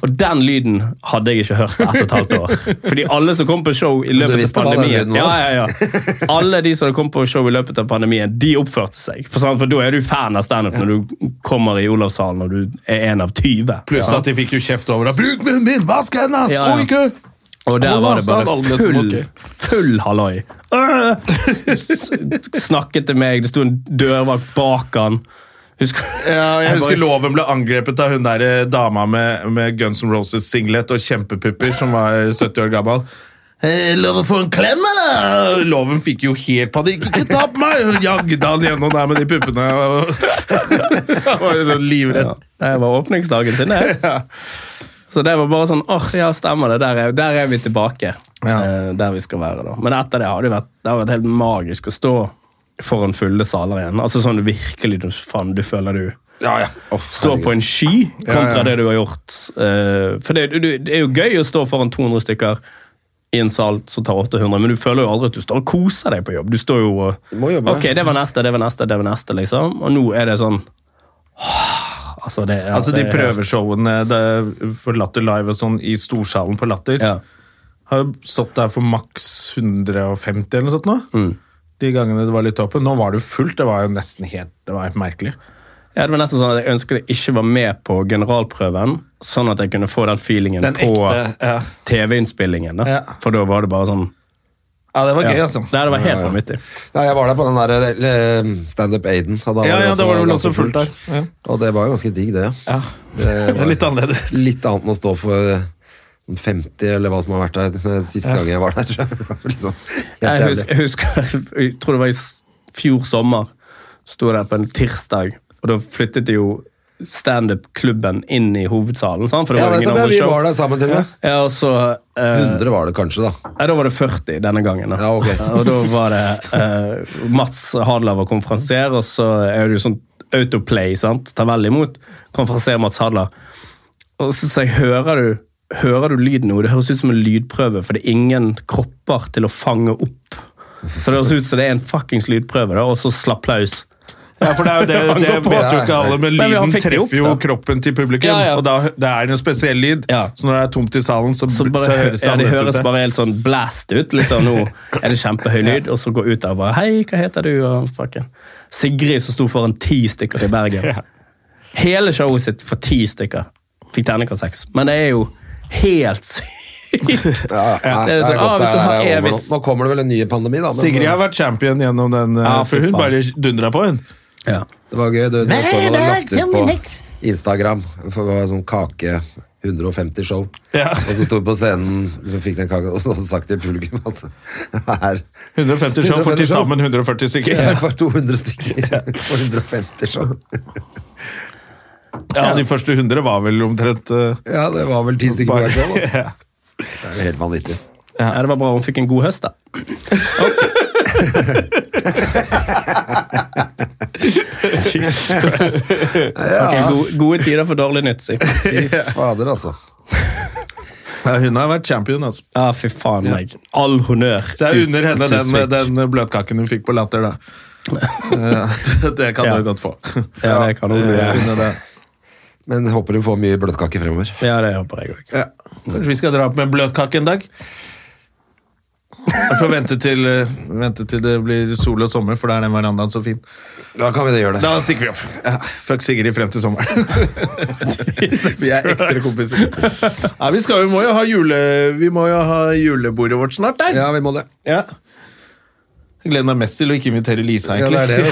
Speaker 3: Og den lyden hadde jeg ikke hørt på ett og et halvt år. Fordi alle som kom på show i løpet av
Speaker 2: visste hva den lyden
Speaker 3: pandemien
Speaker 2: var?
Speaker 3: ja, ja, ja. Alle de som kom på show i løpet av pandemien, de oppførte seg. For, sant? for da er du fan av standup når du kommer i Olavshallen og du er en av 20.
Speaker 1: Pluss at de fikk jo kjeft over det. 'Bruk munnen min! Vask hendene! Stå
Speaker 3: Ja, ja.
Speaker 1: i kø!'
Speaker 3: Og der
Speaker 1: Hold
Speaker 3: var det
Speaker 1: avstand,
Speaker 3: bare
Speaker 1: alle som
Speaker 3: full,
Speaker 1: måtte.
Speaker 3: full halloi. Øh! S- s- Snakket til meg, det sto en dørvakt bak han. Husker
Speaker 1: Ja, jeg husker
Speaker 3: bare-
Speaker 1: Loven ble angrepet av hun der eh, dama med, med Guns N' Roses-singlet og kjempepupper, som var 70 år gammel. Hey, Eh, loven få en klem, eller? Loven fikk jo helt panikk. Ikke ta på meg! Hun jagde han gjennom der med de puppene. og- Han var jo sånn livredd.
Speaker 3: Ja, det var åpningsdagen sin, det. Så det var bare sånn åh, ja, stemmer det. Der er, der er vi tilbake.
Speaker 1: Ja.
Speaker 3: Eh, der vi skal være, da. Men etter det har det vært, det har vært helt magisk å stå foran fulle saler igjen. Altså sånn du virkelig du, faen, du føler du
Speaker 1: Ja, ja.
Speaker 3: Stå på en sky kontra det du har gjort. Eh, for det, du- det er jo gøy å stå foran 200 stykker i en sal som tar 800, men du føler jo aldri at du står og koser deg på jobb. Du står jo og
Speaker 2: må jobbe.
Speaker 3: Ok, det var neste, det var neste, det var neste, liksom. Og nå er det sånn Altså, det, ja,
Speaker 1: Altså, de
Speaker 3: det er-
Speaker 1: prøveshowene det, for Latter Live og sånn i storsalen på Latter.
Speaker 3: Ja.
Speaker 1: har jo stått der for maks 150 eller noe sånt nå.
Speaker 3: Mm.
Speaker 1: De gangene det var litt åpent. Nå var det jo fullt, det var jo nesten helt, det var helt merkelig.
Speaker 3: Ja, det var nesten sånn at Jeg ønsket jeg ikke var med på generalprøven, sånn at jeg kunne få den feelingen
Speaker 1: Den
Speaker 3: på
Speaker 1: ekte, ja.
Speaker 3: TV-innspillingen. da.
Speaker 1: Ja.
Speaker 3: For da var det bare sånn
Speaker 1: Ja, det var
Speaker 3: ja.
Speaker 1: gøy, altså.
Speaker 3: Nei, det var helt vanvittig.
Speaker 2: Nei, jeg var der på den der eh, Stand Up Aiden. og Da
Speaker 1: Ja, ja, da var det vel
Speaker 2: ganske
Speaker 1: også fullt der. Ja.
Speaker 2: Og det var jo ganske digg, det.
Speaker 1: Ja.
Speaker 2: Det var
Speaker 1: Litt annerledes.
Speaker 2: Litt annet enn å stå for eh, 50, eller hva som har vært der den siste gangen jeg var der. tror jeg. Det var liksom, helt
Speaker 3: Jeg
Speaker 2: jævlig.
Speaker 3: husker, jeg husker jeg tror det var i s- fjor sommer. Sto der på en tirsdag, og da flyttet jo standup-klubben inn i hovedsalen. Sant? For det
Speaker 2: ja,
Speaker 3: var jo ingen
Speaker 2: nettopp, ja,
Speaker 3: andre
Speaker 2: vi
Speaker 3: show.
Speaker 2: var der sammen, til og med.
Speaker 3: Ja, og så... eh,
Speaker 2: 100 var det kanskje, da.
Speaker 3: Nei, da var det 40 denne gangen. Da.
Speaker 2: Ja, ok.
Speaker 3: og da var det eh, Mats Hadler var konferansier, og så er det jo sånn autoplay, sant? Tar vel imot. Konferansier Mats Hadler. Og så sier jeg, hører du, hører du lyden nå? Det høres ut som en lydprøve, for det er ingen kropper til å fange opp. Så det høres ut som det er en fuckings lydprøve, da, og så slapplaus.
Speaker 1: Ja, for det er jo det,
Speaker 3: Han
Speaker 1: det
Speaker 3: går på.
Speaker 1: vet jo ikke alle, men
Speaker 3: Nei, men han
Speaker 1: lyden
Speaker 3: fikk det opp,
Speaker 1: treffer jo
Speaker 3: da.
Speaker 1: kroppen til publikum,
Speaker 3: Ja, ja.
Speaker 1: og da det er det en spesiell lyd.
Speaker 3: Ja.
Speaker 1: Så når det er tomt i salen, så,
Speaker 3: Så bare,
Speaker 1: så høres det
Speaker 3: ja, det
Speaker 1: annerledes
Speaker 3: høres
Speaker 1: ut.
Speaker 3: bare helt sånn blast ut. Liksom, nå er det kjempehøy lyd, og så går ut der og bare Hei, hva heter du? Og fucking Sigrid som sto foran ti stykker i Bergen. Hele showet sitt for ti stykker. Fikk terningkast seks. Men det er jo helt sykt.
Speaker 2: Ja, ja,
Speaker 3: Det er
Speaker 2: det er
Speaker 3: sånn,
Speaker 2: godt
Speaker 3: ah,
Speaker 2: det
Speaker 3: hvis du
Speaker 2: er
Speaker 3: har
Speaker 2: over
Speaker 3: evig-
Speaker 2: nå. Nå kommer det vel en ny pandemi, da. Men eh,
Speaker 1: Sigrid har vært champion gjennom den, eh,
Speaker 3: Ja, fy
Speaker 1: for hun
Speaker 3: faen.
Speaker 1: bare dundra på, hun.
Speaker 3: Ja.
Speaker 2: det var gøy. Du, du så hva du lagt ut på Instagram. For det var sånn kake 150 show.
Speaker 1: Ja.
Speaker 2: Og så sto hun på scenen, liksom fikk den kaka, og så sagt til publikum at her
Speaker 1: 150 show for
Speaker 2: 150
Speaker 1: til
Speaker 2: show.
Speaker 1: sammen 140 stykker.
Speaker 2: Jeg får 200 stykker for 150 show.
Speaker 1: Ja, De første 100 var vel omtrent eh,
Speaker 2: Ja, det var vel ti stykker
Speaker 1: bare
Speaker 2: på hvert show. da.
Speaker 1: ja.
Speaker 2: Det er jo helt vanvittig.
Speaker 3: ja, Det var bra hun fikk en god høst, da. Jesus Christ. Fucking Gode, gode tider for dårlig nytt, si.
Speaker 2: Fy fader, altså.
Speaker 1: ja, Hun har vært champion, altså.
Speaker 3: Ja, fy faen meg. All honnør.
Speaker 1: Så jeg
Speaker 3: ut
Speaker 1: unner henne
Speaker 3: til
Speaker 1: den,
Speaker 3: Svik.
Speaker 1: den eh, bløtkaken hun fikk på Latter, da. Eh, det kan
Speaker 3: Ja.
Speaker 1: du godt få.
Speaker 3: Ja, det kan hun
Speaker 1: Eh,
Speaker 3: gjøre.
Speaker 1: unner det.
Speaker 2: Men jeg håper hun får mye bløtkake fremover.
Speaker 3: Ja, det håper jeg òg.
Speaker 1: Ja. Kanskje vi skal dra opp med en bløtkake en dag? Jeg får vente til, eh, vente til det blir sol og sommer, for da er den verandaen så fin.
Speaker 2: Da kan vi det gjøre det.
Speaker 1: Da stikker vi opp. Ja, fuck Sigrid frem til sommeren. Vi er ekte kompiser. Nei, vi, skal, vi, må jo ha jule, vi må jo ha julebordet vårt snart der.
Speaker 2: Ja, vi må det.
Speaker 1: Ja. Jeg gleder meg mest til å ikke invitere Lisa,
Speaker 2: Ja,
Speaker 1: egentlig.
Speaker 2: det er det,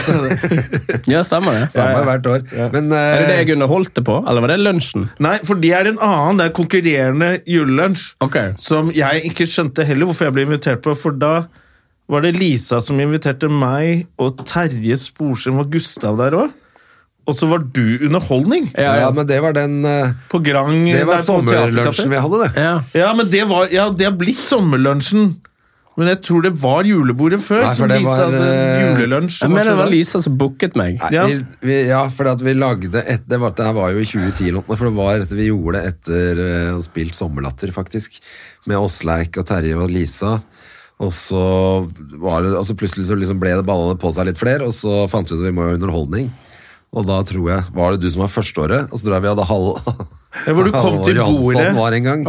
Speaker 2: vet du.
Speaker 3: Ja, stemmer det.
Speaker 2: Samme hvert år. Men
Speaker 3: Er det det
Speaker 2: eh,
Speaker 3: Gunnar holdt det på, eller var det lunsjen?
Speaker 1: Nei, for det er en annen. Det er konkurrerende julelunsj.
Speaker 3: Ok.
Speaker 1: Som jeg ikke skjønte heller hvorfor jeg ble invitert på, for da var det Lisa som inviterte meg, og Terje Sporsem og Gustav der òg. Og så var du underholdning
Speaker 3: Ja,
Speaker 2: ja,
Speaker 3: ja.
Speaker 2: men det var den eh,
Speaker 1: på Grang.
Speaker 2: Det
Speaker 1: der
Speaker 2: var
Speaker 1: på
Speaker 2: sommerlunsjen
Speaker 1: Theatercafé.
Speaker 2: vi hadde, det.
Speaker 3: ja.
Speaker 1: Ja, men det var Ja, det har blitt sommerlunsjen. Men jeg tror det var julebordet før.
Speaker 2: Nei, for
Speaker 1: som
Speaker 2: det
Speaker 1: Lisa
Speaker 2: var,
Speaker 1: hadde
Speaker 2: eh,
Speaker 1: julelunsj.
Speaker 3: Jeg mener det var
Speaker 1: sånn.
Speaker 3: Lisa som booket meg.
Speaker 2: Nei,
Speaker 1: Ja.
Speaker 2: vi, vi, ja, for at vi lagde et, det, var, det her var jo i 2010, eller noe, for det var etter vi gjorde det etter eh, å ha spilt Sommerlatter, faktisk. Med Åsleik og Terje og Lisa. Og så, var det, og så plutselig så liksom ble det ballene på seg litt flere, og så fant vi ut at vi må ha underholdning. Og da tror jeg Var det du som var førsteåret? Og så tror jeg vi hadde halv...
Speaker 1: Ja, hvor du kom til
Speaker 2: Halvor Johansson
Speaker 1: bordet.
Speaker 2: Var en gang.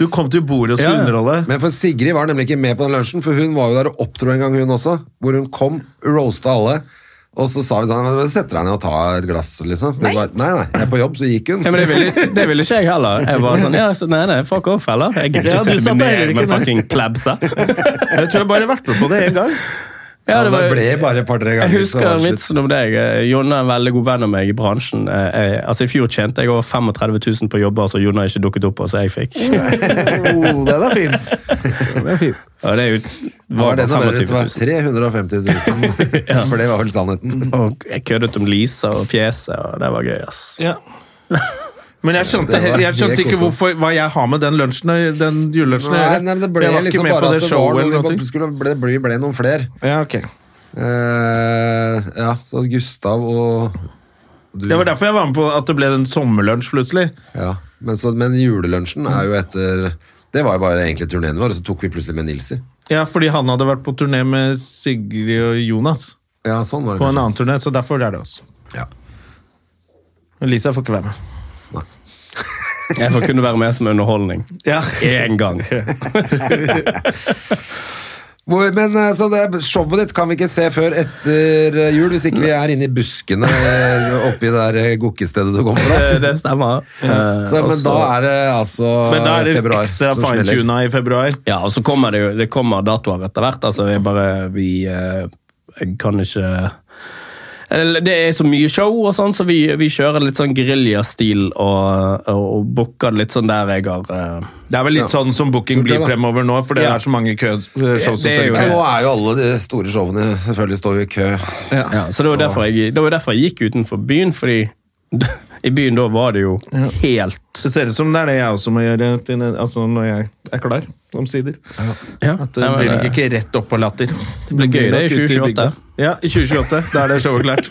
Speaker 1: Du kom til bordet og skulle
Speaker 3: Ja, ja.
Speaker 1: underholde.
Speaker 2: Men for Sigrid var nemlig ikke med på den lunsjen, for hun var jo der og opptro en gang, hun også. Hvor hun kom, roasta alle. Og så sa vi sånn «Men Sett deg ned og ta et glass, liksom. Hun bare, nei, nei, jeg er på jobb, så gikk hun.
Speaker 3: Ja, men det ville, det ville ikke jeg heller. Jeg var sånn, ja, så, Nei, nei, fuck off, heller. Jeg gidder
Speaker 1: Ja, du
Speaker 3: ikke sitte
Speaker 1: satt
Speaker 3: med
Speaker 1: der,
Speaker 3: meg med
Speaker 1: ikke
Speaker 3: fucking klebser.
Speaker 1: Jeg tror jeg bare har vært med på det én gang.
Speaker 3: Ja, det
Speaker 2: det
Speaker 3: var-
Speaker 2: ble bare et par-tre
Speaker 3: Jeg
Speaker 2: ganger. så var
Speaker 3: husker
Speaker 2: det slutt.
Speaker 3: vitsen om deg. Eh, Jonna er en veldig god venn av meg i bransjen. Eh, Jeg, altså I fjor tjente jeg over 35 000 på jobber som Jonna ikke dukket opp på, så jeg fikk.
Speaker 1: Oh, den er fin. Den er fin.
Speaker 3: Og det er jo,
Speaker 2: Det var
Speaker 3: var
Speaker 2: det
Speaker 3: bare
Speaker 2: som var bedre,
Speaker 3: 25 000.
Speaker 2: det var 350 000. For det var vel sannheten.
Speaker 3: Og jeg køddet om Lisa og fjeset, og det var gøy, ass.
Speaker 1: Ja. Men jeg skjønte,
Speaker 2: Det var-
Speaker 1: jeg skjønte
Speaker 2: det
Speaker 1: ikke
Speaker 2: kom på.
Speaker 1: hvorfor, hva jeg har med den lunsjen å- den julelunsjen å
Speaker 2: Nei,
Speaker 1: gjøre.
Speaker 2: nei, men det ble
Speaker 1: jeg var
Speaker 2: liksom
Speaker 1: ikke med
Speaker 2: bare
Speaker 1: på
Speaker 2: at
Speaker 1: det
Speaker 2: det var
Speaker 1: showet eller
Speaker 2: noe
Speaker 1: noe.
Speaker 2: vi skulle, ble, ble, ble noen flere.
Speaker 1: Ja, ok.
Speaker 2: Eh, ja, så Gustav og du.
Speaker 1: Det var derfor jeg var med på at det ble en sommerlunsj plutselig.
Speaker 2: Ja, men, så, men julelunsjen er jo etter Det var jo bare egentlig turneen vår, og så tok vi plutselig med Nilsi.
Speaker 1: Ja, fordi han hadde vært på turné med Sigrid og Jonas.
Speaker 2: Ja, sånn var det.
Speaker 1: På en
Speaker 2: kanskje.
Speaker 1: annen turné, så derfor er det oss.
Speaker 2: Ja.
Speaker 1: Men Lisa får ikke være med.
Speaker 3: Jeg får kunne være med som underholdning.
Speaker 1: Ja.
Speaker 3: Én gang. Eh,
Speaker 2: Hvor, men eh, så det, Showet ditt kan vi ikke se før etter eh, jul, hvis ikke vi er inne i buskene eh, oppi det der eh, gokkestedet du kommer fra.
Speaker 3: Det stemmer. Eh,
Speaker 2: Så,
Speaker 3: og
Speaker 2: men da
Speaker 3: så-
Speaker 2: er det altså
Speaker 1: Men da er det
Speaker 2: februar
Speaker 1: ekstra
Speaker 2: som smeller.
Speaker 1: fine-tuna i februar.
Speaker 3: Ja, og så kommer det jo det kommer datoer etter hvert. Altså, jeg bare Vi eh, jeg kan ikke eller, det er så mye show, og sånn, så vi, vi kjører litt sånn geriljastil og, og, og booker det litt sånn der jeg har eh,
Speaker 1: Det er vel litt sånn som booking
Speaker 2: Gjort det,
Speaker 1: blir
Speaker 2: da.
Speaker 1: fremover nå, for det
Speaker 3: Ja.
Speaker 1: er så mange kø show som
Speaker 3: Det er
Speaker 1: står i
Speaker 3: jo
Speaker 1: kø.
Speaker 2: Ja, nå er jo alle de store showene selvfølgelig står jo i kø.
Speaker 3: ja, Så det var derfor jeg, det var derfor jeg gikk utenfor byen, fordi i byen da var det jo helt
Speaker 1: Det ser ut som det er det jeg også må gjøre til, altså når jeg er klar, omsider.
Speaker 3: ja,
Speaker 1: At det blir nok ikke rett opp på latter. Det
Speaker 3: blir gøy, det,
Speaker 1: nok
Speaker 3: i
Speaker 1: ute i
Speaker 3: 2028.
Speaker 1: bygda. Ja, i 2028. Da er det showet klart.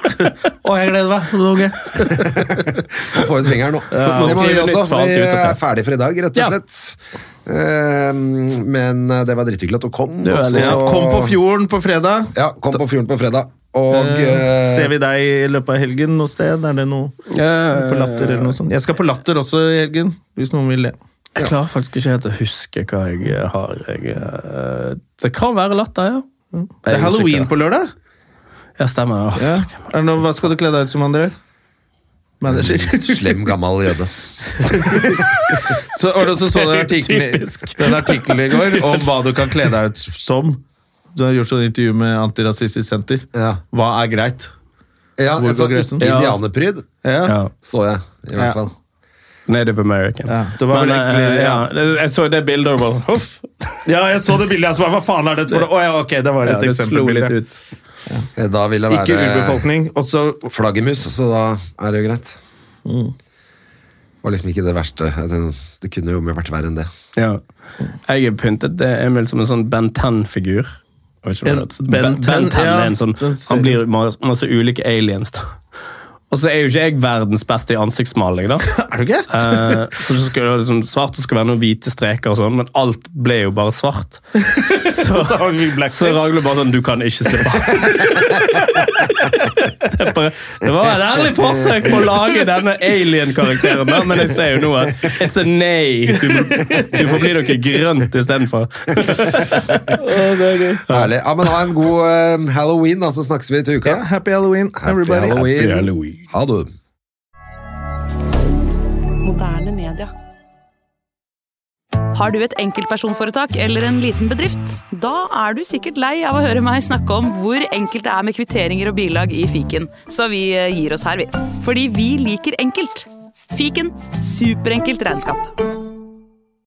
Speaker 1: Å, jeg gleder meg som en unge!
Speaker 2: Må Få ut fingeren nå.
Speaker 3: Nå
Speaker 2: det må
Speaker 3: skriver
Speaker 2: vi
Speaker 3: vi litt
Speaker 2: også.
Speaker 3: for alt
Speaker 2: Vi
Speaker 3: ut, dette.
Speaker 2: er ferdig for i dag, rett
Speaker 3: Ja.
Speaker 2: og slett. Eh, Men eh, det var drithyggelig at du kom.
Speaker 3: Det var
Speaker 2: og så-
Speaker 3: veldig-
Speaker 1: sånn, Ja, kom på fjorden på fredag.
Speaker 2: Ja, kom på fjorden på fredag. Og
Speaker 1: Eh,
Speaker 2: eh,
Speaker 1: Ser vi deg i løpet av helgen noe sted? Er det noe på latter eller noe sånt? Jeg skal på latter også i helgen, hvis noen vil det.
Speaker 3: Jeg klarer faktisk ikke helt å huske hva jeg eh, har. Jeg, eh, det kan være latter, ja.
Speaker 1: Det er halloween på lørdag.
Speaker 3: Ja, stemmer det.
Speaker 1: Ja. Er det noe, hva skal du kle deg ut som, André? Manager.
Speaker 2: Slem, gammel jøde.
Speaker 1: Så, og så så den artikkelen
Speaker 3: Typisk.
Speaker 1: den artikkelen i går om hva du kan kle deg ut som. Du har gjort sånn intervju med Antirasistisk Senter.
Speaker 2: Ja.
Speaker 1: Hva er greit?
Speaker 2: Ja,
Speaker 1: Hvor
Speaker 2: jeg så
Speaker 1: går grensen?
Speaker 2: Indianerpryd
Speaker 1: Ja.
Speaker 3: Ja.
Speaker 2: så jeg, i
Speaker 1: Ja.
Speaker 2: hvert fall.
Speaker 3: Native American.
Speaker 1: Ja, det var vel
Speaker 3: eh,
Speaker 1: egentlig-
Speaker 3: ja. det- Jeg så det bildet og bare Huff!
Speaker 1: Ja, jeg så det bildet. Jeg så bare, hva faen er dette for noe? Å ja, ok, det var
Speaker 3: Ja,
Speaker 1: et
Speaker 3: det slo litt
Speaker 1: eksempelbilde.
Speaker 3: ut.
Speaker 2: Eh, Da vil det
Speaker 1: Ikke
Speaker 2: være
Speaker 1: urbefolkning. Og så
Speaker 2: flaggermus, så da er det jo greit. Var liksom ikke det verste. Det- Det kunne jo vært verre enn det.
Speaker 3: Ja. Jeg er pyntet det er Emil som en sånn Ben 10-figur.
Speaker 1: En
Speaker 3: Ben,
Speaker 1: Ben
Speaker 3: ben, 10
Speaker 1: ja,
Speaker 3: er en sånn
Speaker 1: den ser-
Speaker 3: Han blir masse, masse ulike aliens, da. Og så er jo ikke jeg verdens beste i ansiktsmaling, da.
Speaker 1: Er du ikke?
Speaker 3: Eh, så det skulle være liksom svart, det skulle være noen hvite streker og sånn, men alt ble jo bare svart. Så,
Speaker 1: Så har vi blackface.
Speaker 3: så Ragnhild bare sånn Du kan ikke slippe. det, er bare, det var et ærlig forsøk på å lage denne alien-karakteren, da, men jeg ser jo nå at it's a nei. Du, du får bli noe grønt istedenfor.
Speaker 2: Herlig. Ja, men ha en god eh, halloween, da, så snakkes vi til uka.
Speaker 1: Ja, happy Halloween,
Speaker 2: Happy
Speaker 1: everybody.
Speaker 2: Halloween.
Speaker 3: Halloween.
Speaker 2: Ha det.
Speaker 4: Moderne media.
Speaker 5: Har du et enkeltpersonforetak eller en liten bedrift? Da er du sikkert lei av å høre meg snakke om hvor enkelt det er med kvitteringer og bilag i fiken, så vi eh, gir oss her, vi. Fordi vi liker enkelt. Fiken superenkelt regnskap.